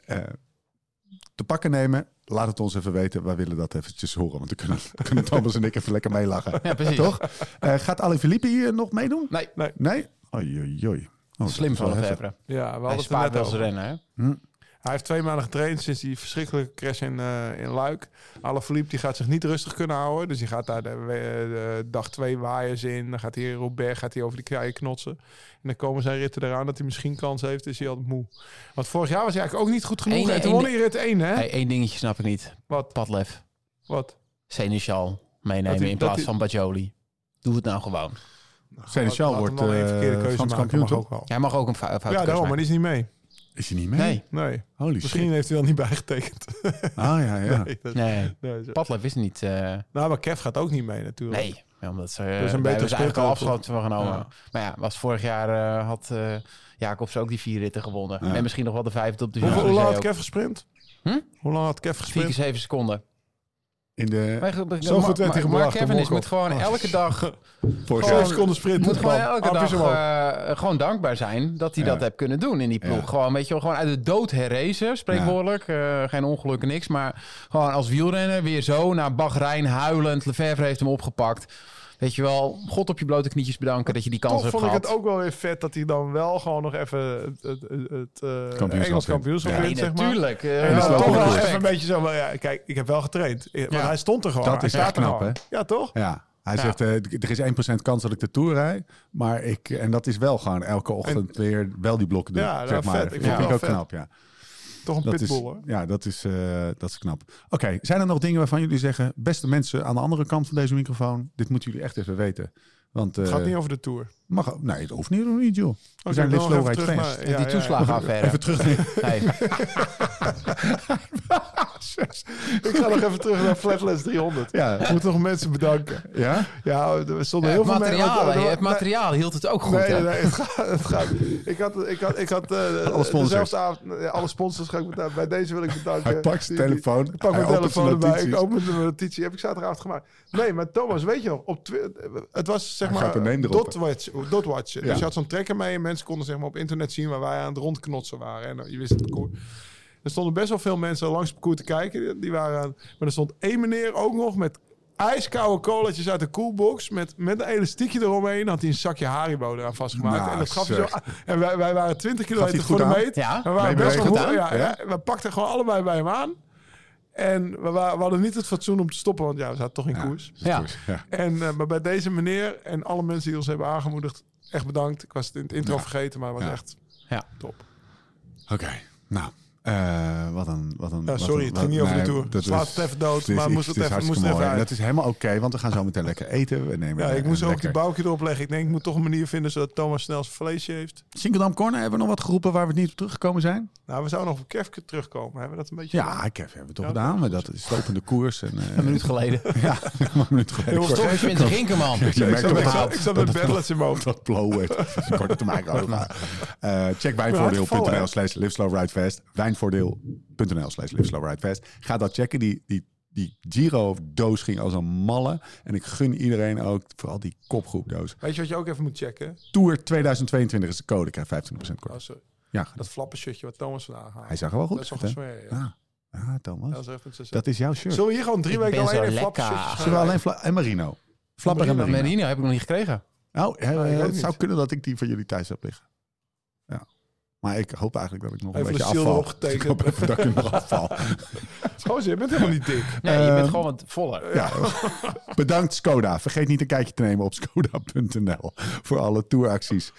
[SPEAKER 1] te pakken nemen, laat het ons even weten. Wij willen dat eventjes horen, want dan kunnen, kunnen Thomas en ik even lekker meelachen.
[SPEAKER 3] Ja, precies.
[SPEAKER 1] Toch? Eh, gaat Ali Filippi hier nog meedoen?
[SPEAKER 3] Nee,
[SPEAKER 1] Nee? Oei, oei, oei. Oh, dat
[SPEAKER 3] slim
[SPEAKER 1] is wel
[SPEAKER 3] van de
[SPEAKER 1] heftig.
[SPEAKER 3] Verbre.
[SPEAKER 4] Ja, we
[SPEAKER 3] Hij
[SPEAKER 4] hadden het er
[SPEAKER 3] spaart
[SPEAKER 4] net
[SPEAKER 3] wel zijn
[SPEAKER 4] over.
[SPEAKER 3] rennen, hè?
[SPEAKER 4] Hij heeft twee maanden getraind sinds die verschrikkelijke crash in, eh, in Luik. Alaphilippe die gaat zich niet rustig kunnen houden. Dus die gaat daar de, eh, de dag twee waaiers in. Dan gaat hij in Roubaix, gaat hij over die keien knotsen. En dan komen zijn ritten eraan dat hij misschien kans heeft. Is hij al moe. Want vorig jaar was hij eigenlijk ook niet goed genoeg.
[SPEAKER 3] Eén-
[SPEAKER 4] en toen
[SPEAKER 3] één-
[SPEAKER 4] won hij rit 1, hè?
[SPEAKER 3] Hey, één dingetje snap ik niet.
[SPEAKER 4] Wat?
[SPEAKER 3] Padlef.
[SPEAKER 4] Wat?
[SPEAKER 3] Seneschal meenemen
[SPEAKER 4] Dat hij-
[SPEAKER 3] in
[SPEAKER 4] dat
[SPEAKER 3] plaats
[SPEAKER 4] hij-
[SPEAKER 3] van Bajoli. Doe het nou gewoon.
[SPEAKER 1] Seneschal
[SPEAKER 4] Nou,
[SPEAKER 1] wordt,
[SPEAKER 4] Laat hem dan
[SPEAKER 1] eh,
[SPEAKER 4] één verkeerde keuze
[SPEAKER 1] Frans
[SPEAKER 4] maken,
[SPEAKER 1] kampioen,
[SPEAKER 4] mag
[SPEAKER 1] toch?
[SPEAKER 4] ook wel.
[SPEAKER 3] Hij mag ook een fou- foute
[SPEAKER 4] Ja,
[SPEAKER 3] keus
[SPEAKER 4] daarom, maar
[SPEAKER 3] maken.
[SPEAKER 4] die is niet mee.
[SPEAKER 1] Is je niet mee?
[SPEAKER 3] Nee,
[SPEAKER 4] Nee.
[SPEAKER 1] Holy
[SPEAKER 4] Misschien heeft hij wel niet bijgetekend.
[SPEAKER 1] shit. Ah ja, ja.
[SPEAKER 4] Nee, dat-
[SPEAKER 3] nee.
[SPEAKER 4] nee, zo.
[SPEAKER 3] Padlef is niet... eh,
[SPEAKER 4] Nou, maar Kev gaat ook niet mee natuurlijk.
[SPEAKER 3] Nee, ja, omdat ze
[SPEAKER 4] is
[SPEAKER 3] dus
[SPEAKER 4] een
[SPEAKER 3] een
[SPEAKER 4] betere
[SPEAKER 3] beter eigenlijk al
[SPEAKER 4] speelkeuze.
[SPEAKER 3] afstand van genomen.
[SPEAKER 4] Ja.
[SPEAKER 3] Maar ja, was vorig jaar eh, had eh Jacobs ook die vier ritten gewonnen.
[SPEAKER 1] Ja.
[SPEAKER 3] En misschien nog wel de vijfde op de
[SPEAKER 4] Hoeveel-
[SPEAKER 3] Champs-Élysées
[SPEAKER 4] Hoe lang had
[SPEAKER 3] dus ook.
[SPEAKER 4] Kev gesprint?
[SPEAKER 3] Hm?
[SPEAKER 4] Hoe lang had Kev
[SPEAKER 3] Vier keer
[SPEAKER 4] gesprint?
[SPEAKER 3] zeven seconden.
[SPEAKER 1] In de
[SPEAKER 3] Maar, goed,
[SPEAKER 1] Zo goed werd hij
[SPEAKER 3] maar-
[SPEAKER 1] gebracht
[SPEAKER 3] Maar
[SPEAKER 1] door
[SPEAKER 3] Kevin is
[SPEAKER 1] Morkov.
[SPEAKER 3] moet
[SPEAKER 4] Oh.
[SPEAKER 3] gewoon elke dag,
[SPEAKER 1] Porsche.
[SPEAKER 3] Gewoon-
[SPEAKER 4] Vijf seconden sprint.
[SPEAKER 3] moet gewoon
[SPEAKER 4] Bam.
[SPEAKER 3] elke
[SPEAKER 4] Armpjes
[SPEAKER 3] dag
[SPEAKER 4] omhoog.
[SPEAKER 3] eh, gewoon dankbaar zijn dat hij
[SPEAKER 1] Ja.
[SPEAKER 3] dat heeft kunnen doen in die ploeg.
[SPEAKER 1] Ja.
[SPEAKER 3] Gewoon, weet je wel, gewoon uit de dood herrezen, spreekwoordelijk. Eh, geen ongelukken, niks. Maar gewoon als wielrenner weer zo naar Bahrein huilend. Lefevre heeft hem opgepakt. Weet je wel, God op je blote knietjes bedanken dat je die kans
[SPEAKER 4] Toch
[SPEAKER 3] hebt
[SPEAKER 4] vond ik
[SPEAKER 3] gehad.
[SPEAKER 4] het ook wel weer vet dat hij dan wel gewoon nog even het, het, het, het, eh,
[SPEAKER 1] Kampioenschap
[SPEAKER 4] Engels kampioenschap
[SPEAKER 1] wint.
[SPEAKER 4] wint,
[SPEAKER 1] Ja.
[SPEAKER 3] Nee,
[SPEAKER 4] zeg maar.
[SPEAKER 3] natuurlijk. eh,
[SPEAKER 4] En
[SPEAKER 1] dat is
[SPEAKER 4] dan
[SPEAKER 1] wel
[SPEAKER 4] toch wel
[SPEAKER 1] goed.
[SPEAKER 4] even een beetje zo, maar ja, kijk, ik heb wel getraind. Want
[SPEAKER 3] Ja.
[SPEAKER 4] hij stond er gewoon.
[SPEAKER 1] Dat
[SPEAKER 4] hij
[SPEAKER 1] is
[SPEAKER 4] staat
[SPEAKER 1] echt
[SPEAKER 4] er
[SPEAKER 1] knap,
[SPEAKER 4] gewoon. Ja, toch?
[SPEAKER 1] Ja, hij
[SPEAKER 3] Ja.
[SPEAKER 1] zegt eh, d- er is 1% kans dat ik de Tour rijd. Maar ik, en dat is wel gewoon elke ochtend weer wel die blokken doen.
[SPEAKER 4] Ja, dat
[SPEAKER 1] zeg
[SPEAKER 4] is
[SPEAKER 1] maar.
[SPEAKER 4] vet. Ik
[SPEAKER 1] vind
[SPEAKER 4] vind
[SPEAKER 1] ik
[SPEAKER 4] het
[SPEAKER 1] ook
[SPEAKER 4] wel
[SPEAKER 1] knap, ja.
[SPEAKER 4] Toch een
[SPEAKER 1] Dat is,
[SPEAKER 4] pitbull, hoor.
[SPEAKER 1] ja, dat is, eh, dat is knap. Oké, zijn er nog dingen waarvan jullie zeggen... beste mensen aan de andere kant van deze microfoon... dit moeten jullie echt even weten. Want, eh,
[SPEAKER 4] Het gaat niet over de Tour.
[SPEAKER 1] mag, nee, het hoeft niet, hoeft niet joh. We
[SPEAKER 4] Oké,
[SPEAKER 1] zijn
[SPEAKER 4] dan
[SPEAKER 1] dit
[SPEAKER 4] Oh, nog
[SPEAKER 1] slow
[SPEAKER 4] even
[SPEAKER 1] ride
[SPEAKER 4] terug
[SPEAKER 1] fans.
[SPEAKER 4] naar-
[SPEAKER 3] die toeslagenaffaire.
[SPEAKER 1] Even terug.
[SPEAKER 3] Nee.
[SPEAKER 4] Ik ga nog even terug naar Flatless 300.
[SPEAKER 1] ja,
[SPEAKER 4] Ik moet nog mensen bedanken.
[SPEAKER 1] ja?
[SPEAKER 4] Ja, er stonden heel
[SPEAKER 3] Het
[SPEAKER 4] veel
[SPEAKER 3] materiaal,
[SPEAKER 4] mensen... Oh,
[SPEAKER 3] hè, het materiaal hield het ook goed.
[SPEAKER 4] Nee,
[SPEAKER 3] hè?
[SPEAKER 4] nee, nee, het gaat. Het gaat. Ik had, ik had, ik had eh,
[SPEAKER 1] sponsors.
[SPEAKER 4] dezelfde avond, ja, alle sponsors ga ik bedanken. Bij deze wil ik bedanken.
[SPEAKER 1] Hij pakt zijn
[SPEAKER 4] Die- die-
[SPEAKER 1] telefoon.
[SPEAKER 4] Ik pak mijn telefoon erbij. Ik
[SPEAKER 1] ook.
[SPEAKER 4] opende mijn notitie. Heb ik zaterdagavond gemaakt. Nee, maar Thomas, weet je nog? Op Twi- het was zeg
[SPEAKER 1] Hij gaat een
[SPEAKER 4] maar
[SPEAKER 1] name droppen.
[SPEAKER 4] dotwatch, dotwatchen.
[SPEAKER 1] Ja.
[SPEAKER 4] Dus je had zo'n trekker mee en mensen konden zeg maar, op internet zien waar wij aan het rondknotsen waren. En eh, je wist het koer. Er stonden best wel veel mensen langs het parcours te kijken. Die- Die waren aan- maar er stond één meneer ook nog met ijskoude colaatjes uit de koelbox. Met, met een elastiekje eromheen. Had hij een zakje Haribo eraan vastgemaakt.
[SPEAKER 1] Nou,
[SPEAKER 4] en dat gaf hij zo.
[SPEAKER 1] zeg.
[SPEAKER 4] En wij, wij waren 20
[SPEAKER 1] hij het
[SPEAKER 4] kilometer voor
[SPEAKER 1] goed
[SPEAKER 4] de
[SPEAKER 1] aan?
[SPEAKER 4] meet.
[SPEAKER 3] Ja.
[SPEAKER 4] we waren
[SPEAKER 1] Wij
[SPEAKER 4] best wel
[SPEAKER 1] bewegen
[SPEAKER 4] goed.
[SPEAKER 1] het aan.
[SPEAKER 4] Ja,
[SPEAKER 1] Ja.
[SPEAKER 4] ja, we pakten gewoon allebei bij hem aan. En we, wa- we hadden niet het fatsoen om te stoppen, want ja, we zaten toch in koers.
[SPEAKER 3] Ja.
[SPEAKER 1] Ja.
[SPEAKER 4] En, eh, maar bij deze meneer en alle mensen die ons hebben aangemoedigd, echt bedankt. Ik was het in het intro vergeten, maar het was
[SPEAKER 1] Ja.
[SPEAKER 4] echt
[SPEAKER 3] Ja.
[SPEAKER 4] top.
[SPEAKER 1] Oké, nou. eh, wat een, wat een,
[SPEAKER 4] Ja,
[SPEAKER 1] wat
[SPEAKER 4] sorry,
[SPEAKER 1] een-
[SPEAKER 4] het
[SPEAKER 1] wat-
[SPEAKER 4] ging niet over de
[SPEAKER 1] nee,
[SPEAKER 4] Tour.
[SPEAKER 1] dat
[SPEAKER 4] Slaat
[SPEAKER 1] is-
[SPEAKER 4] het even dood,
[SPEAKER 1] het is-
[SPEAKER 4] maar
[SPEAKER 1] ik-
[SPEAKER 4] moest het
[SPEAKER 1] is
[SPEAKER 4] even-
[SPEAKER 1] hartstikke
[SPEAKER 4] moest er even
[SPEAKER 1] mooi. En
[SPEAKER 4] uit.
[SPEAKER 1] Dat is helemaal oké, want we gaan zo meteen lekker eten. We nemen
[SPEAKER 4] Ja, ik
[SPEAKER 1] eh,
[SPEAKER 4] moest ook
[SPEAKER 1] lekker-
[SPEAKER 4] die bouwkje erop leggen. Ik denk, ik moet toch een manier vinden zodat Thomas snel zijn vleesje heeft.
[SPEAKER 1] Singeldam Corner, hebben we nog wat geroepen waar we niet op teruggekomen zijn?
[SPEAKER 4] Nou, we zouden nog op Kevke terugkomen. Hebben we dat een beetje
[SPEAKER 1] Ja, ik heb, hebben we toch
[SPEAKER 4] Ja,
[SPEAKER 1] gedaan. Maar dat is lopende koers. En, eh,
[SPEAKER 3] Een minuut geleden.
[SPEAKER 1] ja, een minuut geleden.
[SPEAKER 4] Heel
[SPEAKER 1] Ik word-
[SPEAKER 3] Toch Vincent Ginkerman.
[SPEAKER 1] je merkt
[SPEAKER 4] gedaan?
[SPEAKER 1] ook
[SPEAKER 4] Ik
[SPEAKER 1] wel
[SPEAKER 4] zat, ik zat met bedlets in mijn hoofd.
[SPEAKER 1] dat blow werd. Dus ik word het te maken over. Eh, check
[SPEAKER 4] gevallen,
[SPEAKER 1] wijnvoordeel.nl
[SPEAKER 4] hè?
[SPEAKER 1] slash liveslowridefest. Wijnvoordeel.nl slash liveslowridefest. Ga dat checken. Die, die, die Giro-doos ging als een malle. En ik gun iedereen ook, vooral die kopgroepdoos.
[SPEAKER 4] Weet je wat je ook even moet checken?
[SPEAKER 1] Tour 2022 is de code. Ik krijg 15%
[SPEAKER 4] Oh,
[SPEAKER 1] korting.
[SPEAKER 4] sorry.
[SPEAKER 1] Ja,
[SPEAKER 4] Dat flappenshirtje wat Thomas vandaag had.
[SPEAKER 1] hij zag er wel goed
[SPEAKER 4] Dat is wel
[SPEAKER 1] uit, hè?
[SPEAKER 4] gesmeerd, ja.
[SPEAKER 1] Ah, ah, Thomas.
[SPEAKER 4] Dat is even te
[SPEAKER 1] Dat is jouw shirt.
[SPEAKER 4] Zullen we hier gewoon drie
[SPEAKER 3] Ik
[SPEAKER 4] weken
[SPEAKER 3] ben zo
[SPEAKER 4] alleen in
[SPEAKER 3] lekker.
[SPEAKER 4] flapshirtjes gaan
[SPEAKER 1] Zullen we
[SPEAKER 4] rijden?
[SPEAKER 1] alleen Fla- en Marino? Flapper en
[SPEAKER 4] Marino.
[SPEAKER 1] Marino.
[SPEAKER 3] Merino heb ik nog niet gekregen.
[SPEAKER 1] Nou, eh,
[SPEAKER 4] Nee, ik ook
[SPEAKER 1] het zou
[SPEAKER 4] niet.
[SPEAKER 1] kunnen dat ik die van jullie thuis heb liggen. Ja. Maar ik hoop eigenlijk dat ik nog een
[SPEAKER 4] Even
[SPEAKER 1] beetje
[SPEAKER 4] de ziel
[SPEAKER 1] afval.
[SPEAKER 4] erop getekend.
[SPEAKER 1] Ik hoop even dat ik nog afval.
[SPEAKER 4] Gozer, je bent helemaal niet dik.
[SPEAKER 3] Nee, je bent
[SPEAKER 1] Ehm,
[SPEAKER 3] gewoon wat voller.
[SPEAKER 1] Ja. Bedankt Skoda. Vergeet niet een kijkje te nemen op skoda.nl voor alle touracties.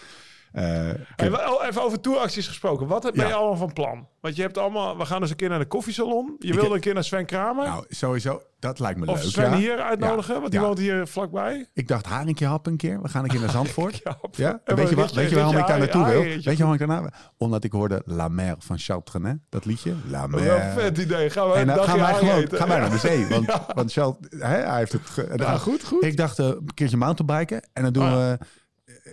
[SPEAKER 1] Eh, ik heb-
[SPEAKER 4] Hey, wel, al Even over touracties gesproken. Wat ben
[SPEAKER 1] Ja.
[SPEAKER 4] je allemaal van plan? Want je hebt allemaal... We gaan dus een keer naar de koffiesalon. Je
[SPEAKER 1] heb-
[SPEAKER 4] wilde een keer naar Sven Kramer.
[SPEAKER 1] nou, sowieso, dat lijkt me
[SPEAKER 4] of
[SPEAKER 1] leuk.
[SPEAKER 4] Sven
[SPEAKER 1] ja.
[SPEAKER 4] hier uitnodigen.
[SPEAKER 1] Ja,
[SPEAKER 4] Want die
[SPEAKER 1] ja.
[SPEAKER 4] woont hier vlakbij.
[SPEAKER 1] Ik dacht haringje hap een keer. We gaan een keer naar Zandvoort.
[SPEAKER 4] Ja,
[SPEAKER 1] Ja?
[SPEAKER 4] En
[SPEAKER 1] Weet, je
[SPEAKER 4] een
[SPEAKER 1] wat,
[SPEAKER 4] ritje-
[SPEAKER 1] weet je waarom ik
[SPEAKER 4] ritje
[SPEAKER 1] daar naartoe wil?
[SPEAKER 4] haring-
[SPEAKER 1] Weet
[SPEAKER 4] ritje.
[SPEAKER 1] je waarom ik daarna wil? Omdat ik hoorde La Mer van Charles Trenet. Dat liedje. La
[SPEAKER 4] Wat
[SPEAKER 1] Mer.
[SPEAKER 4] een vet idee. Gaan we
[SPEAKER 1] En
[SPEAKER 4] een
[SPEAKER 1] dan
[SPEAKER 4] dagje
[SPEAKER 1] gaan wij
[SPEAKER 4] haring
[SPEAKER 1] gewoon
[SPEAKER 4] eten.
[SPEAKER 1] gaan wij naar de zee. Want,
[SPEAKER 4] Ja.
[SPEAKER 1] want Charles, hè, hij heeft het... ge- Ah, en dan
[SPEAKER 4] Ja,
[SPEAKER 1] gaan-
[SPEAKER 4] goed, goed.
[SPEAKER 1] Ik dacht eh, een keertje mountainbiken. En dan doen
[SPEAKER 4] Ah.
[SPEAKER 1] we... eh,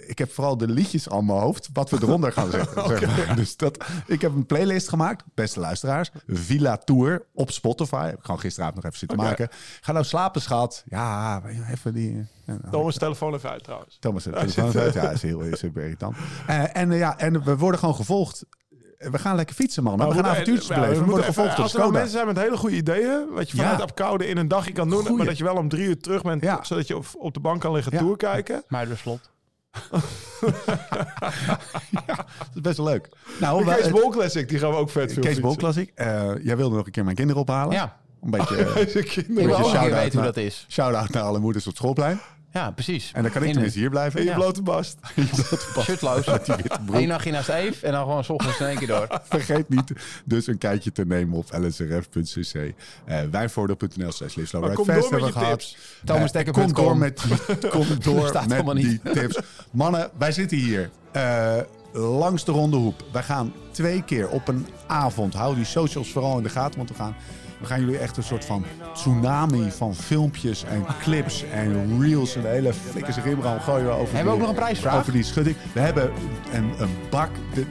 [SPEAKER 1] Ik heb vooral de liedjes aan mijn hoofd, wat we eronder gaan zetten. zeg maar. Dus dat, ik heb een playlist gemaakt, beste luisteraars. Villa Tour op Spotify. Heb ik gewoon gisteravond nog even zitten maken. Ga nou slapen, schat. Ja, even die... eh,
[SPEAKER 4] Thomas telefoon even uit trouwens.
[SPEAKER 1] Thomas, de telefoon is uit. Ja, is heel is super irritant. Eh, en, eh, ja, en we worden gewoon gevolgd. Eh, We gaan lekker fietsen, man. We gaan
[SPEAKER 4] Nou, moeten-
[SPEAKER 1] avontuurtjes
[SPEAKER 4] ja,
[SPEAKER 1] beleven. eh, We,
[SPEAKER 4] moeten
[SPEAKER 1] worden
[SPEAKER 4] even-
[SPEAKER 1] gevolgd door
[SPEAKER 4] Als er nou
[SPEAKER 1] Skoda.
[SPEAKER 4] mensen zijn met hele goede ideeën, wat je vanuit
[SPEAKER 1] Ja.
[SPEAKER 4] Apkoude in een dagje kan doen,
[SPEAKER 1] Goeie.
[SPEAKER 4] maar dat je wel om drie uur terug bent,
[SPEAKER 1] Ja. Oh,
[SPEAKER 4] zodat je op, op de bank kan liggen
[SPEAKER 1] Ja.
[SPEAKER 4] toerkijken.
[SPEAKER 3] Maar de slot.
[SPEAKER 1] Dat is best wel leuk. Nou,
[SPEAKER 4] De
[SPEAKER 1] wel-
[SPEAKER 4] Kees
[SPEAKER 1] eh,
[SPEAKER 4] Bol Classic, die gaan we ook vet veel
[SPEAKER 1] Kees Bol
[SPEAKER 4] fietsen.
[SPEAKER 1] Classic. Eh, jij wilde nog een keer mijn kinderen ophalen.
[SPEAKER 3] Ja.
[SPEAKER 1] Een beetje, eh,
[SPEAKER 4] Deze
[SPEAKER 3] Ik
[SPEAKER 4] kinderen.
[SPEAKER 3] wil
[SPEAKER 1] Beetje
[SPEAKER 3] ook een keer
[SPEAKER 1] shout-out
[SPEAKER 3] weten hoe
[SPEAKER 1] naar-
[SPEAKER 3] dat is.
[SPEAKER 1] Shout-out naar alle moeders op het schoolplein.
[SPEAKER 3] Ja, precies.
[SPEAKER 1] En dan kan ik
[SPEAKER 3] In-
[SPEAKER 1] tenminste hier blijven.
[SPEAKER 4] In je
[SPEAKER 1] Ja.
[SPEAKER 4] blote bast.
[SPEAKER 3] Shirtloos. Eén nachtje naast Eve en dan gewoon 's ochtends in één keer door.
[SPEAKER 1] Vergeet niet dus een kijkje te nemen op lsrf.cc. Eh wijnvoordeel.nl slash Live Slow
[SPEAKER 4] Maar
[SPEAKER 1] Ride
[SPEAKER 4] kom
[SPEAKER 1] Fest hebben
[SPEAKER 4] door met
[SPEAKER 1] we
[SPEAKER 4] je
[SPEAKER 1] gehad. Eh,
[SPEAKER 4] tips.
[SPEAKER 3] ThomasDekker.com.
[SPEAKER 1] Kom door met, die- kom door
[SPEAKER 3] Staat
[SPEAKER 1] met
[SPEAKER 3] helemaal
[SPEAKER 1] die
[SPEAKER 3] niet.
[SPEAKER 1] tips. Mannen, wij zitten hier eh, langs de ronde hoep. Wij gaan twee keer op een avond. Hou die socials vooral in de gaten, want we gaan, we gaan jullie echt een soort van tsunami van filmpjes en clips en reels en de hele flikkers rimram gooien we over.
[SPEAKER 3] Hebben we
[SPEAKER 1] die-
[SPEAKER 3] ook nog een prijsvraag?
[SPEAKER 1] Over die schutting. We hebben een, een bak. De,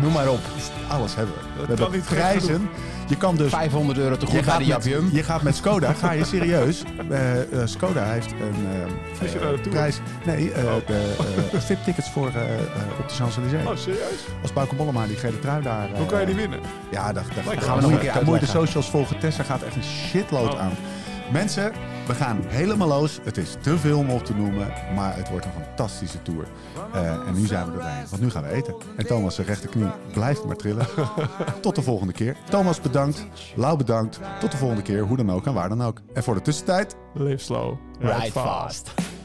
[SPEAKER 3] Noem maar op.
[SPEAKER 1] alles hebben we. We
[SPEAKER 4] kan
[SPEAKER 1] hebben
[SPEAKER 4] niet gek
[SPEAKER 1] prijzen. Je kan dus
[SPEAKER 3] 500 euro
[SPEAKER 1] je
[SPEAKER 3] te goed bij de
[SPEAKER 1] gaat, met,
[SPEAKER 3] Jabium.
[SPEAKER 1] je gaat met Skoda, ga je serieus. Eh, eh, Skoda heeft een eh,
[SPEAKER 4] Vlieg je
[SPEAKER 1] eh,
[SPEAKER 4] naar de Tour?
[SPEAKER 1] prijs. Nee, eh, de eh VIP-tickets voor eh, eh, op de Champs-Élysées.
[SPEAKER 4] Oh, serieus?
[SPEAKER 1] Als Bauke Mollema die gele trui daar... eh,
[SPEAKER 4] Hoe kan je die winnen?
[SPEAKER 1] Ja, daar, daar,
[SPEAKER 4] Leuk.
[SPEAKER 1] daar
[SPEAKER 4] Gaan
[SPEAKER 1] moet
[SPEAKER 4] we nog
[SPEAKER 1] je-
[SPEAKER 4] een
[SPEAKER 3] keer
[SPEAKER 1] daar moet je de
[SPEAKER 3] uitleggen.
[SPEAKER 1] socials volgen. Tessa gaat echt een shitload
[SPEAKER 4] Oh.
[SPEAKER 1] aan. Mensen, we gaan helemaal los. Het is te veel om op te noemen, maar het wordt een fantastische tour. Eh, en nu zijn we erbij, want nu gaan we eten. En Thomas' rechterknie blijft maar trillen. Tot de volgende keer. Thomas bedankt, Lau bedankt. Tot de volgende keer, hoe dan ook en waar dan ook. En voor de tussentijd,
[SPEAKER 4] Live slow.
[SPEAKER 3] Ride fast.